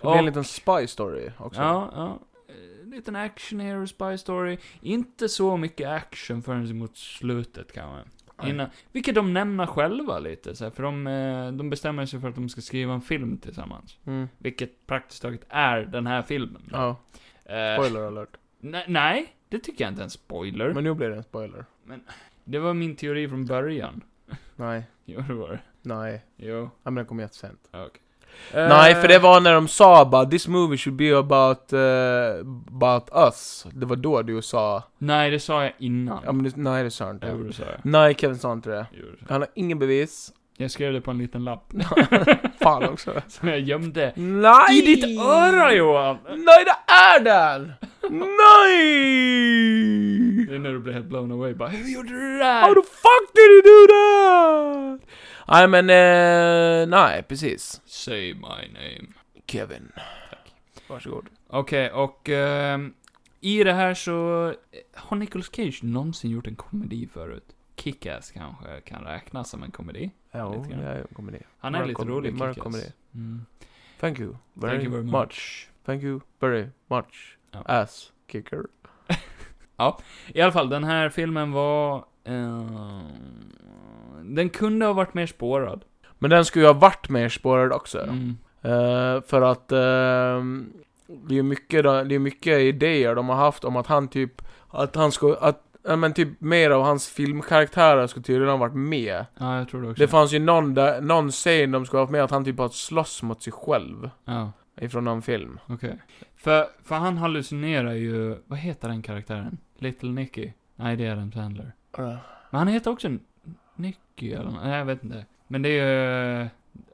[SPEAKER 3] blir en
[SPEAKER 1] Och-
[SPEAKER 3] liten spy story också.
[SPEAKER 1] Ja, ja. Eh, Liten action hero spy story. Inte så mycket action förrän mot slutet kanske.
[SPEAKER 3] Nej.
[SPEAKER 1] Innan, vilket de nämner själva lite så här, för de, eh, de bestämmer sig för att de ska skriva en film tillsammans.
[SPEAKER 3] Mm.
[SPEAKER 1] Vilket praktiskt taget är den här filmen.
[SPEAKER 3] Ja,
[SPEAKER 1] Eh,
[SPEAKER 3] spoiler alert.
[SPEAKER 1] ne- nej, det tycker jag inte är en spoiler.
[SPEAKER 3] Men nu blir det en spoiler.
[SPEAKER 1] Det var min teori från början.
[SPEAKER 3] Nej,
[SPEAKER 1] Jo, det var det.
[SPEAKER 3] nej.
[SPEAKER 1] Jo,
[SPEAKER 3] Ja, men den kom jättesent.
[SPEAKER 1] okej.
[SPEAKER 3] Nej,
[SPEAKER 1] Eh,
[SPEAKER 3] för det var när de sa bara 'This movie should be about, eh, about us' Det var då du sa...
[SPEAKER 1] Nej, det sa jag innan.
[SPEAKER 3] Ja, men det, nej, det sa jag inte.
[SPEAKER 1] Jo, det sa jag.
[SPEAKER 3] Nej, Kevin sa inte det.
[SPEAKER 1] Jo, det sa jag.
[SPEAKER 3] Han har ingen bevis.
[SPEAKER 1] Jag skrev det på en liten lapp.
[SPEAKER 3] Fan också.
[SPEAKER 1] Som jag gömde.
[SPEAKER 3] Nej!
[SPEAKER 1] I ditt öra Johan!
[SPEAKER 3] Nej, det är den! Nej!
[SPEAKER 1] Det är när du blir helt blown away bara Hur gjorde du det där?
[SPEAKER 3] How the fuck did you do that? Nej men, eh, nej precis.
[SPEAKER 1] Say my name.
[SPEAKER 3] Kevin. Tack. Varsågod.
[SPEAKER 1] Okej, och ehm, i det här så... eh, Har Nicolas Cage någonsin gjort en komedi förut? Kick-Ass kanske kan räknas som en komedi?
[SPEAKER 3] Ja,
[SPEAKER 1] Lite grann.
[SPEAKER 3] jag kommer det.
[SPEAKER 1] Han är
[SPEAKER 3] Mörk
[SPEAKER 1] lite
[SPEAKER 3] komedi,
[SPEAKER 1] rolig,
[SPEAKER 3] mörk
[SPEAKER 1] Kick-Ass.
[SPEAKER 3] komedi.
[SPEAKER 1] Mm.
[SPEAKER 3] Thank you very,
[SPEAKER 1] you very
[SPEAKER 3] much.
[SPEAKER 1] much.
[SPEAKER 3] Thank you very much.
[SPEAKER 1] Ja.
[SPEAKER 3] Ass kicker.
[SPEAKER 1] I alla fall, den här filmen var... ehm, den kunde ha varit mer spårad.
[SPEAKER 3] Men den skulle ju ha varit mer spårad också.
[SPEAKER 1] Mm.
[SPEAKER 3] Eh, för att ehm, det är ju mycket, då- det är mycket idéer de har haft om att han typ, att han ska, att, ja, men typ mer av hans filmkaraktärer skulle tydligen ha varit med.
[SPEAKER 1] Ja, jag tror det också.
[SPEAKER 3] Det fanns ju någon där, någon scen de skulle ha haft med att han typ har slåss mot sig själv.
[SPEAKER 1] ja.
[SPEAKER 3] ifrån någon film.
[SPEAKER 1] Okej. För, för han hallucinerar ju, vad heter den karaktären? Little Nicky? Nej, det är Adam Sandler. Men han heter också Nicky eller nå- nej, jag vet inte. Men det är ju eh,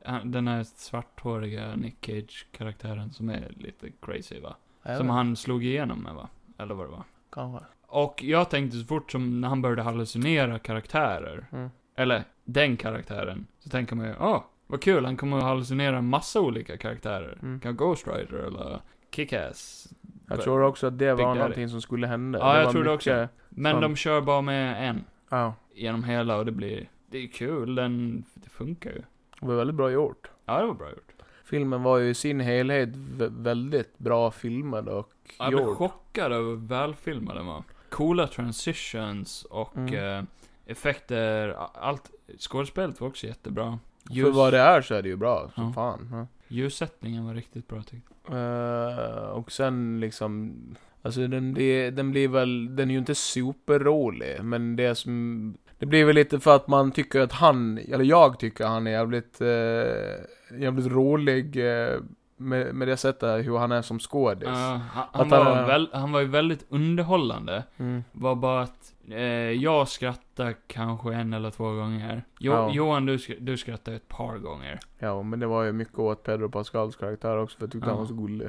[SPEAKER 1] han- den här svarthåriga Nick Cage-karaktären som är lite crazy va?
[SPEAKER 3] Jag
[SPEAKER 1] Som
[SPEAKER 3] vet,
[SPEAKER 1] han slog igenom med va? Eller vad det var.
[SPEAKER 3] Kanske.
[SPEAKER 1] Och jag tänkte så fort som när han började hallucinera karaktärer,
[SPEAKER 3] Mm.
[SPEAKER 1] eller den karaktären, så tänker man ju, åh, vad kul, han kommer att hallucinera en massa olika karaktärer.
[SPEAKER 3] Mm.
[SPEAKER 1] Kan Ghost Rider eller Kick-Ass.
[SPEAKER 3] Jag tror också att det
[SPEAKER 1] Big
[SPEAKER 3] var
[SPEAKER 1] Daddy.
[SPEAKER 3] någonting som skulle hända.
[SPEAKER 1] Ja, jag
[SPEAKER 3] var
[SPEAKER 1] tror det
[SPEAKER 3] mycket-
[SPEAKER 1] Men
[SPEAKER 3] Fan.
[SPEAKER 1] de kör bara med en
[SPEAKER 3] Ja,
[SPEAKER 1] genom hela och det blir, det är kul, den, det funkar ju.
[SPEAKER 3] det var väldigt bra gjort.
[SPEAKER 1] Ja, det var bra gjort.
[SPEAKER 3] Filmen var ju i sin helhet vä- väldigt bra filmad och
[SPEAKER 1] Jag blev
[SPEAKER 3] gjord.
[SPEAKER 1] chockad över hur välfilmad den var. Coola transitions och
[SPEAKER 3] Mm.
[SPEAKER 1] eh, effekter, a- allt, skådespelet var också jättebra.
[SPEAKER 3] För
[SPEAKER 1] Ljus,
[SPEAKER 3] vad det är så är det ju bra, som
[SPEAKER 1] Ja.
[SPEAKER 3] fan. Ja.
[SPEAKER 1] Ljussättningen var riktigt bra tyckte jag.
[SPEAKER 3] Eh, och sen liksom... Alltså den, blir- den blir väl... Den är ju inte superrolig, men det som... Det blir väl lite för att man tycker att han, eller jag tycker han är jävligt, eh, jävligt rolig eh, med, med det sättet hur han är som skådis.
[SPEAKER 1] Ja, han, han,
[SPEAKER 3] Att
[SPEAKER 1] var
[SPEAKER 3] han-
[SPEAKER 1] väl, han var ju väldigt underhållande.
[SPEAKER 3] Mm.
[SPEAKER 1] Var bara att eh, jag skrattade kanske en eller två gånger. Jo,
[SPEAKER 3] Ja.
[SPEAKER 1] Johan, du, skr- du skrattade ett par gånger.
[SPEAKER 3] Ja, men det var ju mycket åt Pedro Pascals karaktär också, för jag tyckte
[SPEAKER 1] Ja.
[SPEAKER 3] han var så gullig.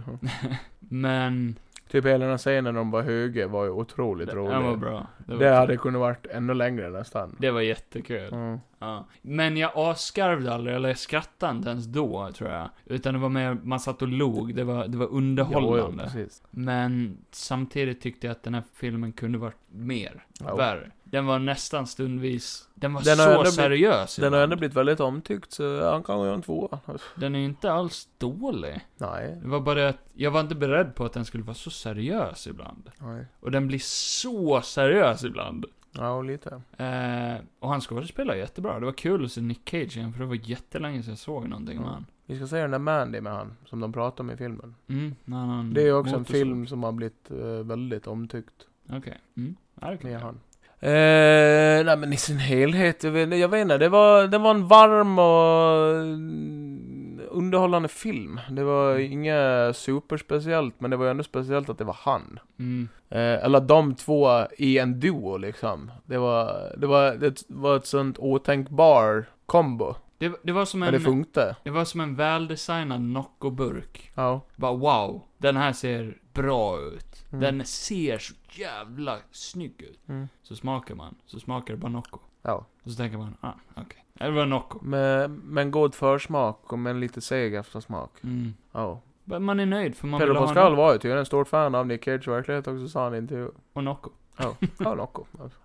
[SPEAKER 1] Men
[SPEAKER 3] typ hela den här scenen när de var höga var ju otroligt
[SPEAKER 1] den
[SPEAKER 3] rolig.
[SPEAKER 1] var bra. Det var,
[SPEAKER 3] Det hade
[SPEAKER 1] kul.
[SPEAKER 3] kunnat varit ännu längre nästan.
[SPEAKER 1] det var jättekul.
[SPEAKER 3] Mm.
[SPEAKER 1] Ja. Men jag avskarvde aldrig, eller jag skrattade inte ens då, tror jag. Utan det var mer, man satt och log. Det var, det var
[SPEAKER 3] Ja, ja,
[SPEAKER 1] underhållande.
[SPEAKER 3] precis.
[SPEAKER 1] Men samtidigt tyckte jag att den här filmen kunde varit mer.
[SPEAKER 3] Ja.
[SPEAKER 1] Värre. Den var nästan stundvis... Den var
[SPEAKER 3] Den har ändå
[SPEAKER 1] så
[SPEAKER 3] blivit-
[SPEAKER 1] seriös.
[SPEAKER 3] Den har
[SPEAKER 1] ibland.
[SPEAKER 3] ändå blivit väldigt omtyckt, så han kan göra en tvåa.
[SPEAKER 1] Den är ju inte alls dålig.
[SPEAKER 3] Nej.
[SPEAKER 1] Det var bara det att jag var inte beredd på att den skulle vara så seriös ibland.
[SPEAKER 3] Nej.
[SPEAKER 1] Och den blir så seriös ibland.
[SPEAKER 3] Ja, och lite.
[SPEAKER 1] Eh, och han skådespelar jättebra. Det var kul att se Nick Cage igen, för det var jättelänge sedan jag såg någonting med han.
[SPEAKER 3] Vi ska se den där Mandy med han, som de pratar om i filmen.
[SPEAKER 1] Mm, när han
[SPEAKER 3] Det är ju också en
[SPEAKER 1] motorsåg.
[SPEAKER 3] film som har blivit eh, väldigt omtyckt
[SPEAKER 1] Okej. Mm. Ja, det kan
[SPEAKER 3] med
[SPEAKER 1] jag.
[SPEAKER 3] han. Eh, nej men i sin helhet, jag vet, jag vet inte, det var, det var en varm och mm, underhållande film. Det var inget superspeciellt, men det var ju ändå speciellt att det var han.
[SPEAKER 1] Mm.
[SPEAKER 3] Eh, eller de två i en duo liksom. Det var, det var, det var ett sånt otänkbar kombo.
[SPEAKER 1] Det, det var som
[SPEAKER 3] Men, det
[SPEAKER 1] en...
[SPEAKER 3] funkade.
[SPEAKER 1] Det var som en väldesignad Nocco-burk.
[SPEAKER 3] Ja.
[SPEAKER 1] Bara wow, den här ser bra ut.
[SPEAKER 3] Mm.
[SPEAKER 1] Den ser så jävla snygg ut.
[SPEAKER 3] Mm.
[SPEAKER 1] Så smakar man, så smakar det bara Nocco.
[SPEAKER 3] ja.
[SPEAKER 1] Och så tänker man, ah, okej. Det var Nocco.
[SPEAKER 3] Med, med en god försmak och med en lite seg eftersmak.
[SPEAKER 1] Mm.
[SPEAKER 3] Ja.
[SPEAKER 1] Men Man är nöjd för man
[SPEAKER 3] Pedro
[SPEAKER 1] vill
[SPEAKER 3] Pascal
[SPEAKER 1] ha en,
[SPEAKER 3] var ju tydligen en stor fan av Nick Cage i verkligheten också, sa han i intervju.
[SPEAKER 1] och Nocco.
[SPEAKER 3] Ja, Nocco. Alltså.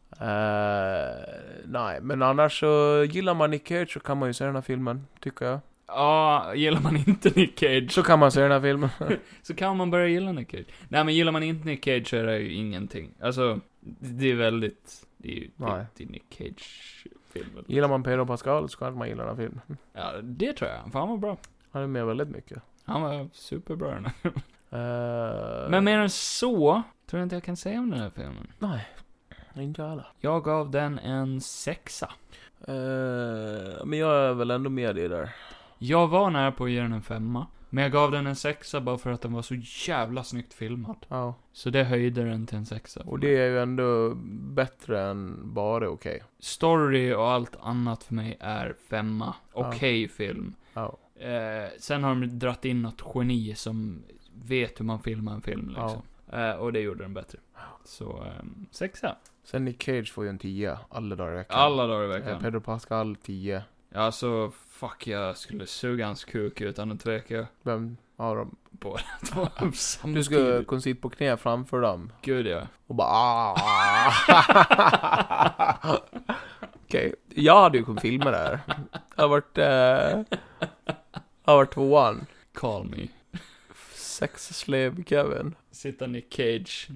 [SPEAKER 3] Eh, nej, men annars så gillar man Nick Cage så kan man ju se den här filmen, tycker jag.
[SPEAKER 1] Ja, gillar man inte Nick Cage
[SPEAKER 3] Så kan man se den här filmen.
[SPEAKER 1] så kan man börja gilla Nick Cage. Nej men gillar man inte Nick Cage så är det ju ingenting. Alltså, det är väldigt... Det är ju
[SPEAKER 3] Nej.
[SPEAKER 1] det, det är Nick Cage-filmen.
[SPEAKER 3] gillar man Pedro Pascal så kanske man gillar den här filmen.
[SPEAKER 1] Ja, det tror jag. För han var bra.
[SPEAKER 3] Han är med väldigt mycket.
[SPEAKER 1] Han var superbra den här.
[SPEAKER 3] Eh,
[SPEAKER 1] Men mer än så, tror jag inte jag kan säga om den här filmen.
[SPEAKER 3] Nej, inte alla.
[SPEAKER 1] Jag gav den en sexa.
[SPEAKER 3] Eh, men jag är väl ändå med dig där.
[SPEAKER 1] Jag var nära på att ge den en femma. Men jag gav den en sexa bara för att den var så jävla snyggt filmad.
[SPEAKER 3] Ja.
[SPEAKER 1] Så det höjde den till en sexa. för
[SPEAKER 3] Och
[SPEAKER 1] mig.
[SPEAKER 3] det är ju ändå bättre än bara okej.
[SPEAKER 1] Story och allt annat för mig är femma.
[SPEAKER 3] Ja.
[SPEAKER 1] Okej film.
[SPEAKER 3] Ja.
[SPEAKER 1] Eh, sen har de dratt in något geni som vet hur man filmar en film liksom. Eh, och det gjorde den bättre. Så, eh, sexa.
[SPEAKER 3] Sen Nick Cage får ju en 10 alla dagar i veckan.
[SPEAKER 1] Alla dagar i
[SPEAKER 3] Eh,
[SPEAKER 1] veckan.
[SPEAKER 3] Pedro Pascal 10.
[SPEAKER 1] Ja, alltså, fuck, jag skulle suga hans kuk utan att tveka
[SPEAKER 3] Vem har
[SPEAKER 1] Mm.
[SPEAKER 3] dem?
[SPEAKER 1] på dem samtidigt.
[SPEAKER 3] Du ska kunna sitta på knä framför dem.
[SPEAKER 1] Gud ja.
[SPEAKER 3] Och bara "Ah." Okej, jag hade ju kunnat filma det här. Jag har varit... Eh, jag har varit tvåan.
[SPEAKER 1] Call me.
[SPEAKER 3] Sex slev Kevin.
[SPEAKER 1] Sitta Nick Cage.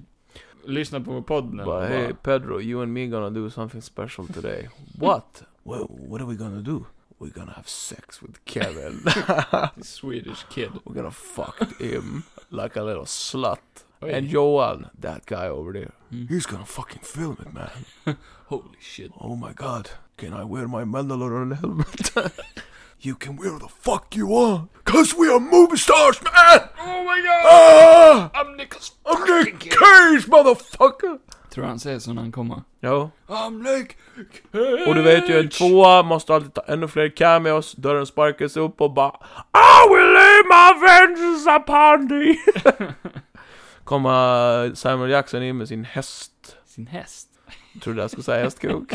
[SPEAKER 1] Lyssna på vår podd nu.
[SPEAKER 3] Bara,
[SPEAKER 1] Bara,
[SPEAKER 3] hey Pedro, you and me gonna do something special today. What? well, what are we gonna do? We're gonna have sex with Kevin.
[SPEAKER 1] Swedish kid.
[SPEAKER 3] We're gonna fuck him like a little slut.
[SPEAKER 1] Oj.
[SPEAKER 3] And Johan, that guy over there,
[SPEAKER 1] Mm.
[SPEAKER 3] he's gonna fucking film it man.
[SPEAKER 1] Holy shit.
[SPEAKER 3] Oh my god, can I wear my Mandalorian helmet?
[SPEAKER 2] You can wear the fuck you want. Cause we are movie stars, man!
[SPEAKER 1] Oh my god!
[SPEAKER 2] Ah!
[SPEAKER 1] I'm Nicholas
[SPEAKER 2] I'm Nick Cage, motherfucker!
[SPEAKER 1] Tror du han säger så när han kommer?
[SPEAKER 3] Ja.
[SPEAKER 1] I'm Nick
[SPEAKER 3] Och du vet ju, en tvåa måste alltid ta ännu fler cameos, dörren sparkas upp och bara I will lay my vengeance upon thee! Kommer Samuel Jackson in med sin häst.
[SPEAKER 1] Sin häst.
[SPEAKER 3] Tror du jag skulle säga hästkok?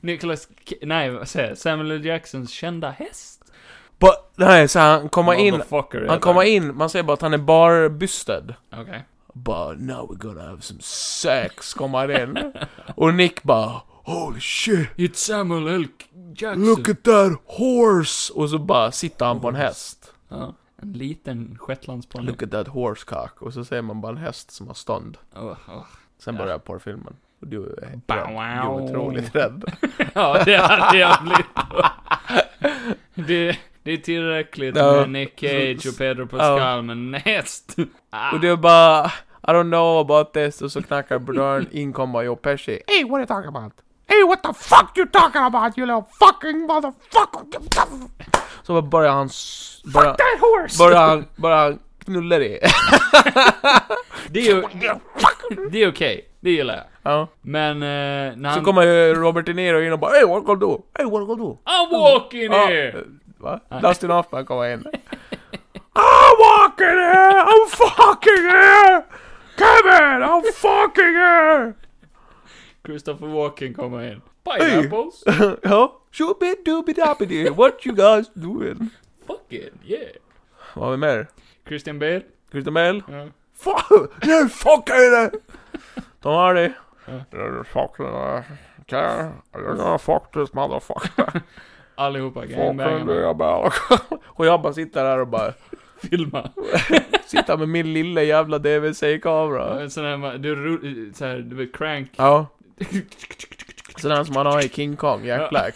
[SPEAKER 1] Nicholas... K- Nej, vad säger jag? Samuel L. Jacksons kända häst?
[SPEAKER 3] But, nej, så han kommer in,
[SPEAKER 1] Motherfucker,
[SPEAKER 3] han kommer in, man ser bara att han är barbystad.
[SPEAKER 1] Okej.
[SPEAKER 3] Bara now we're gonna have some sex, kommer han in. Och Nick bara
[SPEAKER 2] Holy shit!
[SPEAKER 1] It's Samuel L. K- Jackson.
[SPEAKER 2] Look at that
[SPEAKER 3] horse! Och så bara sitter han på en häst.
[SPEAKER 1] Ja. En liten shetlandsponny.
[SPEAKER 3] Look at that horse cock. Och så ser man bara en häst som har stånd.
[SPEAKER 1] Oh, oh.
[SPEAKER 3] Sen
[SPEAKER 1] Ja.
[SPEAKER 3] börjar porrfilmen. Och du är,
[SPEAKER 1] Bow
[SPEAKER 3] rädd. du
[SPEAKER 1] wow.
[SPEAKER 3] är otroligt rädd.
[SPEAKER 1] Ja, det hade jag blivit. Det, det är tillräckligt
[SPEAKER 3] Ja.
[SPEAKER 1] med Nick Cage och Pedro Pascal, men näst. Ah.
[SPEAKER 3] Och du bara, I don't know about this. Och så knackar på dörren, in kommer Joe Pesci.
[SPEAKER 2] Uh, Hey, what are you talking about? Hey, what the fuck you talking about, you little fucking motherfucker!
[SPEAKER 3] Så börjar han... s- Börjar,
[SPEAKER 2] That horse!
[SPEAKER 3] börjar han, börjar han knulla dig.
[SPEAKER 1] Det är ju, det är okej. Det gillar jag.
[SPEAKER 3] Ja.
[SPEAKER 1] Men eh, när
[SPEAKER 3] Så
[SPEAKER 1] han...
[SPEAKER 3] kommer ju Robert De Niro in och bara, Hey what gonna do? Hey what gonna do?
[SPEAKER 1] I'm walking
[SPEAKER 3] Ja, Eh,
[SPEAKER 1] here!
[SPEAKER 3] va? Dustin Hoffman kommer in. I'm walking here! I'm fucking here! Kevin! I'm fucking
[SPEAKER 2] uh,
[SPEAKER 3] here!
[SPEAKER 1] Christopher Walken kommer in. Pineapples?
[SPEAKER 3] ja. Shooby dooby doppity, what you guys doing?
[SPEAKER 1] Fuck it, yeah.
[SPEAKER 3] Vad har vi mer?
[SPEAKER 1] Christian Bale?
[SPEAKER 3] Christer Bale?
[SPEAKER 1] Ja.
[SPEAKER 3] Fuck! Nu fuckar jag dig! Tom Hardy?
[SPEAKER 1] Ja.
[SPEAKER 3] You fucking...
[SPEAKER 2] eh,
[SPEAKER 3] uh, care. You're gonna fuck this motherfucker.
[SPEAKER 1] Allihopa
[SPEAKER 3] Fucking do
[SPEAKER 1] gangbangarna.
[SPEAKER 3] your bell. Och jag bara sitter där och bara...
[SPEAKER 1] Filma.
[SPEAKER 3] Sitter med min lilla jävla DVC-kamera.
[SPEAKER 1] En sån här, ma- du rull- så här, du vet, crank.
[SPEAKER 3] Ja. Sån här som man har i King Kong,
[SPEAKER 1] Ja.
[SPEAKER 3] Jack Black.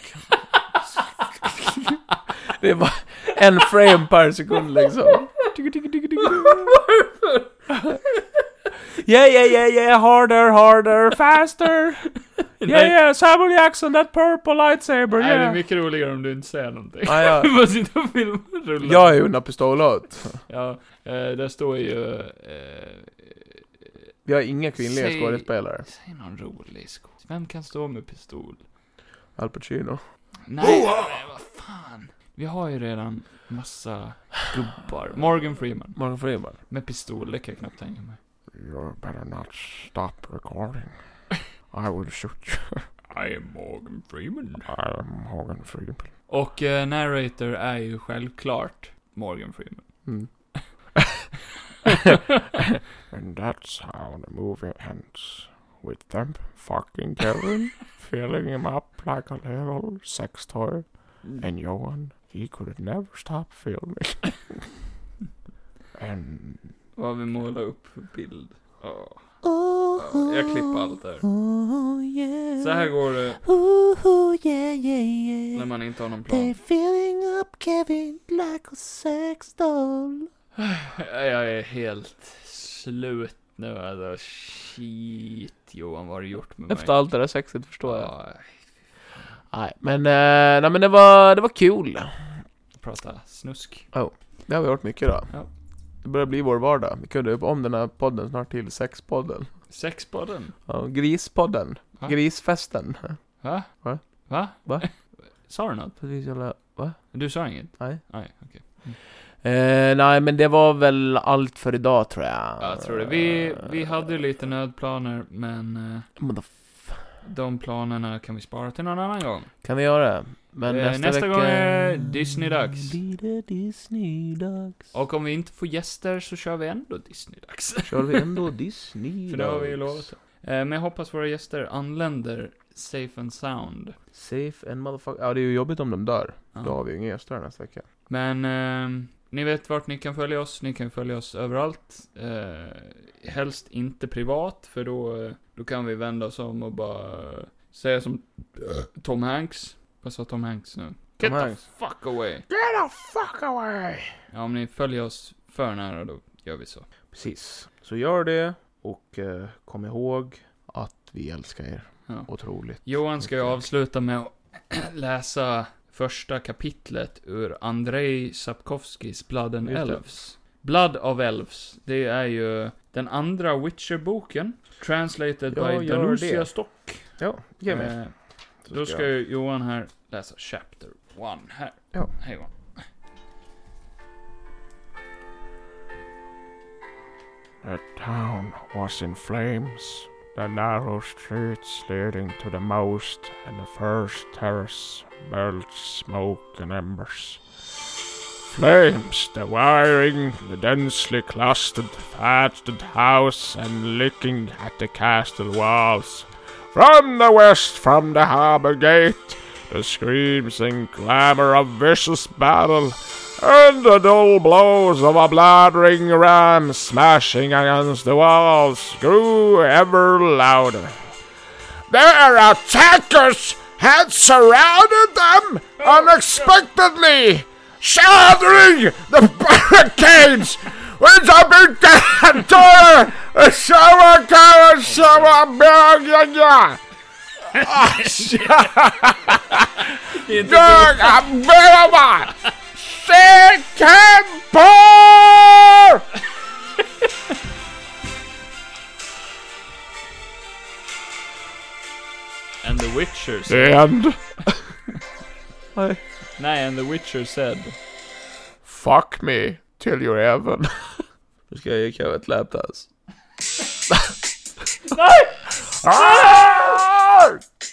[SPEAKER 3] Det är bara en frame per sekund liksom. Yeah, yeah, yeah, yeah, harder, harder, faster! Yeah,
[SPEAKER 1] Nej.
[SPEAKER 3] yeah, Samuel Jackson, that purple lightsaber,
[SPEAKER 1] Nej, det är
[SPEAKER 3] yeah!
[SPEAKER 1] mycket roligare om du inte säger någonting.
[SPEAKER 3] Ah, ja.
[SPEAKER 1] Du bara sitter och filmar och rullar.
[SPEAKER 3] Jag är ju under pistolhot.
[SPEAKER 1] Ja, eh, där står ju... Eh,
[SPEAKER 3] Vi har inga kvinnliga
[SPEAKER 1] Säg-
[SPEAKER 3] skådespelare.
[SPEAKER 1] säg någon rolig skådis. Vem kan stå med pistol?
[SPEAKER 3] Al Pacino.
[SPEAKER 1] Nej, men vad fan. Vi har ju redan massa gubbar. Morgan Freeman.
[SPEAKER 3] Morgan Freeman.
[SPEAKER 1] Med pistol, det kan jag knappt tänka mig.
[SPEAKER 2] You better not stop recording. I will shoot you.
[SPEAKER 1] I am Morgan Freeman.
[SPEAKER 2] I am Morgan Freeman.
[SPEAKER 1] Och eh, narrator är ju självklart Morgan Freeman.
[SPEAKER 3] Mm.
[SPEAKER 2] And that's how the movie ends. With them fucking Kevin, filling him up like a little sex toy.
[SPEAKER 3] Mm.
[SPEAKER 2] And Johan, he could never stop filming. and
[SPEAKER 1] Vad vi målar upp för bild. Ja. Ja, jag klipper allt där.
[SPEAKER 4] Oh yeah.
[SPEAKER 1] Så här går det
[SPEAKER 4] Ooh, yeah, yeah, yeah.
[SPEAKER 1] när man inte har någon plan.
[SPEAKER 4] They're filling up Kevin like a sex doll.
[SPEAKER 1] Jag är helt slut nu alltså. Shit Johan, vad har du gjort med mig?
[SPEAKER 3] Efter allt det där sexet förstår jag.
[SPEAKER 1] Ja,
[SPEAKER 3] Nej, men, eh, nej, men det var, det var kul.
[SPEAKER 1] Prata snusk.
[SPEAKER 3] Det har vi gjort mycket då.
[SPEAKER 1] Ja.
[SPEAKER 3] Det börjar bli vår vardag. Vi kunde upp om den här podden snart till sexpodden.
[SPEAKER 1] Sexpodden?
[SPEAKER 3] Ja, grispodden.
[SPEAKER 1] Va?
[SPEAKER 3] Grisfesten.
[SPEAKER 1] Va?
[SPEAKER 3] Va?
[SPEAKER 1] Va?
[SPEAKER 3] Va?
[SPEAKER 1] Sa du något?
[SPEAKER 3] Precis jävla... Va?
[SPEAKER 1] Du sa inget?
[SPEAKER 3] Nej.
[SPEAKER 1] Nej, okej.
[SPEAKER 3] Eh, nej, men det var väl allt för idag tror jag.
[SPEAKER 1] Ja, Jag tror det. Vi,
[SPEAKER 3] Eh.
[SPEAKER 1] vi hade ju lite nödplaner, men eh,
[SPEAKER 3] Motherf-
[SPEAKER 1] de planerna kan vi spara till någon annan gång.
[SPEAKER 3] Kan vi göra det? Men
[SPEAKER 1] Eh,
[SPEAKER 3] nästa,
[SPEAKER 1] nästa
[SPEAKER 3] vecka...
[SPEAKER 1] gång är Disney-dags.
[SPEAKER 3] Blir det Disney-dags?
[SPEAKER 1] Och om vi inte får gäster så kör vi ändå Disney-dags.
[SPEAKER 3] Kör vi ändå Disney-dags?
[SPEAKER 1] För det har vi ju lovat. Eh, Men jag hoppas våra gäster anländer safe and sound.
[SPEAKER 3] Safe and motherfucker... Ja, det är ju jobbigt om de dör. Då har vi ju inga gäster nästa vecka.
[SPEAKER 1] Men eh, ni vet vart ni kan följa oss. Ni kan följa oss överallt. Eh, helst inte privat, för då, eh, då kan vi vända oss om och bara eh, säga som Tom Hanks. Vad sa Tom Hanks nu? Get
[SPEAKER 3] Hanks.
[SPEAKER 1] the fuck away!
[SPEAKER 2] get the fuck away!
[SPEAKER 1] Ja, om ni följer oss för nära då gör vi så.
[SPEAKER 3] Precis. Så gör det och eh, kom ihåg att vi älskar er
[SPEAKER 1] Ja.
[SPEAKER 3] otroligt.
[SPEAKER 1] Johan ska ju
[SPEAKER 3] Okej.
[SPEAKER 1] avsluta med att läsa första kapitlet ur Andrei Sapkowskis Blood and
[SPEAKER 3] Just det.
[SPEAKER 1] Elves. Blood of Elves, det är ju den andra Witcher-boken. Translated
[SPEAKER 3] Ja,
[SPEAKER 1] by
[SPEAKER 3] gör
[SPEAKER 1] Danusia
[SPEAKER 3] det.
[SPEAKER 1] Stock.
[SPEAKER 3] Ja, ge mig.
[SPEAKER 1] Eh, Då ska ju Johan här läsa Chapter 1 här.
[SPEAKER 3] Ja.
[SPEAKER 1] Hej Johan.
[SPEAKER 2] The town was in flames. The narrow streets leading to the most and the first terrace belched smoke and embers. Flames devouring the densely clustered, thatched house and licking at the castle walls. From the west, from the harbour gate, the screams and clamour of vicious battle and the dull blows of a bladdering ram smashing against the walls grew ever louder. Their attackers had surrounded them unexpectedly, shattering the barricades which had been torn Shower, shower, shower, yeah. Jag behöver säcken på!
[SPEAKER 1] And the Witcher said...
[SPEAKER 2] The end.
[SPEAKER 1] Nej, and the Witcher said...
[SPEAKER 2] Fuck me till your heaven.
[SPEAKER 3] Nu ska jag ge Kevin ett lapdance.
[SPEAKER 2] Ah!